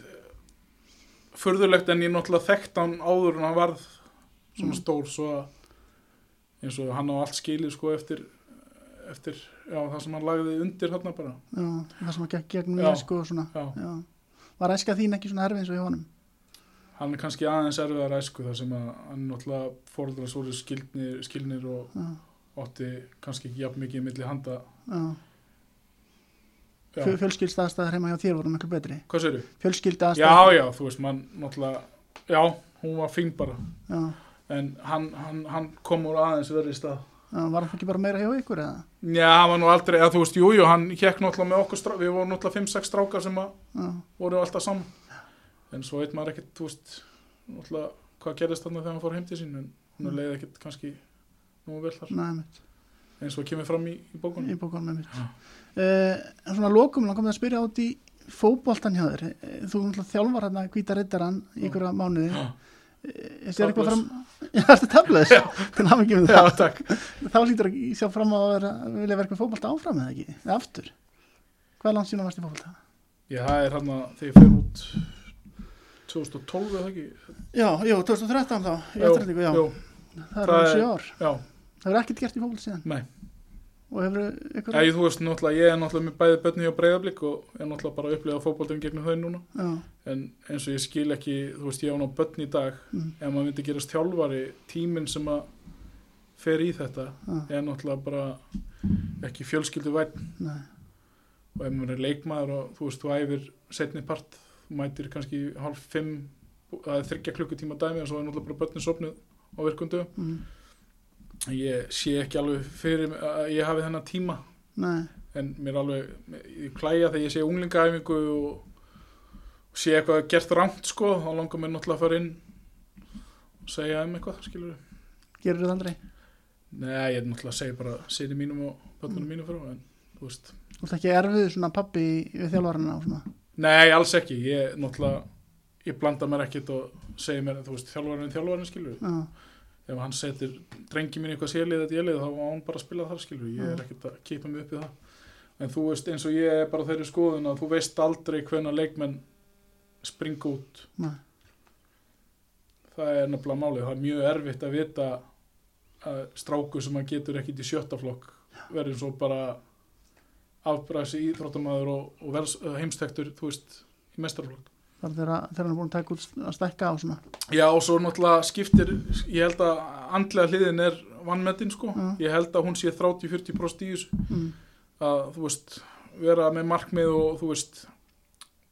B: furðulegt en ég náttúrulega þekkt hann áður en hann varð svona
A: Mm.
B: stór svo að eins og hann á allt skilið sko eftir eftir, já, það sem hann lagði undir hérna bara,
A: Já, það sem að gekk gegnum
B: Já.
A: ég sko og svona.
B: já,
A: Já. Var æska þín ekki svona erfið eins og hjá honum?
B: hann er kannski aðeins erfiðar æsku þar sem að hann náttúrulega fóreldra svoru skilnir, skilnir og
A: Já,
B: átti kannski ekki jafn mikið milli handa,
A: já.
B: já,
A: Fjö, Fjölskyldstaðstæðar heima hjá þér voru miklu betri.
B: hvað séru? Já,
A: Fjölskyldaðstæðar.
B: já, þú veist, mann náttúrulega, já, hún var fín bara,
A: Já.
B: en hann, hann, hann kom úr aðeins verið stað
A: Já, var hann ekki bara meira hjá ykkur eða?
B: Já, hann var nú aldrei, eða þú veist, jújú, jú, hann hjekk náttúrulega með okkur, strá- við vorum náttúrulega 5-6 strákar sem að
A: Já,
B: voru alltaf saman, en svo veit maður ekkert, þú veist, náttúrulega hvað gerðist þarna þegar hann fór heim til sín, en hann leiði ekkert kannski nú vel þar,
A: næ, mitt.
B: eins og kemur fram í, í [GASPS] bókunum.
A: Í bókunum með mitt. Uh, svona að lokum, langar mig að spyrja út í fótboltan hjá þér. Eh, Þú náttúrulega þjálfar hérna hvíta rittaran í ykkur að mánuði. Eh,
B: Já.
A: Er þetta eitthvað fram... Já, er þetta tablaðis? [LAUGHS] Til hafa ekki með
B: Já,
A: það.
B: takk.
A: Þá lítur að sjá fram á að vera, vilja verka fótbolta áfram eða ekki? Eða aftur? Hvað er langt síðan varst í fótbolta?
B: Já, það er hann að þegar ég fer út 2012 eða ekki?
A: Já, jú, 2013 þá. Í afturhaldingu, já.
B: Jú,
A: það
B: það
A: er
B: er-
A: sjö ár.
B: já,
A: Það hefur ekkert gert í fótbolta síðan.
B: nei.
A: Og hefur ykkur...
B: Já, ég, þú veist, náttúrulega, ég er náttúrulega með bæði bönni og breyðablík og er náttúrulega bara að upplega fótboltum gegnum þau núna.
A: Já,
B: en eins og ég skil ekki, þú veist, ég á ná börn í dag,
A: Mm.
B: ef maður myndi gerast þjálfari, tíminn sem að fer í þetta
A: já, Ah,
B: er náttúrulega bara ekki fjölskyldu væn
A: nei.
B: og ef maður er leikmaður og þú veist, þú æfir setni part, mætir kannski hálf fimm, það er þryggja klukkutíma dæmi og svo er náttúrulega bara börnin sopnuð á virkundu.
A: mm.
B: Ég sé ekki alveg fyrir mér að ég hafi þennan tíma
A: Nei,
B: en mér alveg, ég klæja þegar ég sé unglingaæfingu og sé eitthvað gert rámt sko, þá langar mér náttúrulega að fara inn og segja um eitthvað, skilur við.
A: gerur það aldrei
B: Nei, ég er náttúrulega að segja bara sinni mínum og börnunum mínum frá, en þú veist,
A: Þú ert ekki erfið svona pappi við þjálfarina og svona
B: Nei, alls ekki, ég náttúrulega ég blanda mér ekkert og segi mér þú veist, þjálfarinn þjálfarinn skilur
A: Já,
B: ef hann setur drengi mín í eitthvað sérlið eða délið þá á hann bara að spila þar skilur ég er
A: Mm.
B: ekkert að keipa mig upp í það en þú veist, eins og ég er bara á þeirri skoðun að þú veist aldrei hvenna leikmenn springa út
A: nei,
B: það er nefnilega málið, það er mjög erfitt að vita að stráku sem að getur ekkit í sjötta flokk verður svo bara afbræðs íþróttamaður og, og vers, heimstektur, þú veist, í mestarflokk
A: bara þegar þegar hann er búin að taka út að stekka og svona
B: Já, og svo náttúrulega skiptir, ég held að andlega hliðin er vannmetinn, sko.
A: Mm.
B: Ég held að hún sé 30-40% í þessu,
A: mm.
B: að, þú veist, vera með markmið og, þú veist,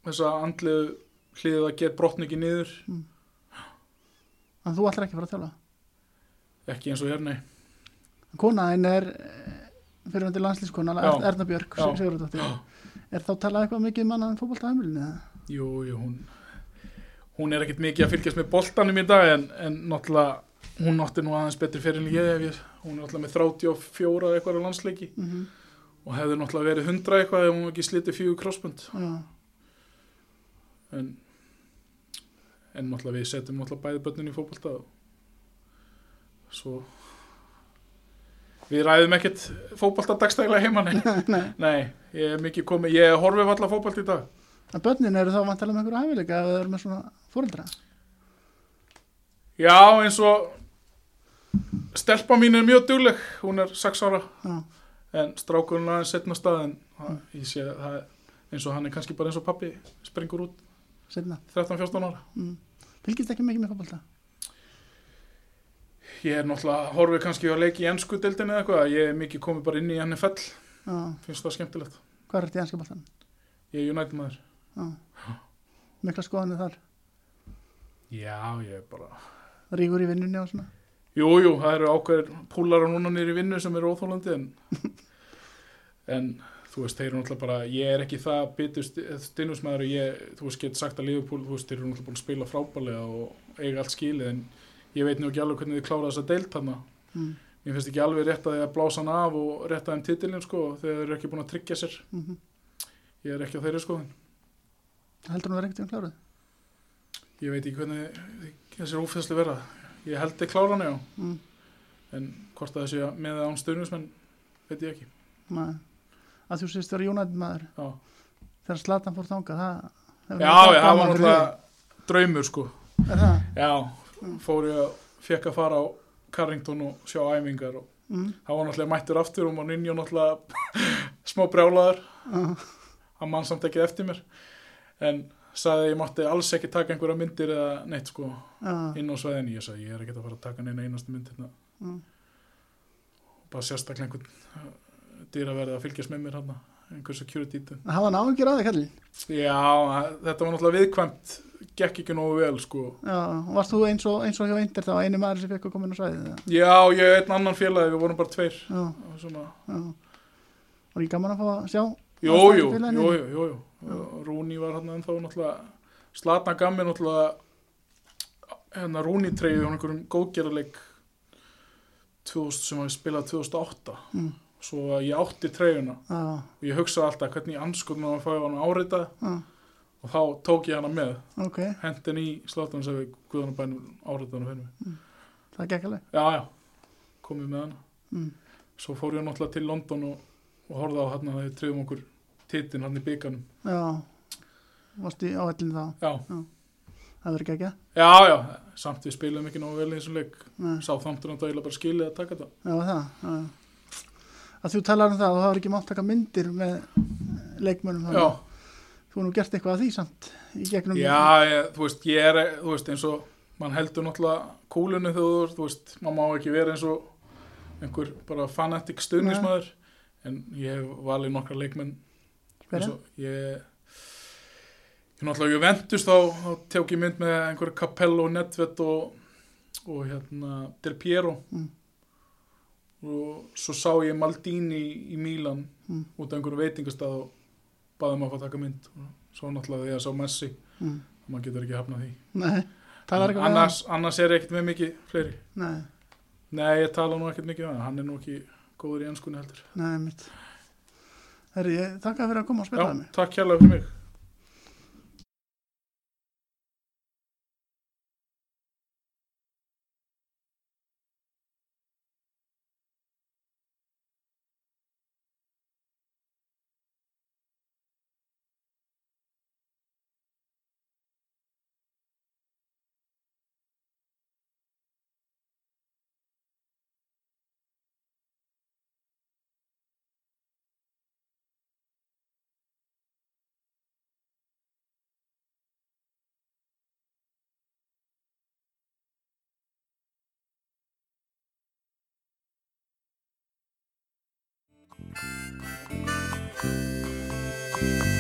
B: þessa andlegu hliðið að geta brotn ekki niður,
A: En þú ætlar ekki að fara að þjálfa
B: ekki eins og hérna,
A: Konaðin er fyrirvendir landslískona,
B: Já.
A: Erna Björk
B: Já.
A: Sigurðardóttir Er þá talað eitthvað mikið um annan fótbolta á heimilinu? eða?
B: jú, jú, hún, hún er ekkit mikið að fylgjast með boltanum í dag, en, en náttúrulega, hún átti nú aðeins betri fyrir en ég, ef ég, hún er náttúrulega með 34 eða eitthvað á landsleiki
A: Mhm,
B: og hefði náttúrulega verið 100 eitthvað ef hún ekki slitið fjögur krossbund.
A: Já,
B: en en náttúrulega við setjum náttúrulega bæði börnin í fótbolta og svo við ræðum ekkert fótbolta dagstæglega heima nei.
A: Nei.
B: nei, ég er mikið komið ég horfið allar fótbolta í dag
A: en börnin eru þá vantilega með einhverja hæfileika ef þau eru með svona fóreldra
B: já eins og stelpa mín er mjög dugleg hún er 6 ára
A: Já,
B: en strákurinn er aðeins setna stað en það, ég sé að það er- eins og hann er kannski bara eins og pappi springur út
A: setna
B: 13-14 ára
A: mm. Fylgist ekki mikið með fótbolta?
B: ég er náttúrulega horfið kannski á leiki í ennsku deildinni eða eitthvað ég er mikið komið bara inn í NFL
A: Já,
B: finnst það skemmtilegt.
A: hvað er þetta í ennska boltan?
B: Ég er United maður.
A: Já,
B: [LAUGHS]
A: mikla skoðanir þar
B: Já, ég er bara...
A: Ríkur í vinnunni og svona
B: Jú, jú, það eru ákveðir púlar á núna nýri vinnu sem eru óþólandi [LAUGHS] en, en þú veist, þeir eru náttúrulega bara, ég er ekki það bitur stinnusmaður og ég, þú veist, get sagt að Liverpool, þú veist, þeir eru náttúrulega búin að spila frábælega og eiga allt skilið en ég veit nú ekki alveg hvernig þið klára þessa deilt hana.
A: mm.
B: Mér finnst ekki alveg rétt að þið að blása hann af og rétta þeim titilin sko, þegar þeir eru ekki búin að tryggja sér.
A: Mm -hmm.
B: Ég er ekki á þeirri skoðin.
A: Heldur hún verið ekkert um kláruð?
B: Ég veit ekki hvernig þessir ófæðslu verða. Ég held þið klára hana, já.
A: Mm.
B: en hvort að þessi með eða án stöðnismenn veit ég ekki
A: Nei. að þú sést vera United maður
B: já,
A: þegar Slatan fór þangað það,
B: já,
A: það
B: já það var
A: gaman fyrir
B: náttúrulega draumur sko
A: þig. Er það?
B: já, fór ég að fekk að fara á Carrington og sjá æfingar og
A: Mm.
B: það var náttúrulega mættur aftur og mann inni og náttúrulega [LAUGHS] smá brjálaður
A: Uh,
B: hann mann samt ekki eftir mér en sagði að ég mátti alls ekki taka einhverja myndir eða neitt sko
A: uh,
B: inn á sveðinni, ég sagði ég er ekki að fara að taka neina einastu mynd hérna
A: Mm.
B: bara sérstaklega einhvern dýraverði að fylgjast með mér hann einhver security dýtin
A: hafa hann áhengir að þig kallin
B: Já, þetta var náttúrulega viðkvæmt gekk ekki nógu vel sko
A: já, varst þú eins og, eins og hjá Inter þá einu maður sem fekk að koma inn á svæðið eða?
B: Já, ég er einn annan félagi, við vorum bara tveir
A: já,
B: og svona,
A: já var ekki gaman að fá að sjá
B: jú,
A: Varstu
B: jú,
A: í
B: jú,
A: félaginu?
B: jú, jú, jú. Rúni var hann ennþá náttúrulega Slatan gaf mér náttúrulega hérna Rúni treyði hann einhverjum góðgerðarleik 2000 sem hann spilaði 2008
A: Mm.
B: svo að ég átti treyjuna
A: já,
B: og ég hugsaði alltaf hvernig ég anskotna að fá hann árita
A: já,
B: og þá tók ég hana með
A: ok
B: hendin í Slatan sem við guðanabænum áritan og fyrir mig
A: það gekk alveg
B: Já, já, komið með hana
A: mm.
B: svo fór ég náttúrulega til London og, og horfði á hann að þau trefum okkur titin hann í bygganum
A: já, varst í áhællinu þá
B: já,
A: það verður ekki
B: já, já, samt við spilum ekki nógu vel í þessum leik
A: ekki
B: sá þamtur að dæla bara skilið að taka þetta
A: já, það já. að þú talar um það og það var ekki mátt taka myndir með eh, leikmönnum þarna.
B: já,
A: þú hefur nú gert eitthvað að því samt í gegnum hérna,
B: já ég, þú veist, ég er þú veist, eins og mann heldur náttúrulega kúlunni þegar þú ert, þú veist, maður má ekki vera eins og einhver bara fanatic stuðnismæður en ég hef valið nokkra leikmenn
A: Hver er?
B: Eins og Ég, ég náttúrulega ég vendust þá, þá tek ég mynd með einhverja Capello, Nedved og, og hérna Del Piero
A: Mm.
B: og svo sá ég Maldini í Mílan
A: Mm.
B: út af einhverju veitingastað og baði maður að fá að taka mynd og svo náttúrulega þegar ég sá Messi
A: Mm.
B: maður getur ekki hafnað því
A: Nei, talar eitthvað
B: annars, annars er ég ekkert með mikið fleiri
A: við hann? Nei,
B: Nei, ég tala nú ekkert mikið um hann, hann er nú ekki góður í ennskunni heldur.
A: nei, mitt. Herri, ég þakka fyrir að koma og
B: Já,
A: spila það mig.
B: takk hérlega fyrir mig.
C: Thank